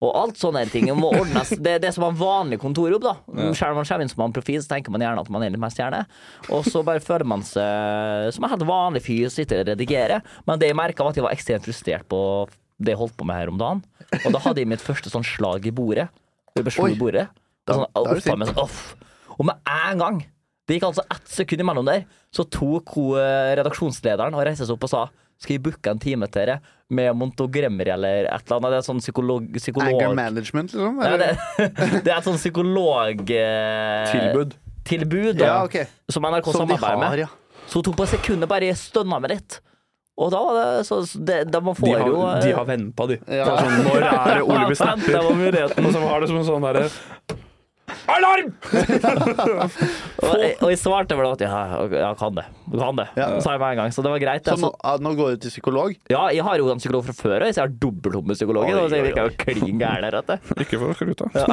[SPEAKER 1] Og alt sånne ting må ordnes. Det, det er som en vanlig kontorjobb, da. Selv om man kommer inn som en profil, så tenker man gjerne at man er litt mer stjerne. Og så bare føler man seg som en helt vanlig fyr som sitter og redigerer. Men det jeg merka, var at jeg var ekstremt frustrert på det jeg holdt på med her om dagen. Og da hadde jeg mitt første sånn slag i bordet. Jeg bare slo
[SPEAKER 3] Oi.
[SPEAKER 1] i bordet. Og sånn,
[SPEAKER 3] Da- da er du
[SPEAKER 1] opp av meg, sånn, off. Og med en gang, det gikk altså ett sekund imellom der, så tok hun eh, redaksjonslederen og reiste seg opp og sa skal jeg booke en time til dere med Montogremmer eller et eller annet? Det er sånn psykolog... psykolog
[SPEAKER 3] Anger management, liksom?
[SPEAKER 1] ja,
[SPEAKER 3] eller?
[SPEAKER 1] det, (laughs) det er et sånn psykolog... eh,
[SPEAKER 2] Tilbud.
[SPEAKER 1] Tilbud, da,
[SPEAKER 3] Ja, ok.
[SPEAKER 1] Som NRK
[SPEAKER 3] Som de
[SPEAKER 1] samarbeider
[SPEAKER 3] har,
[SPEAKER 1] med.
[SPEAKER 3] ja.
[SPEAKER 1] Så hun tok på sekundet bare stønna med litt. Og da var det så så det, da Man får
[SPEAKER 2] De har,
[SPEAKER 1] jo eh,
[SPEAKER 2] de (laughs) har venta, de.
[SPEAKER 1] (laughs)
[SPEAKER 3] Ja.
[SPEAKER 2] Det er sånn, når er det Ole
[SPEAKER 1] Ja,
[SPEAKER 2] blir snapper?
[SPEAKER 1] det var muligheten.
[SPEAKER 2] Og som har det som en sånn derre Alarm!
[SPEAKER 1] Og, og jeg svarte vel at ja, ja kan det. Du kan det. Sa jeg med en gang. Så det var greit.
[SPEAKER 3] Så
[SPEAKER 1] Jeg,
[SPEAKER 3] nå,
[SPEAKER 1] så,
[SPEAKER 3] ah, nå går du til psykolog?
[SPEAKER 1] ja, jeg har jo en psykolog fra før av, så jeg har dobbeltrom med psykologen.
[SPEAKER 3] Oi,
[SPEAKER 1] og Så jeg
[SPEAKER 3] oi,
[SPEAKER 1] virka
[SPEAKER 3] oi.
[SPEAKER 1] jo klin gæren her. vet du.
[SPEAKER 2] Ikke for skruta.
[SPEAKER 3] Ja,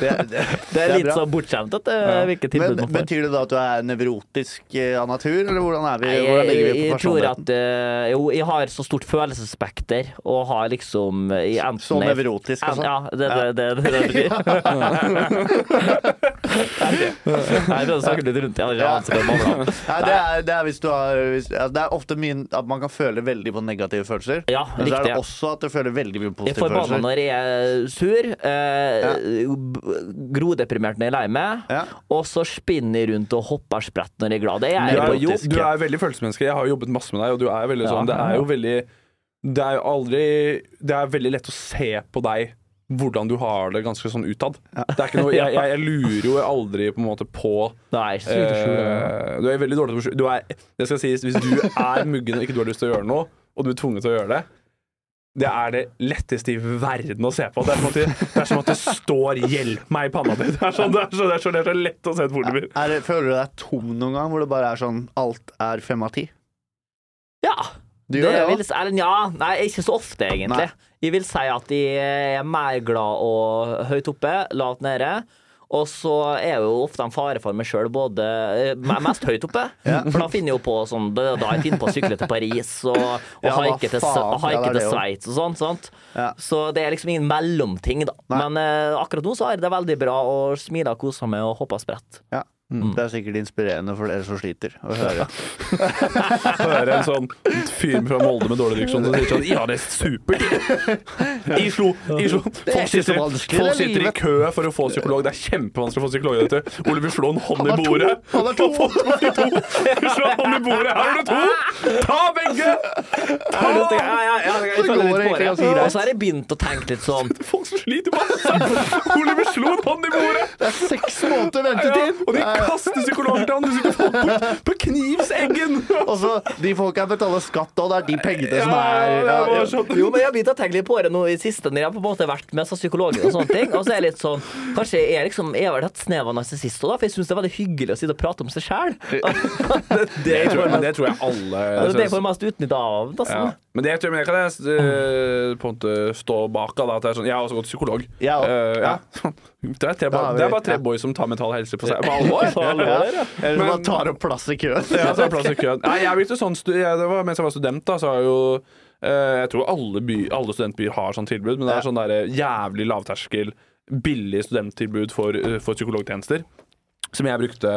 [SPEAKER 3] det, det,
[SPEAKER 1] (laughs) Det er litt
[SPEAKER 3] bra.
[SPEAKER 1] så bortskjemt at det hvilke
[SPEAKER 3] Men
[SPEAKER 1] tilbud man får.
[SPEAKER 3] Betyr det da at du er nevrotisk eh, av natur, eller hvordan, er vi,
[SPEAKER 1] Nei,
[SPEAKER 3] hvordan
[SPEAKER 1] jeg,
[SPEAKER 3] ligger vi på
[SPEAKER 1] jeg tror
[SPEAKER 3] personligheten?
[SPEAKER 1] at eh, Jo, jeg har så stort følelsesspekter og har liksom eh, jeg enten
[SPEAKER 3] Så
[SPEAKER 1] er-
[SPEAKER 3] nevrotisk, altså?
[SPEAKER 1] Ja, det er det, det, det, det betyr. Nei, jeg snakker litt rundt. Jeg har ikke
[SPEAKER 3] Ja.
[SPEAKER 1] anelse på hva det er.
[SPEAKER 3] Nei, det, er, det, er hvis du har, hvis, altså, det er ofte mye at man kan føle veldig på negative følelser.
[SPEAKER 1] Ja,
[SPEAKER 3] men så er
[SPEAKER 1] riktig.
[SPEAKER 3] det også at du føler veldig mye
[SPEAKER 1] Jeg
[SPEAKER 3] positive
[SPEAKER 1] får banna
[SPEAKER 3] følelser.
[SPEAKER 1] når jeg er sur, eh, b- grodeprimert når jeg er lei meg,
[SPEAKER 3] Ja.
[SPEAKER 1] og så spinner jeg rundt og hopper sprett når jeg er glad. Det
[SPEAKER 2] Du
[SPEAKER 1] er jeg
[SPEAKER 2] er,
[SPEAKER 1] på
[SPEAKER 2] jo,
[SPEAKER 1] jobb.
[SPEAKER 2] du er veldig følelsesmenneske. Jeg har jo jobbet masse med deg, og du er veldig
[SPEAKER 1] Ja.
[SPEAKER 2] sånn Det er jo veldig Det er jo aldri Det er veldig lett å se på deg hvordan du har det ganske sånn utad. Det er
[SPEAKER 1] (laughs)
[SPEAKER 2] ikke noe, jeg, jeg, jeg lurer jo aldri på en måte på
[SPEAKER 1] Nei, ikke så mye til å skjule.
[SPEAKER 2] eh, Du er veldig dårlig til å skjule du er- Det skal sies, hvis du er muggen og ikke du har lyst til å gjøre noe, og du er tvunget til å gjøre det det er det letteste i verden å se på. Det er, på en måte, det er som at det står 'hjelp meg' i panna di. Det er, sånn, det, er så, det, er så, det er så lett å se et forum.
[SPEAKER 3] Er det, føler du deg tom noen gang, hvor det bare er sånn alt er fem av ti?
[SPEAKER 1] Ja.
[SPEAKER 3] Du gjør det,
[SPEAKER 1] vil
[SPEAKER 3] også?
[SPEAKER 1] si- eller nja, nei, ikke så ofte, egentlig. Jeg vil si at jeg er mer glad og høyt oppe, lavt nede. Og så er jeg jo ofte en fare for meg sjøl, både eh, me- mest høyt oppe.
[SPEAKER 3] (laughs)
[SPEAKER 1] For da finner jeg jo på sånn det er Da jeg finner på å sykle til Paris og, og
[SPEAKER 3] Ja, hva
[SPEAKER 1] haike til,
[SPEAKER 3] faen,
[SPEAKER 1] og haike
[SPEAKER 3] ja, det er
[SPEAKER 1] til
[SPEAKER 3] det jo.
[SPEAKER 1] Sveits og sånn. Sant?
[SPEAKER 3] Ja.
[SPEAKER 1] Så det er liksom ingen mellomting, da. Men eh, akkurat nå så er det veldig bra å smile og kose meg og hoppe spredt.
[SPEAKER 3] Ja.
[SPEAKER 2] Mm.
[SPEAKER 3] Det er sikkert inspirerende for dere som sliter, å høre.
[SPEAKER 2] Hører en sånn fyr fra Molde med dårlig diksjon som sier sånn Ja, det er supert! I Slo! I Slo. Folk,
[SPEAKER 3] ikke så
[SPEAKER 2] sitter,
[SPEAKER 3] vanskelig,
[SPEAKER 2] folk
[SPEAKER 3] det
[SPEAKER 2] sitter i
[SPEAKER 3] livet.
[SPEAKER 2] kø for å få psykolog. Det er kjempevanskelig å få psykolog. Dette. Ole vil slå en hånd i
[SPEAKER 3] har to.
[SPEAKER 2] bordet.
[SPEAKER 3] Han har to.
[SPEAKER 2] har to! Jeg vil slå en hånd i bordet. Her har du to! Ta begge!
[SPEAKER 1] Ja, ja, ja, ja, jeg
[SPEAKER 3] Så
[SPEAKER 1] føler
[SPEAKER 3] går
[SPEAKER 1] litt
[SPEAKER 3] det
[SPEAKER 1] på
[SPEAKER 3] egentlig
[SPEAKER 1] det.
[SPEAKER 3] ganske greit.
[SPEAKER 1] Og så har jeg begynt å tenke litt sånn
[SPEAKER 2] Folk som sliter masse. Ole vil slå en hånd i bordet.
[SPEAKER 3] Det er seks måneder
[SPEAKER 2] Ja,
[SPEAKER 3] ventetid!
[SPEAKER 2] og de
[SPEAKER 3] Ja, ja.
[SPEAKER 2] kaster psykologer til han. Du sitter folk på, på knivseggen!
[SPEAKER 3] Og så, de folka betaler skatt, og det er de pengene som
[SPEAKER 2] Ja,
[SPEAKER 3] er
[SPEAKER 2] ja,
[SPEAKER 3] ja,
[SPEAKER 2] ja, det var
[SPEAKER 3] ja.
[SPEAKER 2] sånn.
[SPEAKER 1] Jo, men jeg har begynt å tenke litt på det nå i siste når jeg har på en måte vært med som psykolog og sånne ting. Og så er jeg litt sånn Kanskje jeg er liksom Jeg har vel hatt snev av narsissist òg, da, for jeg syns det er veldig hyggelig å sitte og prate om seg sjæl. Det er det jeg får mest-
[SPEAKER 2] Det tror jeg alle
[SPEAKER 1] det er Altså, det jeg får mest utnytta av. Da,
[SPEAKER 2] Ja.
[SPEAKER 1] sånn.
[SPEAKER 2] Men det tror jeg, men jeg kan jeg, eh, på en måte stå bak av. da, At jeg, er sånn, jeg har også gått psykolog.
[SPEAKER 3] Jeg også.
[SPEAKER 2] Eh, ja. (laughs) Det, er tre,
[SPEAKER 3] Da har vi-
[SPEAKER 2] det er bare tre
[SPEAKER 3] ja.
[SPEAKER 2] boys som tar mental helse på seg.
[SPEAKER 1] (laughs)
[SPEAKER 2] På alvor!
[SPEAKER 1] På alvor, ja.
[SPEAKER 3] Eller som
[SPEAKER 2] Men-
[SPEAKER 3] bare tar opp plass i køen.
[SPEAKER 2] Ja, så er det plass i køen. Nei, jeg begynte sånn stu- jeg, det var mens jeg var student, da, så har jeg jo eh, Jeg tror alle, by, alle studentbyer har sånn tilbud, men det er sånn der eh, jævlig lavterskel, billig studenttilbud for, eh, for psykologtjenester, som jeg brukte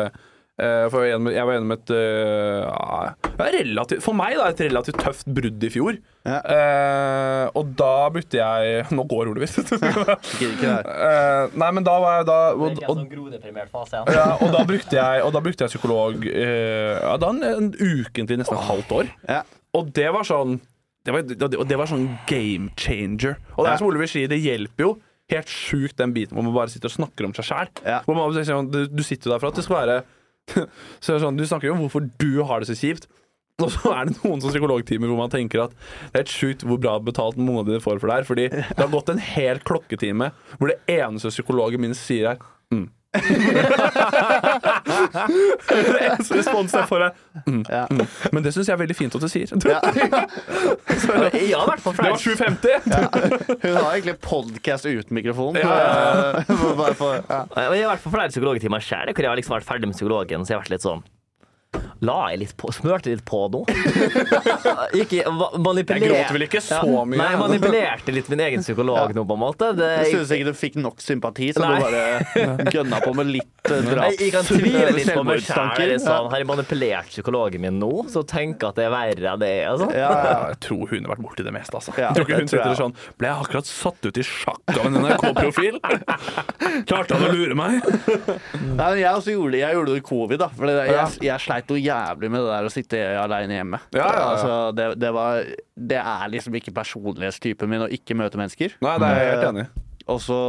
[SPEAKER 2] eh, for jeg var gjennom- jeg var gjennom et eh, ja, relativt, For meg, da, et relativt tøft brudd i fjor.
[SPEAKER 3] Ja.
[SPEAKER 2] Eh, og da brukte jeg (laughs) Nå går ordet visst.
[SPEAKER 3] Ikke- ikke det her.
[SPEAKER 2] Eh, nei, men da var jeg da og, og, ja, og da brukte jeg, og da brukte jeg psykolog eh, ja, da en, en ukentlig, nesten et halvt år.
[SPEAKER 3] Ja.
[SPEAKER 2] Og det var sånn Det var, det, og det var sånn game changer. Og det er som Oliver sier, det hjelper jo helt sjukt den biten hvor man bare sitter og snakker om seg sjæl.
[SPEAKER 3] Ja.
[SPEAKER 2] sånn, Du, du sitter jo der for at det skal være (laughs) så er det sånn, Du snakker jo om hvorfor du har det så kjipt. Og så er det noen sånne psykologtimer hvor man tenker at det er helt sjukt hvor bra betalt noen av dine får for det her. Fordi det har gått en hel klokketime hvor det eneste psykologen min sier, er mm. (laughs) det eneste responsen jeg får, er mm.
[SPEAKER 3] Ja.
[SPEAKER 2] Men det syns jeg er veldig fint at du sier.
[SPEAKER 1] (laughs) Ja, i hvert fall
[SPEAKER 2] Det
[SPEAKER 1] flere.
[SPEAKER 2] var 750! (laughs)
[SPEAKER 3] Hun har egentlig podkast uten mikrofon.
[SPEAKER 2] Ja, ja,
[SPEAKER 3] For- (laughs) bare for- ja.
[SPEAKER 1] Jeg har i hvert fall flere psykologtimer sjøl, hvor jeg har liksom vært ferdig med psykologen. Så jeg har vært litt sånn La jeg litt på Smørte litt på
[SPEAKER 2] (laughs)
[SPEAKER 1] nå? Ikke va- manipulerte
[SPEAKER 2] Jeg gråter vel ikke så mye.
[SPEAKER 1] Nei, jeg manipulerte litt min egen psykolog nå, på en måte. Det,
[SPEAKER 3] Jeg synes ikke du fikk nok sympati, så
[SPEAKER 1] Nei.
[SPEAKER 3] du bare gønna på med litt eh,
[SPEAKER 1] Jeg,
[SPEAKER 3] draps...
[SPEAKER 1] jeg kan tvile litt på meg
[SPEAKER 3] selvmordstanker.
[SPEAKER 1] sjæl. Sånn, har jeg manipulert psykologen min nå, så tenker jeg at det er verre enn det er? Altså.
[SPEAKER 3] Ja, ja.
[SPEAKER 2] Jeg tror hun har vært borti det meste, altså.
[SPEAKER 3] Ja,
[SPEAKER 2] jeg tror ikke hun
[SPEAKER 3] det tror
[SPEAKER 2] sitter
[SPEAKER 3] jeg.
[SPEAKER 2] sånn Ble jeg akkurat satt ut i sjakk av en (laughs) NRK-profil? Klarte han å lure meg?
[SPEAKER 3] Nei, men jeg også gjorde det jeg gjorde det i covid, da. For det der,
[SPEAKER 2] Ja.
[SPEAKER 3] jeg, jeg sleit noe jævlig med det der å sitte aleine hjemme.
[SPEAKER 2] Ja, ja, ja.
[SPEAKER 3] Altså, det, det, var, det er liksom ikke personlighetstypen min å ikke møte mennesker.
[SPEAKER 2] Nei, det er jeg helt enig i.
[SPEAKER 3] Og så,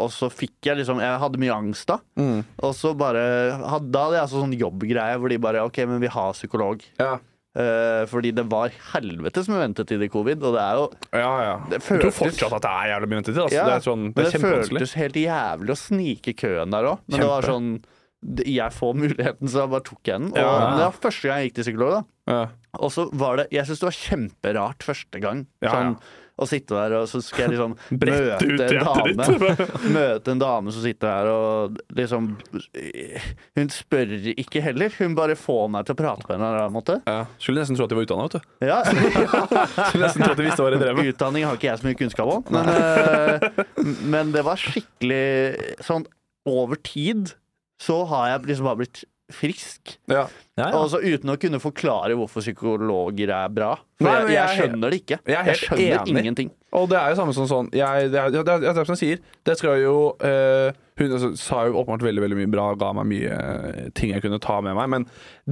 [SPEAKER 3] og så fikk jeg liksom Jeg hadde mye angst da.
[SPEAKER 2] Mm.
[SPEAKER 3] Og så bare had- Da hadde jeg altså sånn jobbgreie hvor de bare OK, men vi har psykolog.
[SPEAKER 2] Ja.
[SPEAKER 4] Eh, fordi det var helvetes med ventetid i covid, og det er jo
[SPEAKER 2] Ja, ja.
[SPEAKER 4] Det
[SPEAKER 2] Jeg tror
[SPEAKER 4] føltes-
[SPEAKER 2] fortsatt at det er jævlig mye ventetid. Altså.
[SPEAKER 4] Ja,
[SPEAKER 2] det er, sånn, det
[SPEAKER 4] men
[SPEAKER 2] er kjempevanskelig.
[SPEAKER 4] føltes helt jævlig å snike i køen der òg. Men det var
[SPEAKER 2] Kjempe.
[SPEAKER 4] sånn det- Jeg får muligheten, så jeg bare tok jeg den. Og
[SPEAKER 2] Ja.
[SPEAKER 4] men det var første gang jeg gikk til psykolog, da.
[SPEAKER 2] Ja.
[SPEAKER 4] Og så var det Jeg syns det var kjemperart første gang.
[SPEAKER 2] Ja,
[SPEAKER 4] sånn
[SPEAKER 2] ja.
[SPEAKER 4] Å sitte der, og så skal jeg
[SPEAKER 2] (laughs)
[SPEAKER 4] liksom
[SPEAKER 2] Brette ut
[SPEAKER 4] møte en
[SPEAKER 2] hjertet
[SPEAKER 4] dame (laughs) Møte en dame som sitter her og liksom Hun spør ikke heller. Hun bare får meg til å prate på en eller annen måte.
[SPEAKER 2] Ja. Skulle nesten tro at de var utdanna, vet (laughs) du.
[SPEAKER 4] Ja.
[SPEAKER 2] Skulle nesten tro at de visste hva de drev med.
[SPEAKER 4] Utdanning har ikke jeg så mye kunnskap om, men, eh, men det var skikkelig sånn over tid så har jeg liksom bare blitt frisk.
[SPEAKER 2] Ja.
[SPEAKER 1] Ja, ja.
[SPEAKER 4] Altså Uten å kunne forklare hvorfor psykologer er bra. For jeg,
[SPEAKER 2] Nei, men jeg
[SPEAKER 4] jeg
[SPEAKER 2] er helt-
[SPEAKER 4] skjønner det ikke.
[SPEAKER 2] jeg er
[SPEAKER 4] Jeg
[SPEAKER 2] helt
[SPEAKER 4] skjønner
[SPEAKER 2] enig.
[SPEAKER 4] ingenting.
[SPEAKER 2] Og det er jo samme som sånn jeg, det, er, det, er, det er som jeg sier. Det skal jo eh, Hun altså, sa jo åpenbart veldig veldig mye bra, ga meg mye eh, ting jeg kunne ta med meg. Men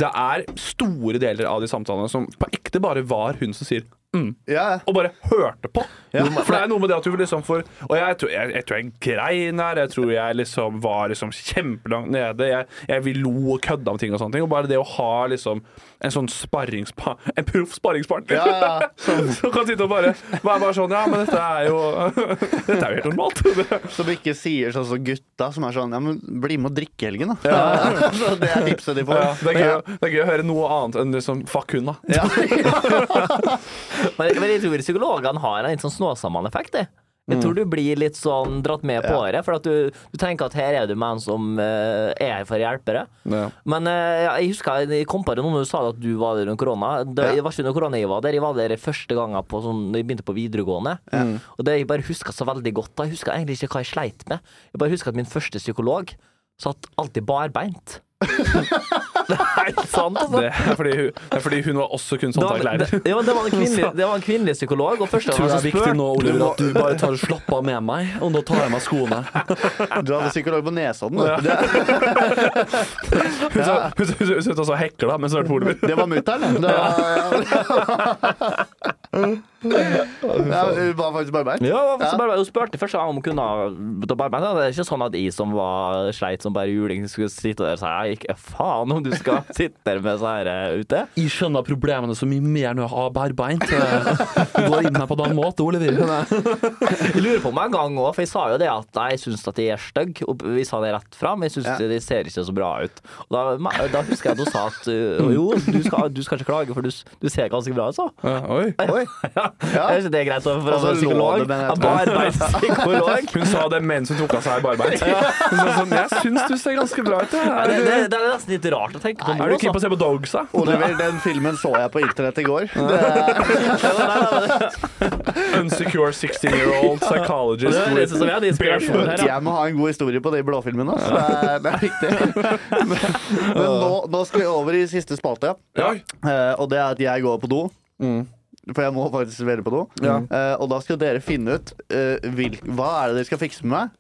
[SPEAKER 2] det er store deler av de samtalene som på ekte bare var hun som sier mm.
[SPEAKER 3] Ja,
[SPEAKER 2] Og bare hørte på. For det er noe med det at du liksom får Og jeg tror jeg, jeg, tror jeg grein her. Jeg tror jeg liksom var liksom kjempelangt nede. Jeg, jeg vi lo og kødda med ting og sånne ting. Og bare det å ha liksom en sånn sparringspa... En proff sparringspartner
[SPEAKER 3] Ja, ja, ja.
[SPEAKER 2] (laughs) som, kan sitte og bare være bare sånn Ja, men dette er jo (laughs) Dette er jo helt normalt. (laughs) Det-
[SPEAKER 3] Som ikke sier sånn som gutta, som er sånn Ja, men bli med og drikke i helgen, da. (laughs) så det er tipset de får.
[SPEAKER 2] Ja, det, er gøy, det er gøy å høre noe annet enn liksom Fuck hun, da.
[SPEAKER 3] Ja.
[SPEAKER 1] Men, men jeg tror psykologene har en litt sånn snåsamann effekt, jeg. Jeg tror du blir litt sånn dratt med på året, for at du, du tenker at her er du med en som eh, er her for å hjelpe deg.
[SPEAKER 2] Ja.
[SPEAKER 1] Men eh, ja, jeg husker jeg- jeg kom på det nå når du sa at du var der under korona. Det det var ikke under korona jeg var der, jeg var der første gangen på, sånn, jeg begynte på videregående. Og det jeg bare husker så veldig godt da, jeg husker egentlig ikke hva jeg sleit med. Jeg bare husker at min første psykolog satt alltid barbeint. det er helt sant, altså.
[SPEAKER 2] Det er fordi hun, det er fordi hun var også sånn
[SPEAKER 1] Det var,
[SPEAKER 2] kunsthåndverklærer.
[SPEAKER 1] det, ja, men det, var en (laughs) kvinnelig, det var en kvinnelig psykolog, og første gang
[SPEAKER 5] tror det
[SPEAKER 1] han
[SPEAKER 5] er viktig
[SPEAKER 1] spurte
[SPEAKER 5] nå, Oliver, at du bare tar og slapper av med meg, og da tar jeg meg
[SPEAKER 2] (laughs)
[SPEAKER 5] skoene.
[SPEAKER 3] Du hadde psykolog på Nesodden, da. Det,
[SPEAKER 2] Hun sa- hun sa- hun sa- hun sa også hekla, men så hørte på Oliver.
[SPEAKER 3] det var mutter'n, det. (laughs) Ja, hun var faktisk barbeint.
[SPEAKER 1] Ja, hva- så bare, hun spurte først om hun kunne ta barbeint. Det er ikke sånn at jeg som var sleit som bare juling, skulle sitte der og si «Nei, ikke faen om du skal sitte der med så her eh, ute.
[SPEAKER 5] Jeg skjønner problemene så mye mer når jeg har barbeint. Jeg Går inn her på den måten, Oliver.
[SPEAKER 1] Jeg lurer på meg en gang òg, for jeg sa jo det at jeg syns at jeg er stygg. Og vi sa det rett fram. Jeg syns de ser ikke så bra ut. Og da, da husker jeg at hun sa at eh, jo, du skal, du skal ikke klage, for du, s- du ser ganske bra ut, så.
[SPEAKER 2] Ja, oi.
[SPEAKER 3] Oi.
[SPEAKER 1] Ja. Jeg synes det er greit så for å
[SPEAKER 3] Og
[SPEAKER 1] være
[SPEAKER 3] så lå
[SPEAKER 1] psykolog.
[SPEAKER 3] det med en
[SPEAKER 1] Ja, Barbeint psykolog.
[SPEAKER 2] Hun sa det mens hun tok av seg barbeint. Hun sa sånn, jeg syns du ser ganske bra ut.
[SPEAKER 1] Ja,
[SPEAKER 2] Jeg.
[SPEAKER 1] Det, det, det er nesten litt rart å tenke på. nå,
[SPEAKER 2] Er du keen
[SPEAKER 1] altså.
[SPEAKER 2] på å se på Dogs, da?
[SPEAKER 3] Oliver, den filmen så jeg på internett i går. Det,
[SPEAKER 2] Unsecure 16-year-old psychologist.
[SPEAKER 1] Det høres ut som jeg hadde inspirasjon her. Ja.
[SPEAKER 3] jeg må ha en god historie på de blåfilmene. ass. Det, er- det er viktig. Men, men nå, nå skal vi over i siste spalte.
[SPEAKER 2] Ja.
[SPEAKER 3] Eh, og det er at jeg går på do. For jeg må faktisk være på do. Eh, og da skal dere finne ut eh, hvil, hva er det dere skal fikse med meg.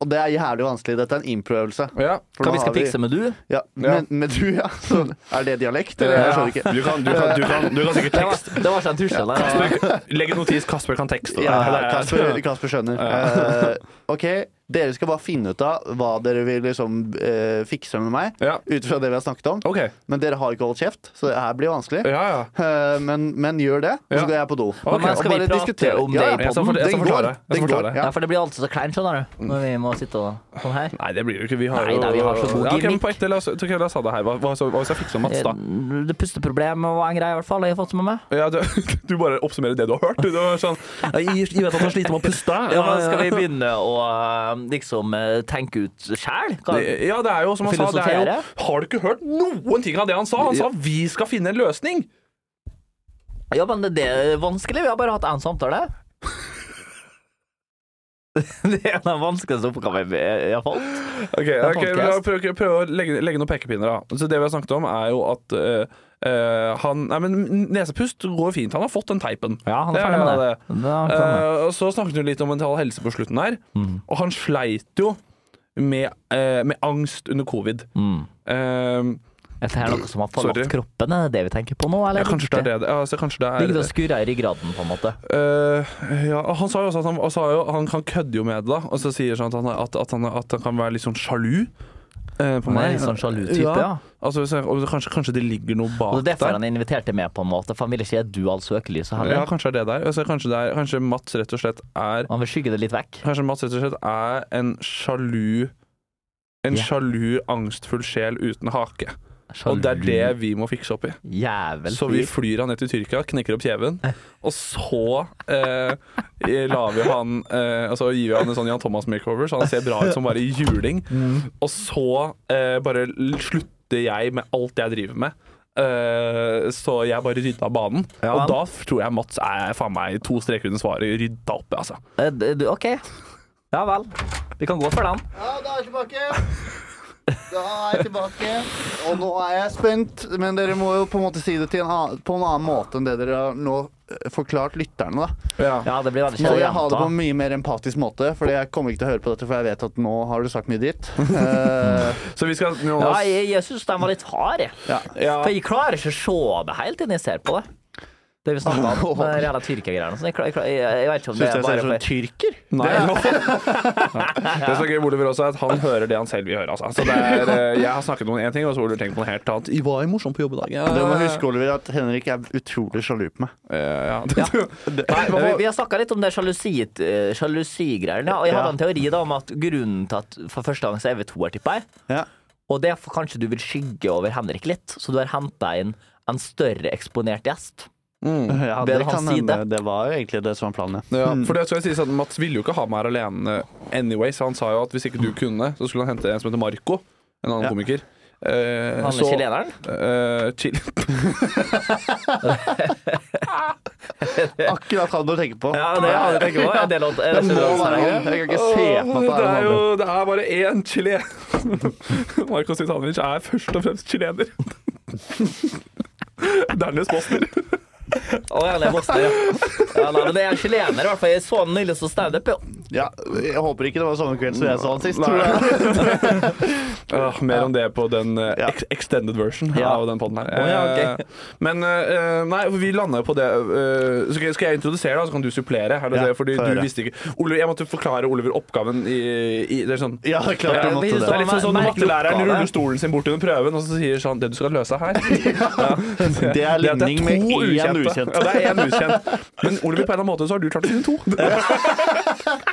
[SPEAKER 3] Og det er jævlig vanskelig. Dette er en improøvelse.
[SPEAKER 2] Ja.
[SPEAKER 3] For
[SPEAKER 1] Hva
[SPEAKER 3] nå
[SPEAKER 1] vi skal
[SPEAKER 3] har vi-
[SPEAKER 1] fikse med du?
[SPEAKER 3] Ja, men, men du, ja. (laughs) Så, er det dialekt, eller? Jeg skjønner ikke.
[SPEAKER 2] Du kan, du kan, du kan, du kan sikkert
[SPEAKER 1] Det var,
[SPEAKER 2] tekst.
[SPEAKER 1] det var ikke en trussel. nei, nei, nei.
[SPEAKER 2] Kasper, Legg en notis. Kasper kan tekst.
[SPEAKER 3] Ja,
[SPEAKER 2] Det er-
[SPEAKER 3] Kasper, Kasper skjønner. Eh, ok, dere skal bare finne ut av hva dere vil liksom eh, fikse med meg.
[SPEAKER 2] Ja.
[SPEAKER 3] Ut fra det vi har snakket om.
[SPEAKER 2] OK.
[SPEAKER 3] Men dere har ikke holdt kjeft, så det her blir vanskelig.
[SPEAKER 2] Ja, ja.
[SPEAKER 3] Eh, men, men gjør det, og
[SPEAKER 2] Ja.
[SPEAKER 3] så går jeg på do.
[SPEAKER 2] Ok,
[SPEAKER 1] men skal
[SPEAKER 3] og
[SPEAKER 1] vi
[SPEAKER 3] bare
[SPEAKER 1] prate
[SPEAKER 3] diskutere.
[SPEAKER 1] om det i
[SPEAKER 2] Jeg skal, for, jeg skal
[SPEAKER 3] Den går.
[SPEAKER 2] forklare. Jeg
[SPEAKER 3] Den
[SPEAKER 2] skal
[SPEAKER 3] går.
[SPEAKER 2] forklare.
[SPEAKER 1] Ja, for det blir alltid så kleint, skjønner du. Når vi må sitte og sånn her.
[SPEAKER 2] Nei, det blir jo ikke. Vi har
[SPEAKER 1] Nei,
[SPEAKER 2] jo
[SPEAKER 1] nei, vi har så god
[SPEAKER 2] Ja, ok, men
[SPEAKER 1] gimmick.
[SPEAKER 2] på ekte, la oss, ok, la oss ha det her. Hva, hva, hva hvis jeg fikser Mats, da?
[SPEAKER 1] Det pusteproblemet var en greie, i hvert fall. Jeg har fått med meg.
[SPEAKER 2] Ja, du, (laughs) du bare oppsummerer det du har hørt. Du, det var sånn,
[SPEAKER 5] Jeg, jeg vet at han sliter med å puste.
[SPEAKER 1] Ja, men Skal vi begynne å eh, liksom eh, tenke ut sjæl?
[SPEAKER 2] Det- Ja, det er jo som han sa. Det er jo,
[SPEAKER 1] Filosofere?
[SPEAKER 2] har du ikke hørt noen ting av det han sa? Han sa 'vi skal finne en løsning'.
[SPEAKER 1] Ja, men det er vanskelig. Vi har bare hatt én samtale. (laughs) Det er den vanskeligste oppgaven jeg har fått.
[SPEAKER 2] Ok,
[SPEAKER 1] er
[SPEAKER 2] ok,
[SPEAKER 1] podcast.
[SPEAKER 2] prøv, prøv, prøv å legge, legge noen pekepinner, da. Så det vi har snakket om, er jo at eh, eh, han Nei, men nesepust går fint. Han har fått den teipen.
[SPEAKER 1] Ja, han er ferdig med det. det Mhm. er han ferdig med.
[SPEAKER 2] Eh, og så snakket vi litt om mental helse på slutten her. Og han sleit jo med, eh, med angst under covid.
[SPEAKER 1] Mm.
[SPEAKER 2] Eh,
[SPEAKER 1] Er det her noe som har forlatt
[SPEAKER 2] Sorry.
[SPEAKER 1] kroppen? Er det det vi tenker på nå? Eller?
[SPEAKER 2] ja, kanskje det er det. Ja, altså, kanskje det er
[SPEAKER 1] Ligger det og skurrer i ryggraden, på en måte.
[SPEAKER 2] Eh, ja, og han sa jo også at han, han, sa jo, han, han kødder jo med det, da. Og så sier han at han, at, at han, at han kan være litt sånn sjalu. eh,
[SPEAKER 1] Han er
[SPEAKER 2] på meg.
[SPEAKER 1] litt sånn sjalu type, ja.
[SPEAKER 2] Altså, hvis jeg, og kanskje, kanskje det ligger noe bak
[SPEAKER 1] Og det er derfor han inviterte med, på en måte, for han ville ikke gi du all søkelyset
[SPEAKER 2] Ja,
[SPEAKER 1] heller.
[SPEAKER 2] kanskje det er der. Altså, kanskje, det er, kanskje Mats rett og slett er
[SPEAKER 1] Han vil skygge det litt vekk.
[SPEAKER 2] Kanskje Mats rett og slett er en sjalu En
[SPEAKER 1] Ja.
[SPEAKER 2] sjalu, angstfull sjel uten hake. Og det er det vi må fikse opp i.
[SPEAKER 1] Jævel.
[SPEAKER 2] Så vi flyr han ned til Tyrkia, knekker opp kjeven,
[SPEAKER 1] Eh.
[SPEAKER 2] og så eh, lar vi han eh, Altså gir vi han en sånn Jan Thomas makeover, så han ser bra ut som bare juling.
[SPEAKER 1] Mm.
[SPEAKER 2] Og så eh, bare l- slutter jeg med alt jeg driver med. Eh, så jeg bare rydda banen. og
[SPEAKER 1] men-
[SPEAKER 2] da f- tror jeg Mats er faen meg to streker under svaret. Rydda opp, altså.
[SPEAKER 1] Eh, d- d- OK. Ja vel. Vi kan gå for den.
[SPEAKER 3] Ja, da er jeg tilbake. Da er jeg tilbake. Og nå er jeg spent, men dere må jo på en måte si det til en annen, på en annen måte enn det dere har nå eh, forklart lytterne, da.
[SPEAKER 1] Ja, det blir veldig
[SPEAKER 3] Må jeg ha det på en
[SPEAKER 1] kjedelig.
[SPEAKER 3] mye mer empatisk måte, for jeg kommer ikke til å høre på dette, for jeg vet at nå har du sagt
[SPEAKER 1] (laughs)
[SPEAKER 3] mye dritt.
[SPEAKER 1] Mm.
[SPEAKER 3] Eh,
[SPEAKER 2] Så vi skal nå,
[SPEAKER 1] Ja, jeg, jeg syns de var litt harde.
[SPEAKER 3] ja.
[SPEAKER 2] ja,
[SPEAKER 1] For jeg klarer ikke å se det helt til jeg ser på det. Det vi snakka
[SPEAKER 3] (laughs)
[SPEAKER 1] om, med de jævla Tyrkia-greiene. og sånn. Jeg, klar- jeg, klar- jeg, jeg vet ikke om det
[SPEAKER 3] Syns
[SPEAKER 1] er
[SPEAKER 3] jeg ser
[SPEAKER 1] bare
[SPEAKER 3] ut som
[SPEAKER 1] for
[SPEAKER 3] en tyrker?
[SPEAKER 2] Nei. Det som er gøy med Oliver også, er at han hører det han selv vil høre. Altså. Så det er, eh, jeg har snakket om én ting, og så har Oliver tenkt på noe helt annet. I var jeg morsom på jobb i dag? Ja,
[SPEAKER 3] Du
[SPEAKER 1] Eh.
[SPEAKER 3] må huske, Oliver, at Henrik er utrolig sjalu på meg.
[SPEAKER 2] Eh, ja. (laughs)
[SPEAKER 1] Nei,
[SPEAKER 2] hva
[SPEAKER 1] vi,
[SPEAKER 2] var-
[SPEAKER 1] vi har snakka litt om det sjalusi- eh, sjalusigreiene. ja, og jeg hadde en teori da om at grunnen til at for første gang så er vi toer, tipper jeg.
[SPEAKER 3] Ja.
[SPEAKER 1] Og det er for kanskje du vil skygge over Henrik litt, så du har henta inn en større eksponert gjest.
[SPEAKER 3] Ja,
[SPEAKER 1] Bedre
[SPEAKER 3] det,
[SPEAKER 1] han
[SPEAKER 3] kan
[SPEAKER 1] si
[SPEAKER 3] hende. det var jo egentlig det som var planen. ja.
[SPEAKER 2] Ja, for det skal jeg si at Mats ville jo ikke ha meg her alene anyway, så han sa jo at hvis ikke du kunne, så skulle han hente en som heter Marco, en annen
[SPEAKER 3] Ja.
[SPEAKER 2] komiker. Eh,
[SPEAKER 1] Han er
[SPEAKER 2] så-
[SPEAKER 1] chileneren.
[SPEAKER 2] eh, chil
[SPEAKER 3] (laughs) Akkurat han du tenker på.
[SPEAKER 1] Ja, det er han jeg tenker på. Ja, det er lov- er det
[SPEAKER 3] Det må
[SPEAKER 1] lov-
[SPEAKER 3] være han. Jeg kan ikke se på at det er
[SPEAKER 2] det er
[SPEAKER 3] han andre.
[SPEAKER 2] jo det er bare én chilener. (laughs) Marco Sitanovic er først og fremst chilener. (laughs) Dernest bosnier.
[SPEAKER 1] Å, ja, det er Bosnia, ja. Ja, nei, men det er chilener, i hvert fall. Jeg så han nylig som standup. jo.
[SPEAKER 3] (laughs) Ja, jeg håper ikke det var samme kveld som jeg så han sist. Tror jeg.
[SPEAKER 2] Ah, mer om det på den eh, ex extended version
[SPEAKER 1] Ja.
[SPEAKER 2] av den podden her.
[SPEAKER 1] Å, ja, ok.
[SPEAKER 2] Eh, Men eh, nei, for vi landa jo på det eh, skal, jeg- skal jeg introdusere, da, så kan du supplere? Er det
[SPEAKER 3] Ja,
[SPEAKER 2] det? Fordi
[SPEAKER 3] få
[SPEAKER 2] du
[SPEAKER 3] høre.
[SPEAKER 2] visste ikke Oliver, Jeg måtte forklare Oliver oppgaven i, i Det er sånn
[SPEAKER 3] (laughs) Ja, det er klart jeg
[SPEAKER 1] Ja,
[SPEAKER 3] måtte
[SPEAKER 1] vi
[SPEAKER 3] det.
[SPEAKER 2] det er litt sånn som når
[SPEAKER 1] Merk
[SPEAKER 2] mattelæreren
[SPEAKER 1] oppgave.
[SPEAKER 2] ruller stolen sin bort under prøven og så sier sånn Det du skal løse
[SPEAKER 3] (laughs)
[SPEAKER 2] her
[SPEAKER 3] Det er
[SPEAKER 2] det er at det
[SPEAKER 3] ligning med
[SPEAKER 2] er to
[SPEAKER 3] én
[SPEAKER 2] ukjente.
[SPEAKER 3] ukjent.
[SPEAKER 2] Ja, det er én ukjent. Men Oliver, på en eller annen måte så har du klart å finne
[SPEAKER 3] (laughs)
[SPEAKER 2] to.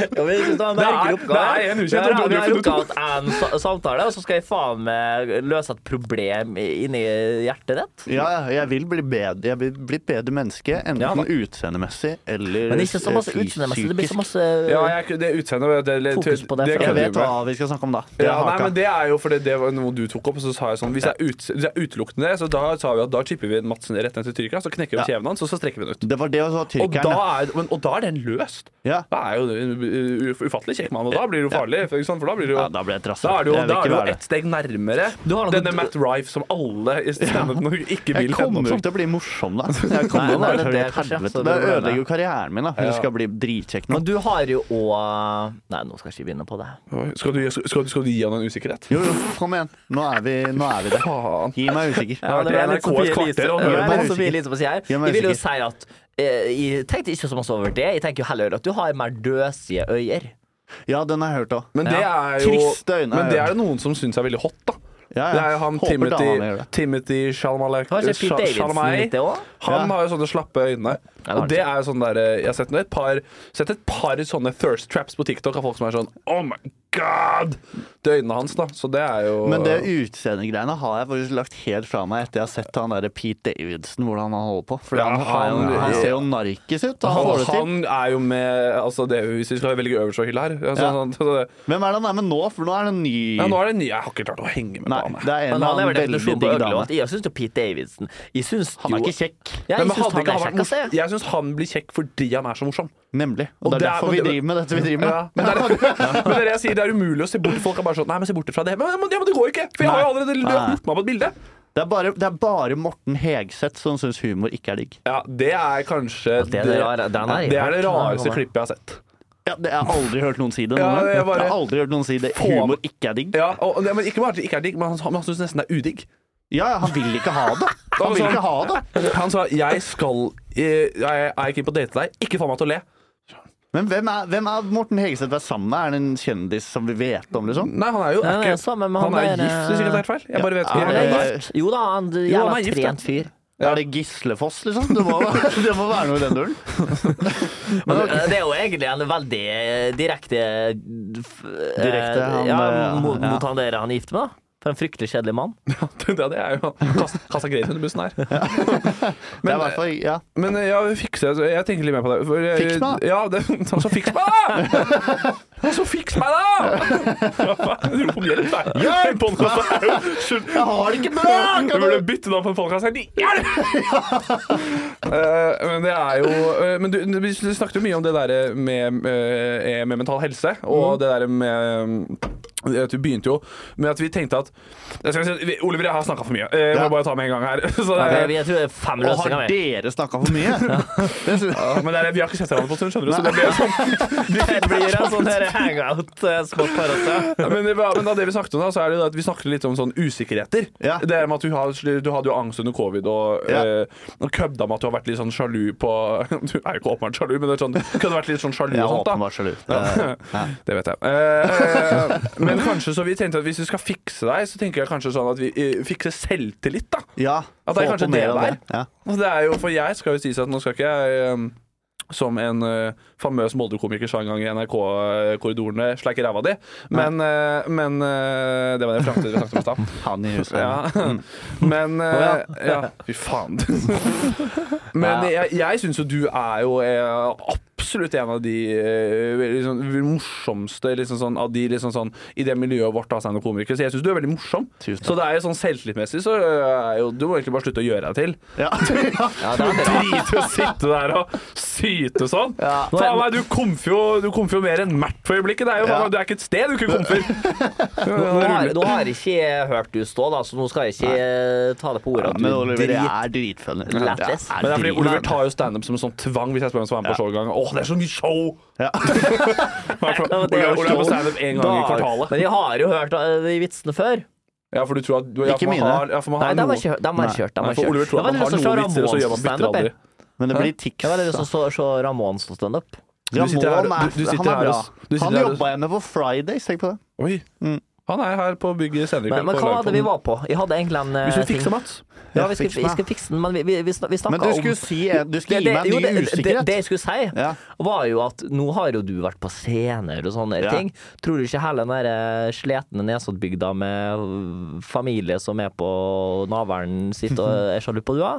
[SPEAKER 1] Ja, men jeg synes det var en merkelig
[SPEAKER 2] Det er-
[SPEAKER 1] oppgave.
[SPEAKER 2] det er en ukjent, og
[SPEAKER 1] Vi
[SPEAKER 2] Dodie har
[SPEAKER 1] har
[SPEAKER 2] funnet
[SPEAKER 1] rukka ut en sa- samtale, og så skal jeg faen meg løse et problem i- inni hjertet ditt.
[SPEAKER 3] Ja, ja, jeg vil bli bedre, jeg vil bli et bedre menneske, enten
[SPEAKER 1] Ja, da.
[SPEAKER 3] utseendemessig eller
[SPEAKER 1] Men ikke så masse
[SPEAKER 3] eh, fy-
[SPEAKER 1] utseendemessig. Det blir så
[SPEAKER 3] psykisk.
[SPEAKER 1] masse
[SPEAKER 2] Ja, jeg, det utseendet det, det,
[SPEAKER 1] Fokus på det, for
[SPEAKER 2] kan
[SPEAKER 3] Jeg
[SPEAKER 2] du
[SPEAKER 3] vet
[SPEAKER 2] med.
[SPEAKER 3] hva vi skal snakke om da. Det er
[SPEAKER 2] Ja, nei,
[SPEAKER 3] haka.
[SPEAKER 2] men det er jo fordi det var noe du tok opp, og så sa jeg sånn Hvis det er, ut, hvis det er utelukkende det, så da sa vi at da chipper vi Madsen rett ned til Tyrkia, så knekker vi
[SPEAKER 3] Ja.
[SPEAKER 2] kjeven hans, og så strekker vi den ut.
[SPEAKER 3] det var det som var
[SPEAKER 2] Og da,
[SPEAKER 3] tyrkeren.
[SPEAKER 2] er, men, og da er den løst.
[SPEAKER 3] da. Ja.
[SPEAKER 2] Da er jo det en u- u- ufattelig kjekk mann, og da blir det jo farlig. For, ikke sant? for da blir det jo
[SPEAKER 3] ja, da ble jeg
[SPEAKER 2] da
[SPEAKER 3] trassa.
[SPEAKER 2] er det jo, da
[SPEAKER 3] Jeg
[SPEAKER 2] er det
[SPEAKER 3] vil ikke
[SPEAKER 2] jo
[SPEAKER 3] være
[SPEAKER 2] ett steg nærmere
[SPEAKER 1] har noe-
[SPEAKER 2] denne Matt Rife som alle i standup Norge ikke
[SPEAKER 3] Jeg
[SPEAKER 2] vil
[SPEAKER 3] kommer
[SPEAKER 2] henne
[SPEAKER 3] jo
[SPEAKER 2] opp
[SPEAKER 3] ikke til å bli morsom,
[SPEAKER 2] (laughs)
[SPEAKER 3] da. Jeg
[SPEAKER 1] Nei,
[SPEAKER 3] kommer
[SPEAKER 1] nei, det
[SPEAKER 3] til
[SPEAKER 1] er
[SPEAKER 3] å bli
[SPEAKER 1] det kanskje, så
[SPEAKER 3] helvete.
[SPEAKER 1] det
[SPEAKER 3] Det
[SPEAKER 1] blir bra,
[SPEAKER 3] ødelegger jo karrieren min, da. Hun skal bli dritkjekk nå.
[SPEAKER 1] Men du har jo òg Nei, nå skal jeg ikke begynne på det.
[SPEAKER 2] som. Oi, Skal du, skal, skal, du- skal du gi han en usikkerhet?
[SPEAKER 3] Jo, jo, kom igjen. Nå er vi, nå er vi der.
[SPEAKER 2] Faen.
[SPEAKER 3] Gi meg usikker.
[SPEAKER 1] Ja, det
[SPEAKER 2] vært i
[SPEAKER 1] er litt
[SPEAKER 2] NRK et
[SPEAKER 1] Sofie
[SPEAKER 2] kvarter,
[SPEAKER 1] Elise-
[SPEAKER 2] og
[SPEAKER 1] Ja, det
[SPEAKER 3] nå er
[SPEAKER 1] er
[SPEAKER 3] jeg
[SPEAKER 1] litt Sofie
[SPEAKER 3] usikker.
[SPEAKER 1] Elise på siden her.
[SPEAKER 3] Ja, men
[SPEAKER 1] Jeg vil jo
[SPEAKER 3] usikker.
[SPEAKER 1] si at eh, Jeg tenkte ikke så masse over det. Jeg tenker jo heller at du har mer døsige øyer.
[SPEAKER 3] Ja, den har jeg hørt òg.
[SPEAKER 2] Men det
[SPEAKER 1] Ja.
[SPEAKER 2] er jo
[SPEAKER 3] Triste øyne,
[SPEAKER 2] Men det
[SPEAKER 3] ja.
[SPEAKER 2] er jo noen som syns er veldig hot, da.
[SPEAKER 3] Ja, ja.
[SPEAKER 2] Det er jo han
[SPEAKER 3] Håper damene gjør
[SPEAKER 2] Timothy,
[SPEAKER 3] det.
[SPEAKER 2] Timothy Chalamalek-
[SPEAKER 1] Kanskje Pete
[SPEAKER 2] Sha-
[SPEAKER 1] Davidson
[SPEAKER 2] Chalamet.
[SPEAKER 1] litt, det òg?
[SPEAKER 2] Han
[SPEAKER 3] Ja.
[SPEAKER 2] har jo sånne slappe øyne.
[SPEAKER 1] Ja,
[SPEAKER 2] og det er jo sånn der, eh, Jeg har sett et par, sett et par sånne thirst traps på TikTok av folk som er sånn Oh my god! Det er øynene hans, da. Så det er jo
[SPEAKER 3] Men det utseendegreiene har jeg faktisk lagt helt fra meg etter jeg har sett han der Pete Davidson, hvordan han holder på. For
[SPEAKER 2] Ja,
[SPEAKER 3] han, har jo-
[SPEAKER 2] han-
[SPEAKER 3] han ser jo narkis ut. og Han
[SPEAKER 2] han,
[SPEAKER 3] får det til.
[SPEAKER 2] han er jo med altså det, Hvis vi skal velge øverste hylle her altså,
[SPEAKER 3] Ja.
[SPEAKER 2] han- så det-
[SPEAKER 3] Hvem er det han er med nå? For nå er det en ny
[SPEAKER 2] ja, Nå er det nye. Jeg har ikke klart å henge med
[SPEAKER 3] Nei,
[SPEAKER 2] på han. jeg.
[SPEAKER 3] det er en
[SPEAKER 1] Men han
[SPEAKER 3] eller
[SPEAKER 1] er
[SPEAKER 3] annen
[SPEAKER 1] vel
[SPEAKER 3] veldig
[SPEAKER 1] definisjonen
[SPEAKER 3] digg
[SPEAKER 1] på
[SPEAKER 3] dame.
[SPEAKER 1] øglelåt. Jeg syns jo Pete Davidson Jeg syns
[SPEAKER 3] Han er
[SPEAKER 1] jo-
[SPEAKER 3] ikke kjekk,
[SPEAKER 1] Ja,
[SPEAKER 2] Men
[SPEAKER 1] jeg
[SPEAKER 2] man
[SPEAKER 1] syns
[SPEAKER 2] hadde
[SPEAKER 1] han
[SPEAKER 2] ikke
[SPEAKER 1] er
[SPEAKER 2] vært
[SPEAKER 1] kjekk, altså.
[SPEAKER 2] mors- Jeg syns han blir kjekk fordi han er så morsom.
[SPEAKER 3] nemlig. Og
[SPEAKER 2] Og det er-
[SPEAKER 3] det er derfor
[SPEAKER 2] men
[SPEAKER 3] vi
[SPEAKER 2] det-
[SPEAKER 3] driver med dette vi driver med.
[SPEAKER 2] Ja, men, det
[SPEAKER 3] (laughs)
[SPEAKER 2] er, men det er det jeg sier, det er umulig å se bort. Folk er bare sånn Nei, men se bort fra det. Men, men, ja, men det går ikke! For jeg har jo allerede
[SPEAKER 3] Nei.
[SPEAKER 2] lurt meg på et bilde.
[SPEAKER 3] Det er bare, det er bare Morten Hegseth som syns humor ikke er digg.
[SPEAKER 2] Ja, det er kanskje
[SPEAKER 1] det er det rare- den er
[SPEAKER 2] det, er det
[SPEAKER 1] rart.
[SPEAKER 2] rareste klippet jeg har sett.
[SPEAKER 3] Ja, det, jeg har aldri hørt noen si det.
[SPEAKER 2] Ja,
[SPEAKER 3] noen gang.
[SPEAKER 2] jeg bare-
[SPEAKER 3] Jeg har aldri hørt noen si det.
[SPEAKER 2] Få-
[SPEAKER 3] Humor ikke er digg.
[SPEAKER 2] Ja, og, og det- men ikke bare at det ikke er digg, men han, han, han syns nesten det er udigg.
[SPEAKER 3] Ja, ja, han vil ikke ha det. (laughs) Han vil ikke ha
[SPEAKER 2] sånn-
[SPEAKER 3] det.
[SPEAKER 2] Han sa 'jeg skal eh, Jeg er ikke på å date deg, ikke få meg til å le'.
[SPEAKER 3] Men hvem er, hvem er Morten Hegeseth vært sammen med? Er det en kjendis som vi vet om, liksom?
[SPEAKER 2] Nei, han er jo
[SPEAKER 1] Nei, han er
[SPEAKER 2] ikke-
[SPEAKER 1] sammen med
[SPEAKER 2] han
[SPEAKER 1] han
[SPEAKER 2] er
[SPEAKER 1] der,
[SPEAKER 2] gift, hvis ikke det er helt feil. Jeg bare vet
[SPEAKER 3] Ja,
[SPEAKER 2] ikke.
[SPEAKER 1] Han
[SPEAKER 3] det
[SPEAKER 1] er
[SPEAKER 2] (laughs) helt.
[SPEAKER 1] gift. Jo da, han
[SPEAKER 2] Jo, han
[SPEAKER 1] jævla
[SPEAKER 2] er gift, ja.
[SPEAKER 1] trent fyr.
[SPEAKER 3] Er det Gislefoss, liksom? Det må, (laughs) det må være noe i den duren.
[SPEAKER 1] Men det, det er jo egentlig en veldig eh, direkte f- eh,
[SPEAKER 3] Direkte, han,
[SPEAKER 1] ja,
[SPEAKER 3] eh,
[SPEAKER 1] mot,
[SPEAKER 3] ja.
[SPEAKER 1] mot han der han er gift med, da. For en fryktelig kjedelig mann.
[SPEAKER 2] Ja, det er jo kast- Kasta greier under bussen her.
[SPEAKER 3] Det er
[SPEAKER 2] Men,
[SPEAKER 3] i hvert fall, ja.
[SPEAKER 2] men ja, fikse altså, Jeg tenker litt mer på det. For, jeg-
[SPEAKER 3] Fiks meg, da.
[SPEAKER 2] Ja, det, (laughs) han sa 'fiks meg', da! Han sa 'fiks meg', da! Du roper hjelp, da. Hjelp! Podkasten er jo slutt.
[SPEAKER 3] (laughs) Jeg har det ikke bra!
[SPEAKER 2] Du burde bytte navn på podkasten. Hjelp! (laughs) Eh, men det er jo eh, Men du, vi snakket jo mye om det der med, eh, med mental helse, og det der med eh, at Du begynte jo med at vi tenkte at jeg skal si, vi- Oliver, jeg har snakka for mye. Eh, Jeg må
[SPEAKER 3] Ja.
[SPEAKER 2] bare ta med en gang her. (laughs) Så det
[SPEAKER 1] Jeg,
[SPEAKER 2] er,
[SPEAKER 1] jeg tror det er fem
[SPEAKER 3] Og har
[SPEAKER 1] løsninger. vi.
[SPEAKER 3] dere snakka (laughs) for mye? Det synes-
[SPEAKER 2] ja, men det er, vi har ikke sett hverandre på en stund, skjønner du. Så det blir sånn
[SPEAKER 1] (laughs) Det blir en sånn eh, her hangout-sport for oss, ja.
[SPEAKER 2] men, det var- men da det vi snakket om da, så er det jo at vi snakket litt om sånn usikkerheter.
[SPEAKER 3] Ja.
[SPEAKER 2] Det er med at du, har, du hadde jo angst under covid og,
[SPEAKER 3] Ja.
[SPEAKER 2] eh, og kødda med at du har vært litt sånn sjalu på (laughs) Du er jo ikke åpenbart sjalu, men det er sånn, kunne vært litt sånn sjalu
[SPEAKER 3] Jeg er
[SPEAKER 2] og sånt, da.
[SPEAKER 3] åpenbart sjalu.
[SPEAKER 2] Det vet jeg. Eh, (laughs) eh, men kanskje så vi tenkte at hvis du skal fikse deg, så tenker jeg kanskje sånn at vi eh, fikser selvtillit, da.
[SPEAKER 3] Ja.
[SPEAKER 2] At det er
[SPEAKER 3] få
[SPEAKER 2] kanskje
[SPEAKER 3] på mer
[SPEAKER 2] det
[SPEAKER 3] av
[SPEAKER 2] der.
[SPEAKER 3] Ja.
[SPEAKER 2] Og det er jo, for jeg skal jo sies at nå skal ikke jeg ehm, som en eh, famøs Molde-komiker sa en gang i NRK-korridorene sleike ræva di. Men, eh, men eh, Det var det fram til dere snakket om i stad.
[SPEAKER 3] (laughs) Han i huset. Mm.
[SPEAKER 2] Ja. (laughs) Men eh, ja. Fy faen. (laughs) Men jeg, jeg syns jo du er jo eh, absolutt en av de eh, liksom, morsomste liksom sånn, av de liksom sånn, i det miljøet vårt av standup-komikere. Så jeg syns du er veldig morsom.
[SPEAKER 3] Tusen takk.
[SPEAKER 2] Så det er jo sånn selvtillitsmessig så eh, er jo, du må egentlig bare slutte å gjøre deg til.
[SPEAKER 3] Ja. (laughs)
[SPEAKER 1] ja det er det.
[SPEAKER 2] Drit i å sitte der og syte sånn.
[SPEAKER 3] Ja.
[SPEAKER 2] Ta meg, du komfer jo, du komfer jo mer enn Mert for øyeblikket. Det er jo,
[SPEAKER 3] Ja.
[SPEAKER 2] Du er ikke et sted du ikke komfer.
[SPEAKER 1] Nå har, nå har ikke jeg hørt du stå, da, så nå skal jeg ikke eh, ta det på ordet at
[SPEAKER 3] Men
[SPEAKER 1] du
[SPEAKER 3] Oliver, jeg er dritfunny.
[SPEAKER 1] Lættis.
[SPEAKER 3] Jeg er
[SPEAKER 2] Men det er fordi Oliver
[SPEAKER 3] dritfunny.
[SPEAKER 2] tar jo standup som en sånn tvang hvis jeg spør om han skal være med på show en gang. Åh, det er så mye show!
[SPEAKER 1] (laughs)
[SPEAKER 3] Ja.
[SPEAKER 1] det er jo
[SPEAKER 2] Oliver Oliver er på
[SPEAKER 1] show.
[SPEAKER 2] standup en gang i kvartalet.
[SPEAKER 1] Men jeg har jo hørt eh, de vitsene før.
[SPEAKER 2] Ja, for du tror at du, ja,
[SPEAKER 3] Ikke
[SPEAKER 2] for man
[SPEAKER 3] mine.
[SPEAKER 2] har, ja, for man
[SPEAKER 1] Nei,
[SPEAKER 2] har
[SPEAKER 1] de har
[SPEAKER 2] noe
[SPEAKER 1] ikke hørt. De har kjørt. De
[SPEAKER 2] Nei,
[SPEAKER 1] har
[SPEAKER 2] for Oliver
[SPEAKER 1] kjørt.
[SPEAKER 2] tror at
[SPEAKER 1] Jeg har veldig
[SPEAKER 2] han har
[SPEAKER 1] lyst til å se
[SPEAKER 2] noen
[SPEAKER 1] Ramones
[SPEAKER 2] vitser, og så gjør man bytter
[SPEAKER 1] standup.
[SPEAKER 2] aldri.
[SPEAKER 1] jeg.
[SPEAKER 3] Men det blir tics.
[SPEAKER 1] Jeg har veldig lyst til å se- se Ramones på standup.
[SPEAKER 2] Du sitter her-
[SPEAKER 3] Ramon er-
[SPEAKER 2] du- du sitter
[SPEAKER 3] han er
[SPEAKER 2] her
[SPEAKER 3] bra.
[SPEAKER 2] og- du sitter
[SPEAKER 3] Han
[SPEAKER 2] her og-
[SPEAKER 3] jobba jeg med på Fridays, tenk på det.
[SPEAKER 2] Oi. Han er her på bygget senere i
[SPEAKER 1] Mm. Men,
[SPEAKER 2] kveld.
[SPEAKER 1] men
[SPEAKER 2] på
[SPEAKER 1] hva var det vi
[SPEAKER 2] Lagpodden.
[SPEAKER 1] var på? Jeg hadde egentlig en eh,
[SPEAKER 2] Hvis du
[SPEAKER 1] ting.
[SPEAKER 2] fikser Mats
[SPEAKER 1] Ja, vi
[SPEAKER 3] fiks
[SPEAKER 1] skulle, vi
[SPEAKER 3] meg.
[SPEAKER 1] skulle fikse den, men vi, vi, vi snak- vi
[SPEAKER 3] Men
[SPEAKER 1] snakka
[SPEAKER 3] du
[SPEAKER 1] om
[SPEAKER 3] skulle si Du skulle
[SPEAKER 1] Det-
[SPEAKER 3] gi
[SPEAKER 1] det-
[SPEAKER 3] meg
[SPEAKER 1] jo,
[SPEAKER 3] mye
[SPEAKER 1] det- Det, det
[SPEAKER 3] usikkerhet.
[SPEAKER 1] jeg skulle si,
[SPEAKER 3] Ja.
[SPEAKER 1] var jo at nå har jo du vært på scener og sånne
[SPEAKER 3] Ja.
[SPEAKER 1] ting. Tror du ikke hele den der eh, sletne Nesoddbygda med øh, familie som er på navlen sitt og er sjalu på du, da?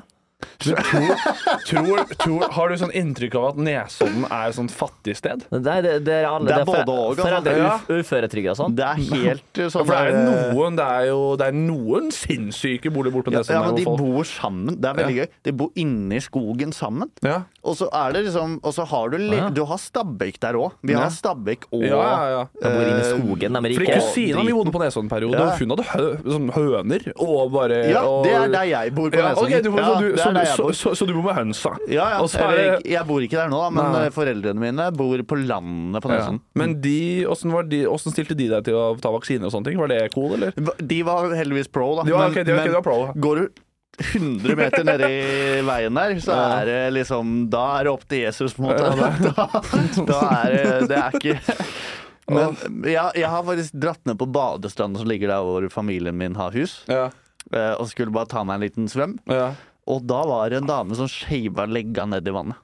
[SPEAKER 2] tror, tror, Har du sånn inntrykk av at Nesodden er et sånt fattig sted?
[SPEAKER 1] Nei, det, det er alle
[SPEAKER 3] Det er
[SPEAKER 1] fore-
[SPEAKER 3] både og, altså.
[SPEAKER 1] Foreldre
[SPEAKER 2] Ja.
[SPEAKER 1] uf- uføretrygda og sånn.
[SPEAKER 3] (laughs) Det er helt uh, sånn
[SPEAKER 2] For det er
[SPEAKER 3] der,
[SPEAKER 2] jo noen, det er jo det er noen sinnssyke boliger borte på
[SPEAKER 3] ja,
[SPEAKER 2] Nesodden.
[SPEAKER 3] ja,
[SPEAKER 2] der,
[SPEAKER 3] men de
[SPEAKER 2] hvor folk-
[SPEAKER 3] bor sammen. Det er veldig gøy. De bor inni skogen sammen.
[SPEAKER 2] ja.
[SPEAKER 3] Og så er det liksom Og så har du li Du har Stabæk der òg. Vi har Stabæk og
[SPEAKER 2] ja, ja, ja.
[SPEAKER 1] De bor inne i skogen, de er
[SPEAKER 2] Fordi
[SPEAKER 1] rike.
[SPEAKER 2] kusina mi bodde på Nesodden-periode,
[SPEAKER 3] Ja.
[SPEAKER 2] og hun hadde hø sånn høner og bare
[SPEAKER 3] Ja,
[SPEAKER 2] og,
[SPEAKER 3] det er der jeg bor på
[SPEAKER 2] ja,
[SPEAKER 3] Nesodden.
[SPEAKER 2] ok, du,
[SPEAKER 3] Ja,
[SPEAKER 2] så, du,
[SPEAKER 3] det er
[SPEAKER 2] så,
[SPEAKER 3] der jeg
[SPEAKER 2] så,
[SPEAKER 3] bor.
[SPEAKER 2] så, så du bor med hønsa?
[SPEAKER 3] Ja, ja.
[SPEAKER 2] Og så er
[SPEAKER 3] Eller,
[SPEAKER 2] det,
[SPEAKER 3] jeg bor ikke der nå, da, men
[SPEAKER 2] Nei.
[SPEAKER 3] eh, foreldrene mine bor på landet på
[SPEAKER 2] ja.
[SPEAKER 3] Nesodden.
[SPEAKER 2] Men de, åssen var de, åssen stilte de deg til å ta vaksiner og sånne ting? Var det cool, eller?
[SPEAKER 3] De var heldigvis pro, da.
[SPEAKER 2] De var- ok, de var- ok, de var pro, ja.
[SPEAKER 3] går du 100 meter nedi veien der, så er det liksom Da er det opp til Jesus, på en måte. Da, (laughs) da, da er det Det er ikke
[SPEAKER 2] (laughs)
[SPEAKER 3] men jeg, jeg har faktisk dratt ned på badestranda som ligger der hvor familien min har hus.
[SPEAKER 2] Ja.
[SPEAKER 3] eh, Og skulle bare ta meg en liten svøm.
[SPEAKER 2] ja.
[SPEAKER 3] Og da var det en dame som skeiva legga ned i vannet.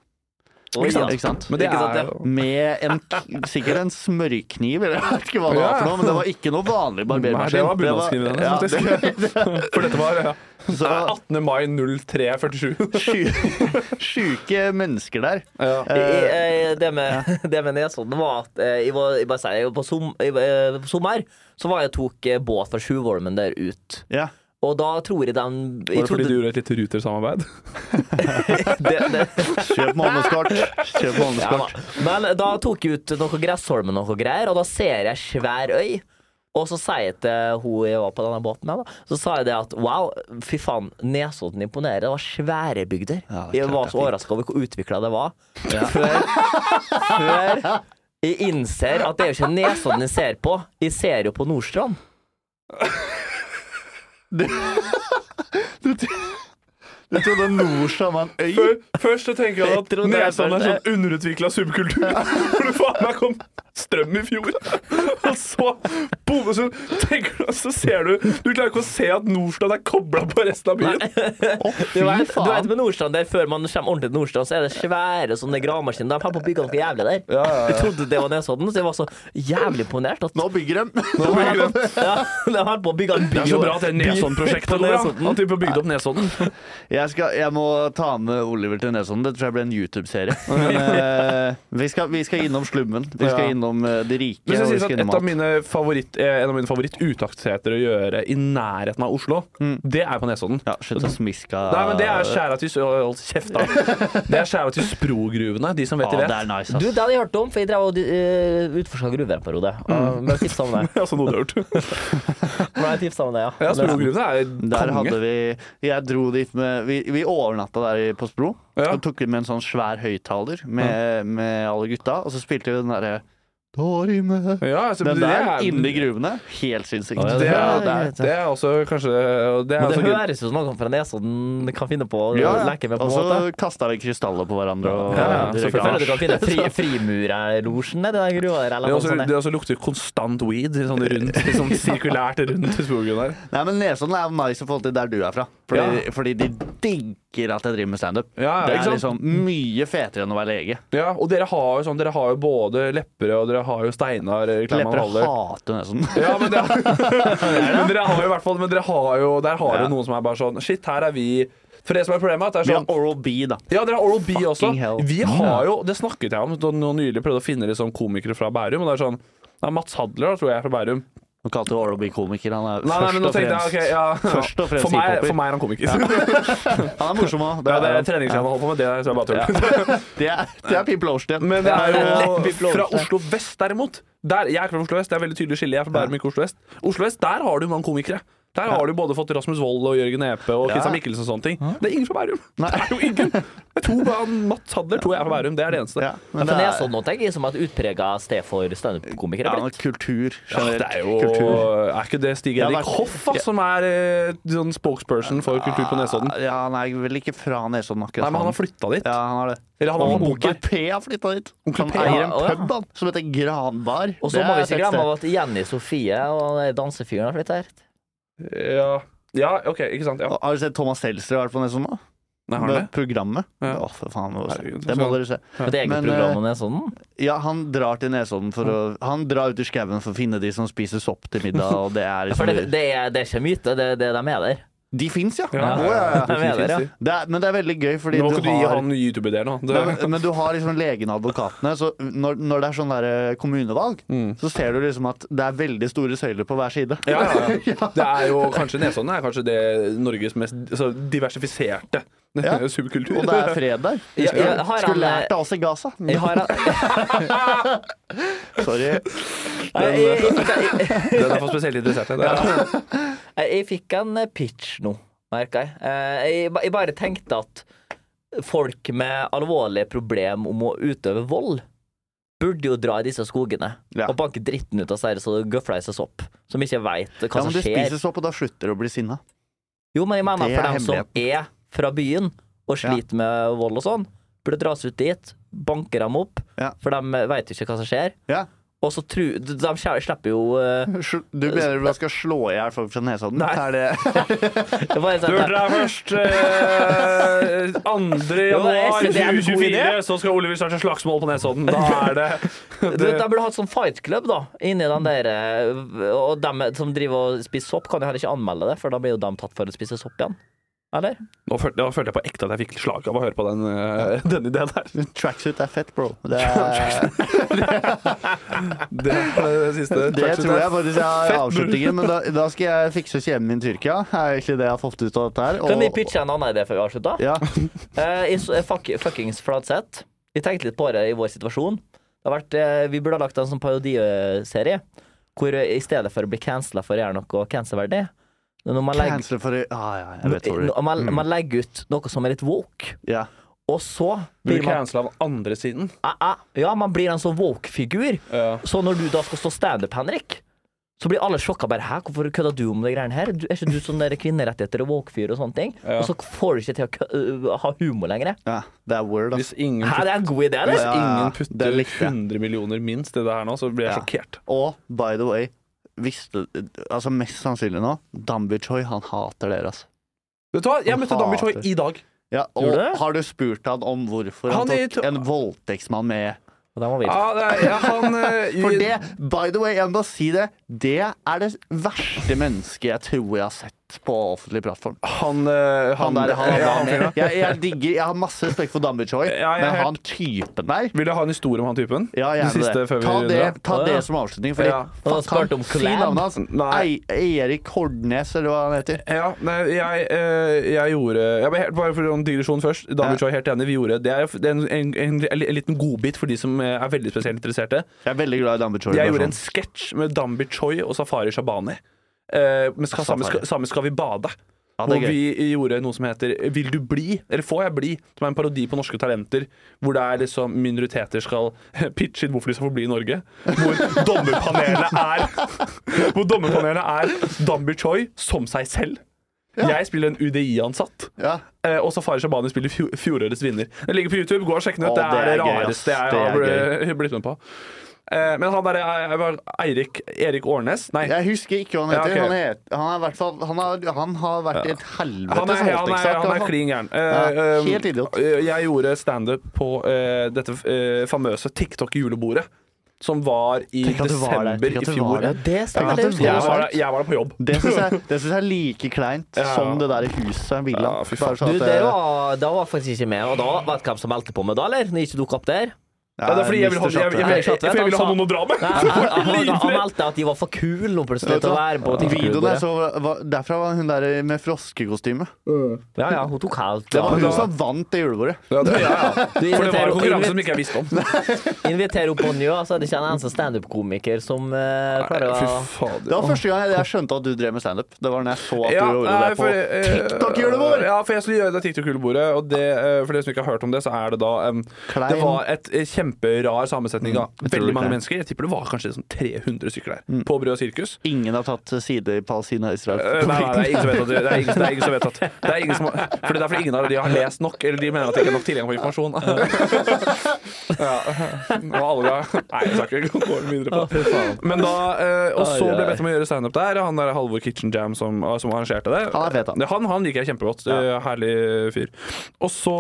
[SPEAKER 1] Oi, ja.
[SPEAKER 3] Ikke sant?
[SPEAKER 2] Men det
[SPEAKER 1] Ikke sant,
[SPEAKER 2] er
[SPEAKER 1] ja.
[SPEAKER 2] jo
[SPEAKER 3] Med en, k- sikkert en smørkniv, eller jeg vet ikke hva det var for noe, men det var ikke noe vanlig
[SPEAKER 2] Nei,
[SPEAKER 3] barbermaskin.
[SPEAKER 2] det var bunnadskniven hennes,
[SPEAKER 3] hennes,
[SPEAKER 2] (laughs) For dette var ja.
[SPEAKER 3] (laughs) Så
[SPEAKER 2] 18. mai (laughs) 03.47.
[SPEAKER 3] sju- sjuke mennesker der. Eh,
[SPEAKER 2] Ja.
[SPEAKER 1] Jeg-
[SPEAKER 2] Eh,
[SPEAKER 1] jeg- eh, Det med, (laughs) det med Nesodden var at eh, jeg, var, jeg bare sier, jeg var på, som, jeg, var- eh, på sommer så var jeg tok eh, båt fra Sjuvholmen der ut.
[SPEAKER 3] Ja.
[SPEAKER 1] Og da tror jeg den
[SPEAKER 2] Var
[SPEAKER 1] jeg
[SPEAKER 2] det fordi
[SPEAKER 1] trodde-
[SPEAKER 2] du gjorde et lite Ruter-samarbeid?
[SPEAKER 1] (laughs) det, det,
[SPEAKER 3] Kjøp månedskort. Kjøp
[SPEAKER 1] ja,
[SPEAKER 3] månedskort.
[SPEAKER 1] da. Men da tok jeg ut noe gressholm og noe greier, og da ser jeg svær øy. Og så sier jeg til hun jeg var på denne båten med, da, så sa jeg det at wow, fy faen, Nesodden imponerer. Det var svære bygder.
[SPEAKER 3] klart
[SPEAKER 1] jeg var
[SPEAKER 3] det er
[SPEAKER 1] så
[SPEAKER 3] fint.
[SPEAKER 1] overraska over hvor utvikla det var. Før, (laughs) før jeg innser at det er jo ikke Nesodden jeg ser på, jeg ser jo på Nordstrand.
[SPEAKER 3] Du trodde Norsa var en øy?
[SPEAKER 2] Før- Først så tenker jeg at
[SPEAKER 1] Jeg trodde det
[SPEAKER 2] Nesodden er
[SPEAKER 1] først,
[SPEAKER 2] sånn underutvikla subkultur. (laughs) Hvor det faen meg kom strøm i fjor. (laughs) Og så Bodøsund tenker du, og så ser du Du klarer ikke å se at Nordstrand er kobla på resten av byen.
[SPEAKER 3] Å,
[SPEAKER 1] Du vet,
[SPEAKER 3] fy
[SPEAKER 1] du vet
[SPEAKER 3] faen.
[SPEAKER 1] med Nordstrand der Før man kommer ordentlig til Nordstrand, så er det svære sånne gravemaskiner. De har på bygga noe jævlig der. Jeg trodde det var Nesodden, så jeg var så jævlig imponert. At
[SPEAKER 3] Nå bygger de.
[SPEAKER 1] de holder på- ja, de holder på å bygge en by
[SPEAKER 2] Det er så bra at det er
[SPEAKER 1] på
[SPEAKER 2] Nesodden-prosjektet nå, (laughs) ja.
[SPEAKER 1] Nesodden.
[SPEAKER 2] At de får bygd opp Nesodden.
[SPEAKER 3] Jeg, skal, jeg må ta med Oliver til Nesodden. Det tror jeg blir en YouTube-serie. Men, eh, vi, skal- vi skal innom slummen. Vi skal
[SPEAKER 2] Ja.
[SPEAKER 3] innom eh, de rike.
[SPEAKER 2] Men
[SPEAKER 3] og
[SPEAKER 2] jeg
[SPEAKER 3] vi
[SPEAKER 2] synes
[SPEAKER 3] skal
[SPEAKER 2] at
[SPEAKER 3] innom
[SPEAKER 2] et av
[SPEAKER 3] alt.
[SPEAKER 2] mine favoritt, eh, En av mine favorittutaktigheter å gjøre i nærheten av Oslo, det er på Nesodden.
[SPEAKER 3] Ja, slutt å smiske.
[SPEAKER 2] Nei, men det er skjæra til Hold kjeft, da. Det er skjæra til Sprogruvene, de som vet, de
[SPEAKER 3] Ja, det
[SPEAKER 2] vet.
[SPEAKER 3] er nice,
[SPEAKER 1] Du,
[SPEAKER 3] ass.
[SPEAKER 1] det hadde jeg hørt om, for jeg drev og uh, utforska gruver en periode.
[SPEAKER 2] Mm.
[SPEAKER 1] Uh, ble tipsa om det.
[SPEAKER 2] (laughs) Det er altså noe du har gjort.
[SPEAKER 1] Ble jeg tipset om det, ja.
[SPEAKER 2] Ja, Sprogruvene er
[SPEAKER 3] Der hadde
[SPEAKER 2] konge.
[SPEAKER 3] vi Jeg dro dit med Vi, vi overnatta der i- på Spro.
[SPEAKER 2] Ja.
[SPEAKER 3] Og tok med en sånn svær høyttaler med, med alle gutta. Og så spilte vi den derre Dorime.
[SPEAKER 2] Ja, altså,
[SPEAKER 3] Den
[SPEAKER 2] det
[SPEAKER 3] der
[SPEAKER 2] er-
[SPEAKER 3] inni gruvene. Helt sinnssykt.
[SPEAKER 1] Ja,
[SPEAKER 2] Det
[SPEAKER 1] Ja,
[SPEAKER 2] er,
[SPEAKER 1] det er-
[SPEAKER 2] det er også kanskje Det er
[SPEAKER 1] Men
[SPEAKER 2] også
[SPEAKER 1] det
[SPEAKER 2] grunn-
[SPEAKER 1] høres jo som noe fra Nesodden kan finne på å leke med, på
[SPEAKER 3] og
[SPEAKER 1] en måte.
[SPEAKER 3] så kasta vi krystaller på hverandre. Og,
[SPEAKER 2] Altså, Ja, ja,
[SPEAKER 3] de røyka
[SPEAKER 2] selvfølgelig.
[SPEAKER 1] Føler du kan finne fri,
[SPEAKER 2] (laughs)
[SPEAKER 1] frimurerlosjen nedi den grua der,
[SPEAKER 2] det,
[SPEAKER 1] eller
[SPEAKER 2] er
[SPEAKER 1] noe
[SPEAKER 2] også,
[SPEAKER 1] sånt?
[SPEAKER 2] det også lukter konstant weed sånn rundt, sånn sirkulært rundt i skogen der.
[SPEAKER 3] Nei, men Nesodden er jo nice i forhold til der du er fra. Fordi, fordi de digger at jeg driver med standup.
[SPEAKER 2] Ja,
[SPEAKER 3] det
[SPEAKER 2] ikke
[SPEAKER 3] er
[SPEAKER 2] sant?
[SPEAKER 3] liksom mye fetere enn å være lege.
[SPEAKER 2] Ja, og dere har jo sånn Dere har jo både Lepperød og dere har jo Steinar eh, Kleiman
[SPEAKER 3] Lepper
[SPEAKER 2] Haller.
[SPEAKER 3] hater Nesodden.
[SPEAKER 2] (laughs) Ja, men, det, (laughs) men dere har jo i hvert fall Men dere har jo, der har
[SPEAKER 3] Ja.
[SPEAKER 2] jo noen som er bare sånn Shit, her er vi For det som er problemet, er at
[SPEAKER 3] Vi
[SPEAKER 2] det er
[SPEAKER 3] har
[SPEAKER 2] sånn
[SPEAKER 3] Oral B, da.
[SPEAKER 2] ja, dere har Oral B også.
[SPEAKER 3] hell.
[SPEAKER 2] Vi har jo, Det snakket jeg om da nå nylig prøvde å finne liksom komikere fra Bærum. Og det er sånn ja, Mats Hadler da, tror jeg er fra Bærum.
[SPEAKER 3] Nå kalte du Oral B komiker. Han er
[SPEAKER 2] Nei, nei, men
[SPEAKER 3] først
[SPEAKER 2] nå
[SPEAKER 3] og
[SPEAKER 2] tenkte
[SPEAKER 3] fremst
[SPEAKER 2] jeg, ok, ja. (laughs)
[SPEAKER 3] Først og fremst
[SPEAKER 2] for, meg,
[SPEAKER 3] hiphoper.
[SPEAKER 2] for meg er han komiker. (laughs)
[SPEAKER 3] Han er morsom òg.
[SPEAKER 2] Det er, det er treningsgreiene holder på med, det er så jeg bare tull.
[SPEAKER 3] Det er, det er Pippi Loverstedt.
[SPEAKER 2] (laughs) Men det er
[SPEAKER 3] Leppi
[SPEAKER 2] jo fra
[SPEAKER 3] Loverstedt.
[SPEAKER 2] Oslo vest, derimot. Der, jeg er fra Oslo vest, det er veldig tydelig skille. Jeg er fra Bærum, ikke Oslo vest. Oslo vest, der har du mange komikere. Der har du både fått Rasmus Wold og Jørgen Epe og
[SPEAKER 3] Ja.
[SPEAKER 2] Kristian Mikkelsen og sånne ting. Det er ingen fra Bærum.
[SPEAKER 3] Nei.
[SPEAKER 2] Det er jo (laughs) ingen. Det er to bare Mats Hadler, to jeg er fra Bærum. Det er det eneste.
[SPEAKER 3] Ja,
[SPEAKER 1] Ja,
[SPEAKER 3] men
[SPEAKER 1] for
[SPEAKER 3] det er,
[SPEAKER 1] Nesodden nå tenker jeg som et utprega sted for
[SPEAKER 3] ja,
[SPEAKER 1] standup-komikere.
[SPEAKER 3] men
[SPEAKER 1] blitt.
[SPEAKER 3] kultur
[SPEAKER 2] Ja,
[SPEAKER 3] generelt.
[SPEAKER 2] det er jo
[SPEAKER 3] kultur.
[SPEAKER 2] Eh, Er ikke det Stig
[SPEAKER 3] Jeg har
[SPEAKER 2] Erik
[SPEAKER 3] vært-
[SPEAKER 2] Hoff da, som er eh, sånn spokesperson for kultur på Nesodden?
[SPEAKER 3] Ja, han er vel ikke fra Nesodden, akkurat.
[SPEAKER 2] Nei, men han har flytta dit.
[SPEAKER 3] Ja, han har det.
[SPEAKER 2] Eller han har
[SPEAKER 3] Og
[SPEAKER 2] bodd
[SPEAKER 3] Onkel
[SPEAKER 2] der.
[SPEAKER 3] P har flytta dit.
[SPEAKER 2] Onkel
[SPEAKER 3] han
[SPEAKER 2] P,
[SPEAKER 3] eier
[SPEAKER 1] ja,
[SPEAKER 3] en
[SPEAKER 1] å, ja.
[SPEAKER 3] pub han, som heter Granbar.
[SPEAKER 1] Og
[SPEAKER 3] Det
[SPEAKER 1] så må
[SPEAKER 3] er
[SPEAKER 1] vi ikke
[SPEAKER 3] fett
[SPEAKER 1] glemme
[SPEAKER 3] sted.
[SPEAKER 1] at Jenny Sofie og den dansefyren har flytta hit.
[SPEAKER 2] Ja. ja, OK, ikke sant. Ja.
[SPEAKER 3] Og Har du sett Thomas Seltzer har vært på Nesodden? da?
[SPEAKER 2] Nei, har han det?
[SPEAKER 3] Med Programmet. Å,
[SPEAKER 2] Ja.
[SPEAKER 3] for faen. Det må, dere
[SPEAKER 2] Herregud,
[SPEAKER 3] se. det må
[SPEAKER 2] så-
[SPEAKER 3] dere se.
[SPEAKER 1] Et eget
[SPEAKER 3] Men,
[SPEAKER 1] program om
[SPEAKER 2] eh,
[SPEAKER 1] Nesodden.
[SPEAKER 3] Ja, han drar til Nesodden for å Han drar ut i skauen for å finne de som spiser sopp til middag, og det er
[SPEAKER 1] For
[SPEAKER 3] liksom
[SPEAKER 1] det, det, er, det er ikke myte, det, det de er der.
[SPEAKER 3] De fins, ja!
[SPEAKER 2] Ja.
[SPEAKER 3] Å, ja,
[SPEAKER 1] De
[SPEAKER 3] ja.
[SPEAKER 1] er der, ja.
[SPEAKER 3] Det er, men det er veldig gøy, fordi
[SPEAKER 2] Nå må
[SPEAKER 3] du
[SPEAKER 2] ikke du gi
[SPEAKER 3] har
[SPEAKER 2] han YouTube-ideer nå.
[SPEAKER 3] Nei, men, men du har liksom legene og advokatene. Så når, når det er sånn der eh, kommunevalg, så ser du liksom at det er veldig store søyler på hver side.
[SPEAKER 2] Ja,
[SPEAKER 3] (laughs)
[SPEAKER 2] ja, ja. Det er jo kanskje Nesodden er kanskje det Norges mest så diversifiserte
[SPEAKER 3] Ja.
[SPEAKER 2] (laughs) subkultur.
[SPEAKER 3] Og det er fred der.
[SPEAKER 1] Ja,
[SPEAKER 3] Skulle,
[SPEAKER 1] ja, har han,
[SPEAKER 3] skulle
[SPEAKER 1] eh,
[SPEAKER 3] lært av oss i Gaza.
[SPEAKER 1] Jeg har
[SPEAKER 3] (laughs) Sorry.
[SPEAKER 1] jeg, jeg,
[SPEAKER 3] eh.
[SPEAKER 1] jeg, jeg,
[SPEAKER 2] Den er for spesielt interesserte. Det er,
[SPEAKER 1] jeg fikk en eh, pitch nå, merka jeg. Eh, Jeg, ba- jeg bare tenkte at folk med alvorlige problemer om å utøve vold burde jo dra i disse skogene
[SPEAKER 3] Ja.
[SPEAKER 1] og banke dritten ut av seg så gøfla i seg sopp, som ikke veit hva
[SPEAKER 3] Ja,
[SPEAKER 1] som
[SPEAKER 3] men du
[SPEAKER 1] skjer.
[SPEAKER 3] spiser sopp, og da slutter du å bli sinna.
[SPEAKER 1] Jo, men jeg mener
[SPEAKER 3] Det
[SPEAKER 1] for
[SPEAKER 3] er
[SPEAKER 1] dem som er fra byen og sliter med vold og sånn, burde dras ut dit, banke dem opp,
[SPEAKER 3] Ja.
[SPEAKER 1] for de veit ikke hva som skjer.
[SPEAKER 3] Ja.
[SPEAKER 1] Og så tru, de de slipper jo eh,
[SPEAKER 3] Sl- Du mener du skal slå i hjel folk fra Nesodden?
[SPEAKER 1] Nei.
[SPEAKER 3] Er (laughs) det
[SPEAKER 1] det var en
[SPEAKER 2] du
[SPEAKER 1] sånn-
[SPEAKER 2] hørte det her først. Eh, 2.
[SPEAKER 1] Jo, men jeg
[SPEAKER 2] januar
[SPEAKER 1] synes det er en god
[SPEAKER 2] 2024
[SPEAKER 1] idé.
[SPEAKER 2] så skal Oliver starte slagsmål på Nesodden. Da er
[SPEAKER 3] (laughs)
[SPEAKER 2] det
[SPEAKER 1] Du, vet, de burde hatt sånn fight club, da, inni den der eh, Og dem som driver og spiser sopp, kan jo heller ikke anmelde det, for da blir jo de tatt for å spise sopp igjen. Eller?
[SPEAKER 2] Nå følte, nå følte jeg på ekte at jeg fikk slag av å høre på den, eh, den ideen (laughs) der.
[SPEAKER 3] Tracksuit er fett, bro. Det, er,
[SPEAKER 2] Det, er det siste.
[SPEAKER 3] det
[SPEAKER 2] Tracksuit
[SPEAKER 3] tror
[SPEAKER 2] der.
[SPEAKER 3] jeg faktisk jeg
[SPEAKER 2] Fett,
[SPEAKER 3] har
[SPEAKER 2] bro.
[SPEAKER 3] avslutningen, men da, da skal jeg fikse kjemen min i Tyrkia. Er egentlig det jeg har fått ut av dette her.
[SPEAKER 1] Kan vi pitche en annen idé før vi avslutter?
[SPEAKER 3] ja,
[SPEAKER 1] Eh, i s- eh, fuck, fuckings Fladseth. Vi tenkte litt på det i vår situasjon. Det har vært, eh, vi burde ha lagt en sånn parodiserie hvor eh, i stedet for å bli cancela for å gjøre noe cancelverdig Når man legger,
[SPEAKER 3] Cancel for ah, ja, jeg Mm. vet hvor du
[SPEAKER 1] når man, man legger ut noe som er litt woke,
[SPEAKER 3] ja.
[SPEAKER 1] og så
[SPEAKER 2] Blir
[SPEAKER 1] blir man,
[SPEAKER 2] cancela av andre siden.
[SPEAKER 1] ah, ah, ja, man blir en sånn woke-figur. Så når du da skal stå standup, Henrik, Så blir alle sjokka bare Hæ, hvorfor kødda du om de greiene her? Du, er ikke du sånn der kvinnerettigheter og woke-fyr og sånne ting?
[SPEAKER 2] Ja.
[SPEAKER 1] Og så får du ikke til å kø øh, ha humor lenger.
[SPEAKER 3] Ja, det er weird, ass.
[SPEAKER 2] Hvis ingen,
[SPEAKER 1] Hæ,
[SPEAKER 2] putter,
[SPEAKER 1] det er en god idé,
[SPEAKER 2] hvis
[SPEAKER 1] eller?
[SPEAKER 3] Ja, ja,
[SPEAKER 2] ingen
[SPEAKER 3] det
[SPEAKER 2] putter
[SPEAKER 3] likte jeg.
[SPEAKER 2] 100 millioner minst i det her nå, så blir jeg
[SPEAKER 3] Ja.
[SPEAKER 2] sjokkert.
[SPEAKER 3] Og by the way, visste, altså mest sannsynlig nå, Dambi Choi, han hater dere, altså.
[SPEAKER 2] Vet du hva, jeg
[SPEAKER 3] Han
[SPEAKER 2] møtte Dambi Choi
[SPEAKER 3] hater.
[SPEAKER 2] i dag.
[SPEAKER 3] Ja, og
[SPEAKER 1] Gjorde du det?
[SPEAKER 3] har du spurt han om hvorfor han,
[SPEAKER 2] Han er
[SPEAKER 3] tok
[SPEAKER 2] to-
[SPEAKER 3] en voldtektsmann med?
[SPEAKER 1] Og det må vi
[SPEAKER 2] Ja, det er, ja, han eh,
[SPEAKER 3] For det, by the way, jeg må bare si det, det er det verste mennesket jeg tror jeg har sett på offentlig plattform.
[SPEAKER 2] Han, eh,
[SPEAKER 3] Han der, han,
[SPEAKER 2] ja,
[SPEAKER 3] han,
[SPEAKER 2] fyren, ja.
[SPEAKER 3] jeg, jeg digger, jeg har masse respekt for Dambi Choi,
[SPEAKER 2] Ja, jeg er
[SPEAKER 3] men
[SPEAKER 2] helt-
[SPEAKER 3] han typen der
[SPEAKER 2] Vil du ha en historie om han typen?
[SPEAKER 3] Ja,
[SPEAKER 2] det
[SPEAKER 3] gjerne
[SPEAKER 2] siste
[SPEAKER 3] det.
[SPEAKER 2] før vi
[SPEAKER 3] Ta
[SPEAKER 2] runder
[SPEAKER 3] det,
[SPEAKER 2] av?
[SPEAKER 3] ta
[SPEAKER 1] Å, ja.
[SPEAKER 3] det som avslutning. Fordi,
[SPEAKER 2] Ja.
[SPEAKER 1] Og da
[SPEAKER 3] fuck
[SPEAKER 1] spurte
[SPEAKER 3] han.
[SPEAKER 1] om
[SPEAKER 3] Si
[SPEAKER 1] collab.
[SPEAKER 3] navnet hans.
[SPEAKER 2] Nei.
[SPEAKER 3] Ei, Erik Hordnes, eller hva han heter.
[SPEAKER 2] Ja, nei, jeg, eh, jeg gjorde jeg ble helt, Bare for en digresjon først. Dambi
[SPEAKER 3] Ja.
[SPEAKER 2] Choi, helt enig. Vi gjorde Det er, det er en, en, en, en liten godbit for de som eh, er veldig spesielt interesserte.
[SPEAKER 3] Jeg er veldig glad i Dambi Choi.
[SPEAKER 2] Jeg gjorde en
[SPEAKER 3] versjonen.
[SPEAKER 2] sketsj med Dambi Choi og Safari Shabani. Eh, men skal, sammen, skal, sammen skal vi bade.
[SPEAKER 3] Ja, det
[SPEAKER 2] og
[SPEAKER 3] er gøy.
[SPEAKER 2] vi gjorde noe som heter Vil du bli? Eller Får jeg bli? Som er en parodi på norske talenter. Hvor det er liksom minoriteter skal (laughs) pitche inn hvorfor de skal få bli i Norge. Hvor dommerpanelet er Hvor dommerpanelet er Dambi Choi som seg selv. Jeg spiller en UDI-ansatt.
[SPEAKER 3] Ja.
[SPEAKER 2] Eh, og Safari Shabani spiller fjo- fjorårets vinner. Den ligger på YouTube. Gå og sjekk den ut.
[SPEAKER 3] Å,
[SPEAKER 2] det
[SPEAKER 3] det
[SPEAKER 2] er det
[SPEAKER 3] er gøy, ass.
[SPEAKER 2] rareste jeg
[SPEAKER 3] Det
[SPEAKER 2] har
[SPEAKER 3] er
[SPEAKER 2] bl- blitt med på. Eh, men han der er, er, var Eirik Erik Årnes. Nei.
[SPEAKER 3] Jeg husker ikke hva han heter.
[SPEAKER 2] Ja, ok.
[SPEAKER 3] han, het, han, er i hvert fall, han, har, han har vært i et helvetes
[SPEAKER 2] Han er, han er,
[SPEAKER 3] voldtektssak,
[SPEAKER 2] han er
[SPEAKER 3] altså.
[SPEAKER 2] klin gæren. Eh,
[SPEAKER 3] Ja,
[SPEAKER 2] eh,
[SPEAKER 3] helt idiot.
[SPEAKER 2] eh, Jeg gjorde standup på eh, dette eh, famøse TikTok-julebordet, som var i
[SPEAKER 3] Tenk at du var der,
[SPEAKER 2] desember
[SPEAKER 3] tenk
[SPEAKER 2] i
[SPEAKER 3] at du
[SPEAKER 2] fjor.
[SPEAKER 3] var der.
[SPEAKER 1] Ja, det
[SPEAKER 3] Ja,
[SPEAKER 1] stemmer.
[SPEAKER 3] det
[SPEAKER 1] det
[SPEAKER 2] Jeg
[SPEAKER 3] var-
[SPEAKER 1] husker jeg.
[SPEAKER 2] var, der, jeg var der på jobb.
[SPEAKER 3] Det syns jeg, det synes jeg er like kleint
[SPEAKER 2] Ja.
[SPEAKER 3] som det der huset, villaen.
[SPEAKER 2] Ja, fy faen.
[SPEAKER 3] Bare sånn
[SPEAKER 1] Du,
[SPEAKER 3] at
[SPEAKER 1] det var, da var jeg faktisk ikke med, og da vet du hvem som meldte på meg da, eller? Når ikke dukket opp
[SPEAKER 3] (laughs)
[SPEAKER 1] der?
[SPEAKER 3] Ja,
[SPEAKER 2] Ja, det er fordi jeg vil ha,
[SPEAKER 3] Mr.
[SPEAKER 2] jeg, jeg, jeg,
[SPEAKER 3] Shotter.
[SPEAKER 2] jeg, jeg, jeg ville ha noen å dra med!
[SPEAKER 1] Nei,
[SPEAKER 2] Så var
[SPEAKER 1] han,
[SPEAKER 2] jeg
[SPEAKER 1] han, han
[SPEAKER 2] livredd.
[SPEAKER 1] meldte at de var for kule nå plutselig
[SPEAKER 3] Vet du
[SPEAKER 1] til å
[SPEAKER 3] hva?
[SPEAKER 1] være på
[SPEAKER 3] Videoen der,
[SPEAKER 1] TikTok-bordet.
[SPEAKER 3] så var, derfra var hun der med froskekostyme.
[SPEAKER 1] Ja, ja, hun tok helt
[SPEAKER 3] Det var
[SPEAKER 1] av.
[SPEAKER 3] hun som vant det julebordet.
[SPEAKER 2] Ja, det- ja, ja.
[SPEAKER 1] Du
[SPEAKER 2] For det var
[SPEAKER 1] inviterer-
[SPEAKER 2] en konkurranse som ikke jeg visste om.
[SPEAKER 1] Inviterer opp Bonjo, så er det ikke en eneste standup-komiker som eh, klarer
[SPEAKER 2] Fy
[SPEAKER 1] å
[SPEAKER 2] fader.
[SPEAKER 3] Det var første gang jeg skjønte at du drev med standup. Det var når jeg så at
[SPEAKER 2] Ja,
[SPEAKER 3] du gjorde
[SPEAKER 2] nei,
[SPEAKER 3] det på
[SPEAKER 2] for, eh,
[SPEAKER 3] TikTok-julebord!
[SPEAKER 2] Ja, for jeg skulle gjøre det TikTok-julebordet. Og det, eh, for dere som ikke har hørt om det, så er det da em,
[SPEAKER 3] Klein. Mm.
[SPEAKER 2] Det var et eh, kjemperar sammensetning av veldig
[SPEAKER 3] jeg tror det Mm.
[SPEAKER 2] mange
[SPEAKER 3] klein.
[SPEAKER 2] mennesker. Jeg tipper det var kanskje sånn 300 stykker der. På Brød og sirkus.
[SPEAKER 3] Ingen har tatt side i Palestina og Israel.
[SPEAKER 2] Eh, Nei, nei, det er ingen som vet at det det er ingen, det er ingen som vet at det er ingen som, For det er fordi ingen av de har lest nok, eller de mener at det ikke er nok tilgang på
[SPEAKER 3] (laughs)
[SPEAKER 2] informasjon. Ja. Og alle ga Nei, jeg snakker ikke går videre på det. Men da, eh, og så ble jeg bedt om å gjøre standup der. Han der Halvor Kitchen Jam som, ah, som arrangerte det.
[SPEAKER 3] Han er fet, han.
[SPEAKER 2] Ja, han, han liker jeg kjempegodt. Eh, herlig fyr. Og så,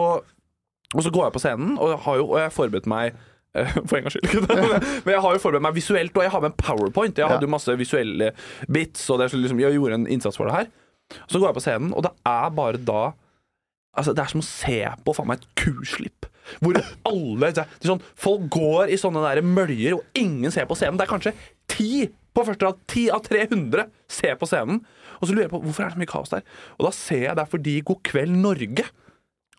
[SPEAKER 2] og så går jeg på scenen, og jeg har jo og jeg har forberedt meg eh, (laughs) for en gangs skyld.
[SPEAKER 3] (laughs)
[SPEAKER 2] Men jeg har jo forberedt meg visuelt, og jeg har med en powerpoint. Jeg hadde jo masse visuelle bits, og det er så liksom, jeg gjorde en innsats for det her. Så går jeg på scenen, og det er bare da Altså, det er som å se på faen meg et kuslipp. Hvor alle det er sånn, Folk går i sånne der møljer, og ingen ser på scenen. Det er kanskje ti på første rad. Ti av 300 ser på scenen. Og så lurer jeg på hvorfor er det så mye kaos der. Og da ser jeg det er fordi God kveld Norge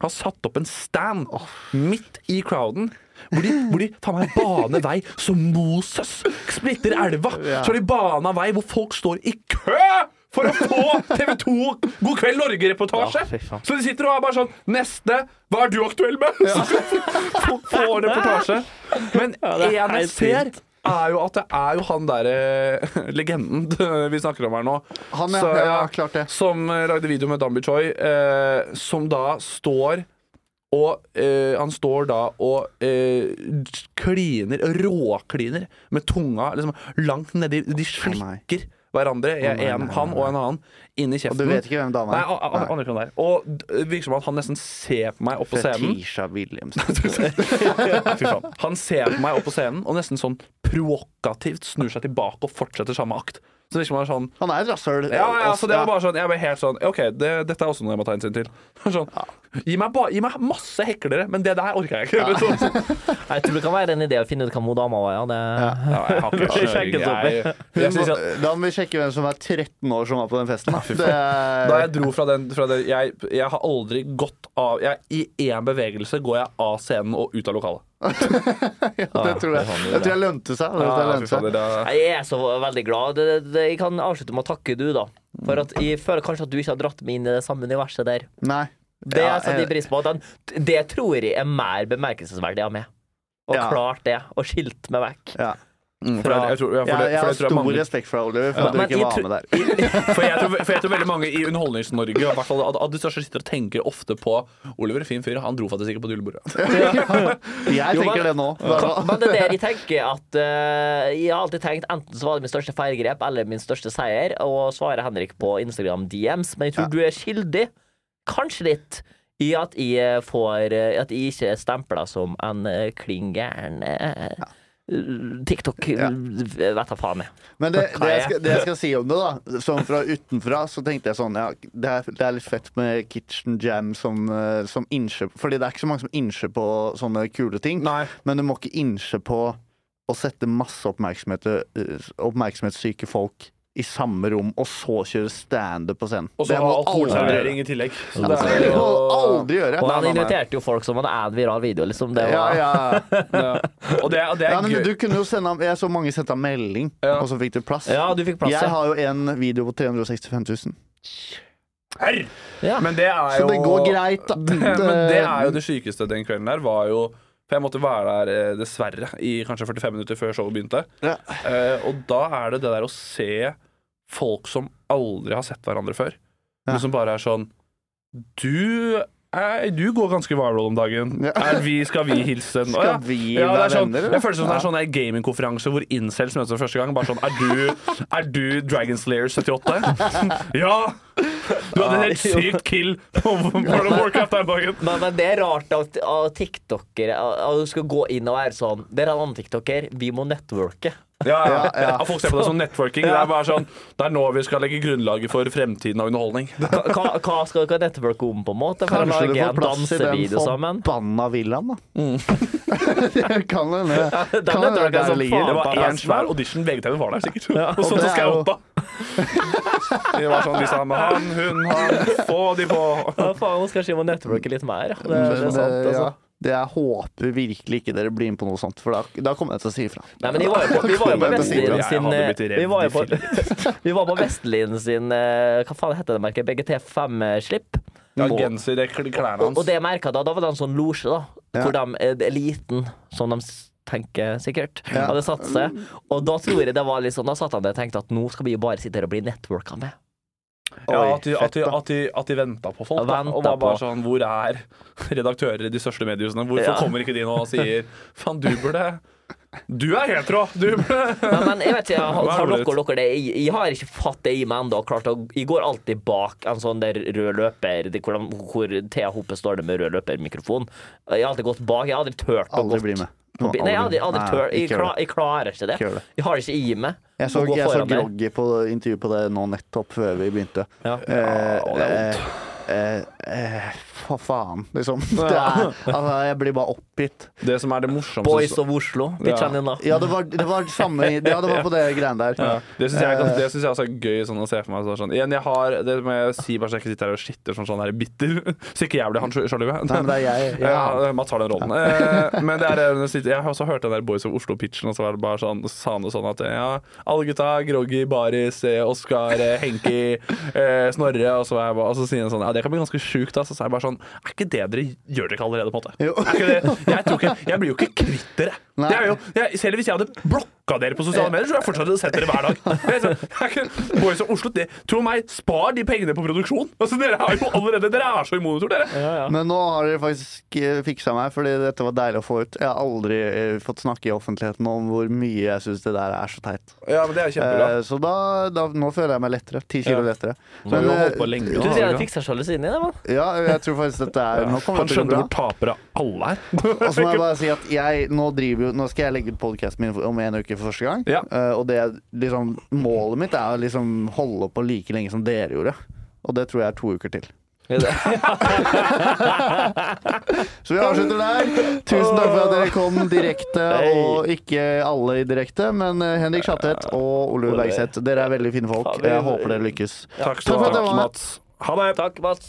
[SPEAKER 2] har satt opp en stand midt i crowden. Hvor de, hvor de faen meg baner vei som Moses splitter elva. Så har de bana vei hvor folk står i kø for å få TV2 God kveld Norge-reportasje. så de sitter og er bare sånn Neste! Hva er du aktuell med? (laughs) Få- Få reportasje. Men en jeg ser, er jo at det er jo han derre legenden vi snakker om her nå.
[SPEAKER 3] Han, ja,
[SPEAKER 2] Så,
[SPEAKER 3] ja, klart det.
[SPEAKER 2] som eh, lagde video med Dambi Choi, eh, som da står og eh, han står da og eh, kliner, råkliner, med tunga liksom, langt nedi De
[SPEAKER 3] nei.
[SPEAKER 2] slikker hverandre, en, han og en annen, inn i
[SPEAKER 3] Og
[SPEAKER 2] kjeften.
[SPEAKER 3] du vet ikke hvem dama
[SPEAKER 2] Nei,
[SPEAKER 3] er?
[SPEAKER 2] an- an- aner ikke hvem det er. Og d- virker som at han nesten ser på meg opp på scenen.
[SPEAKER 3] Fetisha Williamsen.
[SPEAKER 2] (laughs) Fy faen. Han ser på meg opp på scenen og nesten sånn provokativt snur seg tilbake og fortsetter samme akt. Så det virker som han er sånn
[SPEAKER 3] Han er et rasshøl.
[SPEAKER 2] ja, ja,
[SPEAKER 3] Ass,
[SPEAKER 2] så det
[SPEAKER 3] ja.
[SPEAKER 2] var bare sånn Jeg ble helt sånn OK, det, dette er også noe jeg må ta hensyn til. (laughs) Sånn, gi, meg ba, gi meg masse heklere, men det der orker jeg ikke. (laughs) Sånn.
[SPEAKER 1] Jeg tror det kan være en idé å finne ut hvem hun dama var, ja. Det...
[SPEAKER 2] Ja, jeg (laughs) har ikke
[SPEAKER 1] Sjekk det opp.
[SPEAKER 2] jeg,
[SPEAKER 3] Hun
[SPEAKER 1] Jeg
[SPEAKER 3] må,
[SPEAKER 1] synes at-
[SPEAKER 3] da må vi sjekke hvem som er 13 år som var på den festen. Da.
[SPEAKER 2] (laughs)
[SPEAKER 3] Det
[SPEAKER 2] Da
[SPEAKER 3] (laughs)
[SPEAKER 2] jeg
[SPEAKER 3] er,
[SPEAKER 2] dro fra den fra det, jeg, jeg har aldri gått av jeg, I én bevegelse går jeg av scenen og ut av lokalet.
[SPEAKER 3] det tror jeg. Jeg tror jeg lønte seg. Jeg
[SPEAKER 2] sånn fy
[SPEAKER 3] tror jeg lønte
[SPEAKER 2] fader,
[SPEAKER 3] seg.
[SPEAKER 2] det er-
[SPEAKER 1] Jeg er så veldig glad. Det, det, jeg kan avslutte med å takke du, da. For at jeg føler kanskje at du ikke har dratt meg inn i det samme universet der.
[SPEAKER 3] Nei.
[SPEAKER 1] Det altså
[SPEAKER 3] Ja,
[SPEAKER 1] jeg setter
[SPEAKER 3] jeg-
[SPEAKER 1] pris på. At den, det tror jeg er mer bemerkelsesverdig av meg. Og
[SPEAKER 3] Ja.
[SPEAKER 1] klart det. Og skilt meg vekk.
[SPEAKER 3] Ja.
[SPEAKER 2] For jeg,
[SPEAKER 3] Fra-
[SPEAKER 2] jeg tror, ja, for
[SPEAKER 3] Jeg,
[SPEAKER 2] det,
[SPEAKER 3] jeg
[SPEAKER 2] for
[SPEAKER 3] har
[SPEAKER 2] det tror jeg
[SPEAKER 3] stor
[SPEAKER 2] mange,
[SPEAKER 3] respekt for deg, Oliver, for at du
[SPEAKER 1] men
[SPEAKER 3] ikke
[SPEAKER 1] jeg
[SPEAKER 3] var
[SPEAKER 1] tror-
[SPEAKER 3] med der.
[SPEAKER 2] for, jeg tror, for jeg tror veldig mange i Underholdnings-Norge og i hvert fall av av de største sitter og tenker ofte på Oliver, fin fyr, han dro faktisk ikke på julebordet.
[SPEAKER 3] Jeg
[SPEAKER 1] Jo, men-
[SPEAKER 3] tenker det nå. i hvert fall.
[SPEAKER 1] Men det er der jeg tenker at eh, Jeg har alltid tenkt enten så var det min største feilgrep eller min største seier, og svarer Henrik på Instagram DMs, men jeg tror du er skyldig, kanskje litt, i at jeg får eh, At jeg ikke er stempla som en eh, klin gæren eh, TikTok eh,
[SPEAKER 3] Ja.
[SPEAKER 1] Vet da faen jeg.
[SPEAKER 3] Men det, det, jeg skal, det jeg skal si om det, da Sånn fra utenfra, så tenkte jeg sånn ja, det, er, det er litt fett med Kitchen Jam som, eh, som innsjø Fordi det er ikke så mange som innsjø på sånne kule ting.
[SPEAKER 2] Nei.
[SPEAKER 3] Men du må ikke innsjø på å sette masse oppmerksomhet, eh, oppmerksomhetssyke folk i samme rom, og så kjøre standup på scenen.
[SPEAKER 2] Og så
[SPEAKER 3] det må aldri,
[SPEAKER 2] alkoholservering i tillegg. Så
[SPEAKER 3] det
[SPEAKER 2] er jo-
[SPEAKER 3] må aldri gjøre.
[SPEAKER 1] Og han
[SPEAKER 2] nei, nei.
[SPEAKER 1] inviterte jo folk som hadde en viral video, liksom. Det var,
[SPEAKER 3] Ja, ja.
[SPEAKER 2] Ja. Og det, og det er
[SPEAKER 3] ja, men
[SPEAKER 2] gøy.
[SPEAKER 3] du kunne jo sende ham Jeg så mange sendte ham melding,
[SPEAKER 2] Ja.
[SPEAKER 3] og så fikk du plass.
[SPEAKER 1] Ja, du fikk plass,
[SPEAKER 3] jeg
[SPEAKER 1] ja.
[SPEAKER 3] har jo en video på 365 000.
[SPEAKER 2] Herr!
[SPEAKER 1] Ja.
[SPEAKER 2] Men det er jo
[SPEAKER 3] Så det går greit, (laughs) da.
[SPEAKER 2] Det, (laughs) men det er
[SPEAKER 1] Eh,
[SPEAKER 2] jo det sykeste den kvelden der. Var jo For jeg måtte være der, eh, dessverre, i kanskje 45 minutter før showet begynte.
[SPEAKER 3] Ja.
[SPEAKER 2] Eh, og da er det det der å se folk som aldri har sett hverandre før, men som bare er sånn Du er, du går ganske viral om dagen.
[SPEAKER 3] Ja.
[SPEAKER 2] Er vi, skal vi hilse? Å,
[SPEAKER 3] (laughs) Skal vi
[SPEAKER 2] ja, det er
[SPEAKER 3] være
[SPEAKER 2] sånn,
[SPEAKER 3] venner, eller?
[SPEAKER 2] Jeg føler det som det er sånn der gamingkonferanse hvor incels møtes for første gang. Bare sånn, Er du, er du Dragon Slayer 78? (laughs) ja! Du hadde helt sykt kill på World of Warcraft den dagen.
[SPEAKER 1] Men, men det er rart at, at tiktokere at- at du skal gå inn og være sånn Dere er en annen tiktoker, vi må networke.
[SPEAKER 2] Ja, ja.
[SPEAKER 3] Ja, ja.
[SPEAKER 2] Ja, Folk ser på det som networking. Det er bare sånn, det er nå vi skal legge grunnlaget for fremtiden av underholdning.
[SPEAKER 1] Hva, hva- hva skal dere networke om, på en måte? For å
[SPEAKER 3] Kanskje du
[SPEAKER 1] lage
[SPEAKER 3] får
[SPEAKER 1] en
[SPEAKER 3] plass i den
[SPEAKER 1] dansevideo sammen?
[SPEAKER 3] forbanna villaen, da. Mm. (laughs) det kan hende.
[SPEAKER 1] den
[SPEAKER 3] Kan hende
[SPEAKER 1] networken
[SPEAKER 3] der
[SPEAKER 1] som
[SPEAKER 3] det ligger.
[SPEAKER 1] faen.
[SPEAKER 2] Det var
[SPEAKER 1] Ja,
[SPEAKER 2] én svær audition. VGTV var der sikkert. Og
[SPEAKER 3] Og
[SPEAKER 2] sånn så
[SPEAKER 3] det er jo-
[SPEAKER 2] (laughs) scouta. Vi var sånn, vi sa med han, hun, han, få de på.
[SPEAKER 1] Ja, faen, nå skal jeg må networke litt mer. ja. Det,
[SPEAKER 3] Men,
[SPEAKER 1] det er sant,
[SPEAKER 3] eh, ja.
[SPEAKER 1] altså.
[SPEAKER 3] Det jeg håper virkelig ikke dere blir med på noe sånt, for da, da kommer jeg til å si ifra.
[SPEAKER 1] Nei, men vi var jo på, vi var jo på
[SPEAKER 3] (laughs) Jeg hadde
[SPEAKER 1] Vestlien
[SPEAKER 2] blitt
[SPEAKER 1] sin eh,
[SPEAKER 2] redd
[SPEAKER 1] Vi var jo på,
[SPEAKER 2] i
[SPEAKER 1] (laughs) vi var på Vestlien sin eh, Hva faen heter det merket? BGT5-slipp?
[SPEAKER 2] Ja, genser, det er klærne hans.
[SPEAKER 1] Og det jeg merket da, da var det en sånn losje, da. Hvor de, eh, eliten, som de s- tenker sikkert, hadde satt seg. Og da tror jeg det var litt sånn, da satt han der og tenkte at nå skal vi jo bare sitte her og bli networka med.
[SPEAKER 2] Ja,
[SPEAKER 3] Oi,
[SPEAKER 2] at de,
[SPEAKER 3] fett,
[SPEAKER 2] at de, at de, at de venta på folk. Da,
[SPEAKER 1] Ventet
[SPEAKER 2] og var bare
[SPEAKER 1] på.
[SPEAKER 2] sånn Hvor er (laughs) redaktører i de største mediehusene? Hvorfor
[SPEAKER 1] Ja.
[SPEAKER 2] kommer ikke de nå og sier Faen, du burde Du er hetero! Du burde
[SPEAKER 1] Men, men jeg vet ikke, har,
[SPEAKER 2] Hva er
[SPEAKER 1] har
[SPEAKER 2] det
[SPEAKER 1] dere, dere det? Jeg, jeg har ikke fatt det i meg ennå. Klart å- Jeg går alltid bak en sånn der rød løper, det- hvor, de- hvor Thea Hope står der med rød løpermikrofon. Jeg har alltid gått bak. Jeg har aldri turt å
[SPEAKER 3] Aldri
[SPEAKER 1] gå
[SPEAKER 3] bli med.
[SPEAKER 1] på bi- Nei, jeg, har aldri, aldri
[SPEAKER 3] Nei,
[SPEAKER 1] tør, jeg,
[SPEAKER 3] ikke gjør
[SPEAKER 1] klar, jeg klarer ikke det.
[SPEAKER 3] Ikke gjør det.
[SPEAKER 1] Jeg har det ikke i meg.
[SPEAKER 3] Jeg
[SPEAKER 1] å
[SPEAKER 3] så,
[SPEAKER 1] gå
[SPEAKER 3] jeg så
[SPEAKER 1] foran der.
[SPEAKER 3] Groggy på intervju på det nå nettopp, før vi begynte.
[SPEAKER 1] Ja.
[SPEAKER 3] Eh, eh, eh, Hva faen, liksom. (laughs) Det er, altså, jeg blir bare oppgitt.
[SPEAKER 2] Det som er det morsomste
[SPEAKER 1] Boys of Oslo. Vi
[SPEAKER 2] Ja.
[SPEAKER 1] kjenner inn da.
[SPEAKER 3] Ja, det var, det var samme Ja, det var på det greiene der.
[SPEAKER 2] Ja. Det syns jeg, er gans- det synes jeg også er gøy sånn, å se for meg. Sånn, sånn. Igjen, jeg har, det må jeg si, bare så jeg ikke sitter her og skitter som sånn her bitter. (laughs) Så ikke jeg blir han sjalu.
[SPEAKER 3] Nei, men det er jeg.
[SPEAKER 2] Ja,
[SPEAKER 3] Ja.
[SPEAKER 2] Mats har den rollen. Eh, Men det er, eh, når jeg sitter- jeg har også hørt den der Boys of Oslo-pitchen, og så var det bare sånn, sa han det sånn at eh, ja, alle gutta, Groggy, Baris, eh, Oskar, eh, Henki, eh, Snorre, og så, er jeg bare, og så sier han sånn Ja, det kan bli ganske sjukt, da. Så er jeg bare sånn Er ikke det dere gjør dere ikke allerede, på en måte?
[SPEAKER 3] Jo.
[SPEAKER 2] Er ikke det, jeg, tror ikke, jeg blir jo ikke kvitt dere.
[SPEAKER 3] Nei.
[SPEAKER 2] Det er jo, jeg, selv hvis jeg hadde blokka dere på sosiale medier, så hadde jeg fortsatt hadde sett dere hver dag. Det er sånn, det er ikke, Boys of Oslo, det, tro meg, spar de pengene på produksjon. Altså, dere er jo allerede Dere er så i monitor, dere.
[SPEAKER 3] Men nå har dere faktisk eh, fiksa meg, fordi dette var deilig å få ut. Jeg har aldri eh, fått snakke i offentligheten om hvor mye jeg syns det der er så teit.
[SPEAKER 2] Ja, men det er
[SPEAKER 3] Eh, så da, da, nå føler jeg meg lettere. Ti kilo lettere. Men, eh,
[SPEAKER 2] lenge.
[SPEAKER 1] Du sier jeg fikser sjalusien din, men
[SPEAKER 3] ja, jeg tror faktisk dette er Nå kommer
[SPEAKER 2] Han
[SPEAKER 3] det til å gå
[SPEAKER 2] skjønner
[SPEAKER 3] bra.
[SPEAKER 2] hvor tapere alle er.
[SPEAKER 3] (laughs)
[SPEAKER 2] (laughs)
[SPEAKER 3] Og så må jeg bare si at jeg, nå, driver, jo- nå skal jeg legge ut podkasten min om en uke for første gang.
[SPEAKER 2] Ja.
[SPEAKER 3] Eh, og det, er liksom, målet mitt er å liksom holde på like lenge som dere gjorde. Og det tror jeg er to uker til. (laughs) Så vi avslutter der. Tusen takk for at dere kom direkte, og ikke alle i direkte, men eh, Henrik Schattet og Olaug Bergseth. Dere er veldig fine folk. Jeg håper dere lykkes.
[SPEAKER 2] Takk
[SPEAKER 3] Takk
[SPEAKER 2] skal
[SPEAKER 3] for at
[SPEAKER 2] du
[SPEAKER 3] du
[SPEAKER 2] ha,
[SPEAKER 3] var med.
[SPEAKER 2] Mats. Ha det.
[SPEAKER 1] Takk, Mats.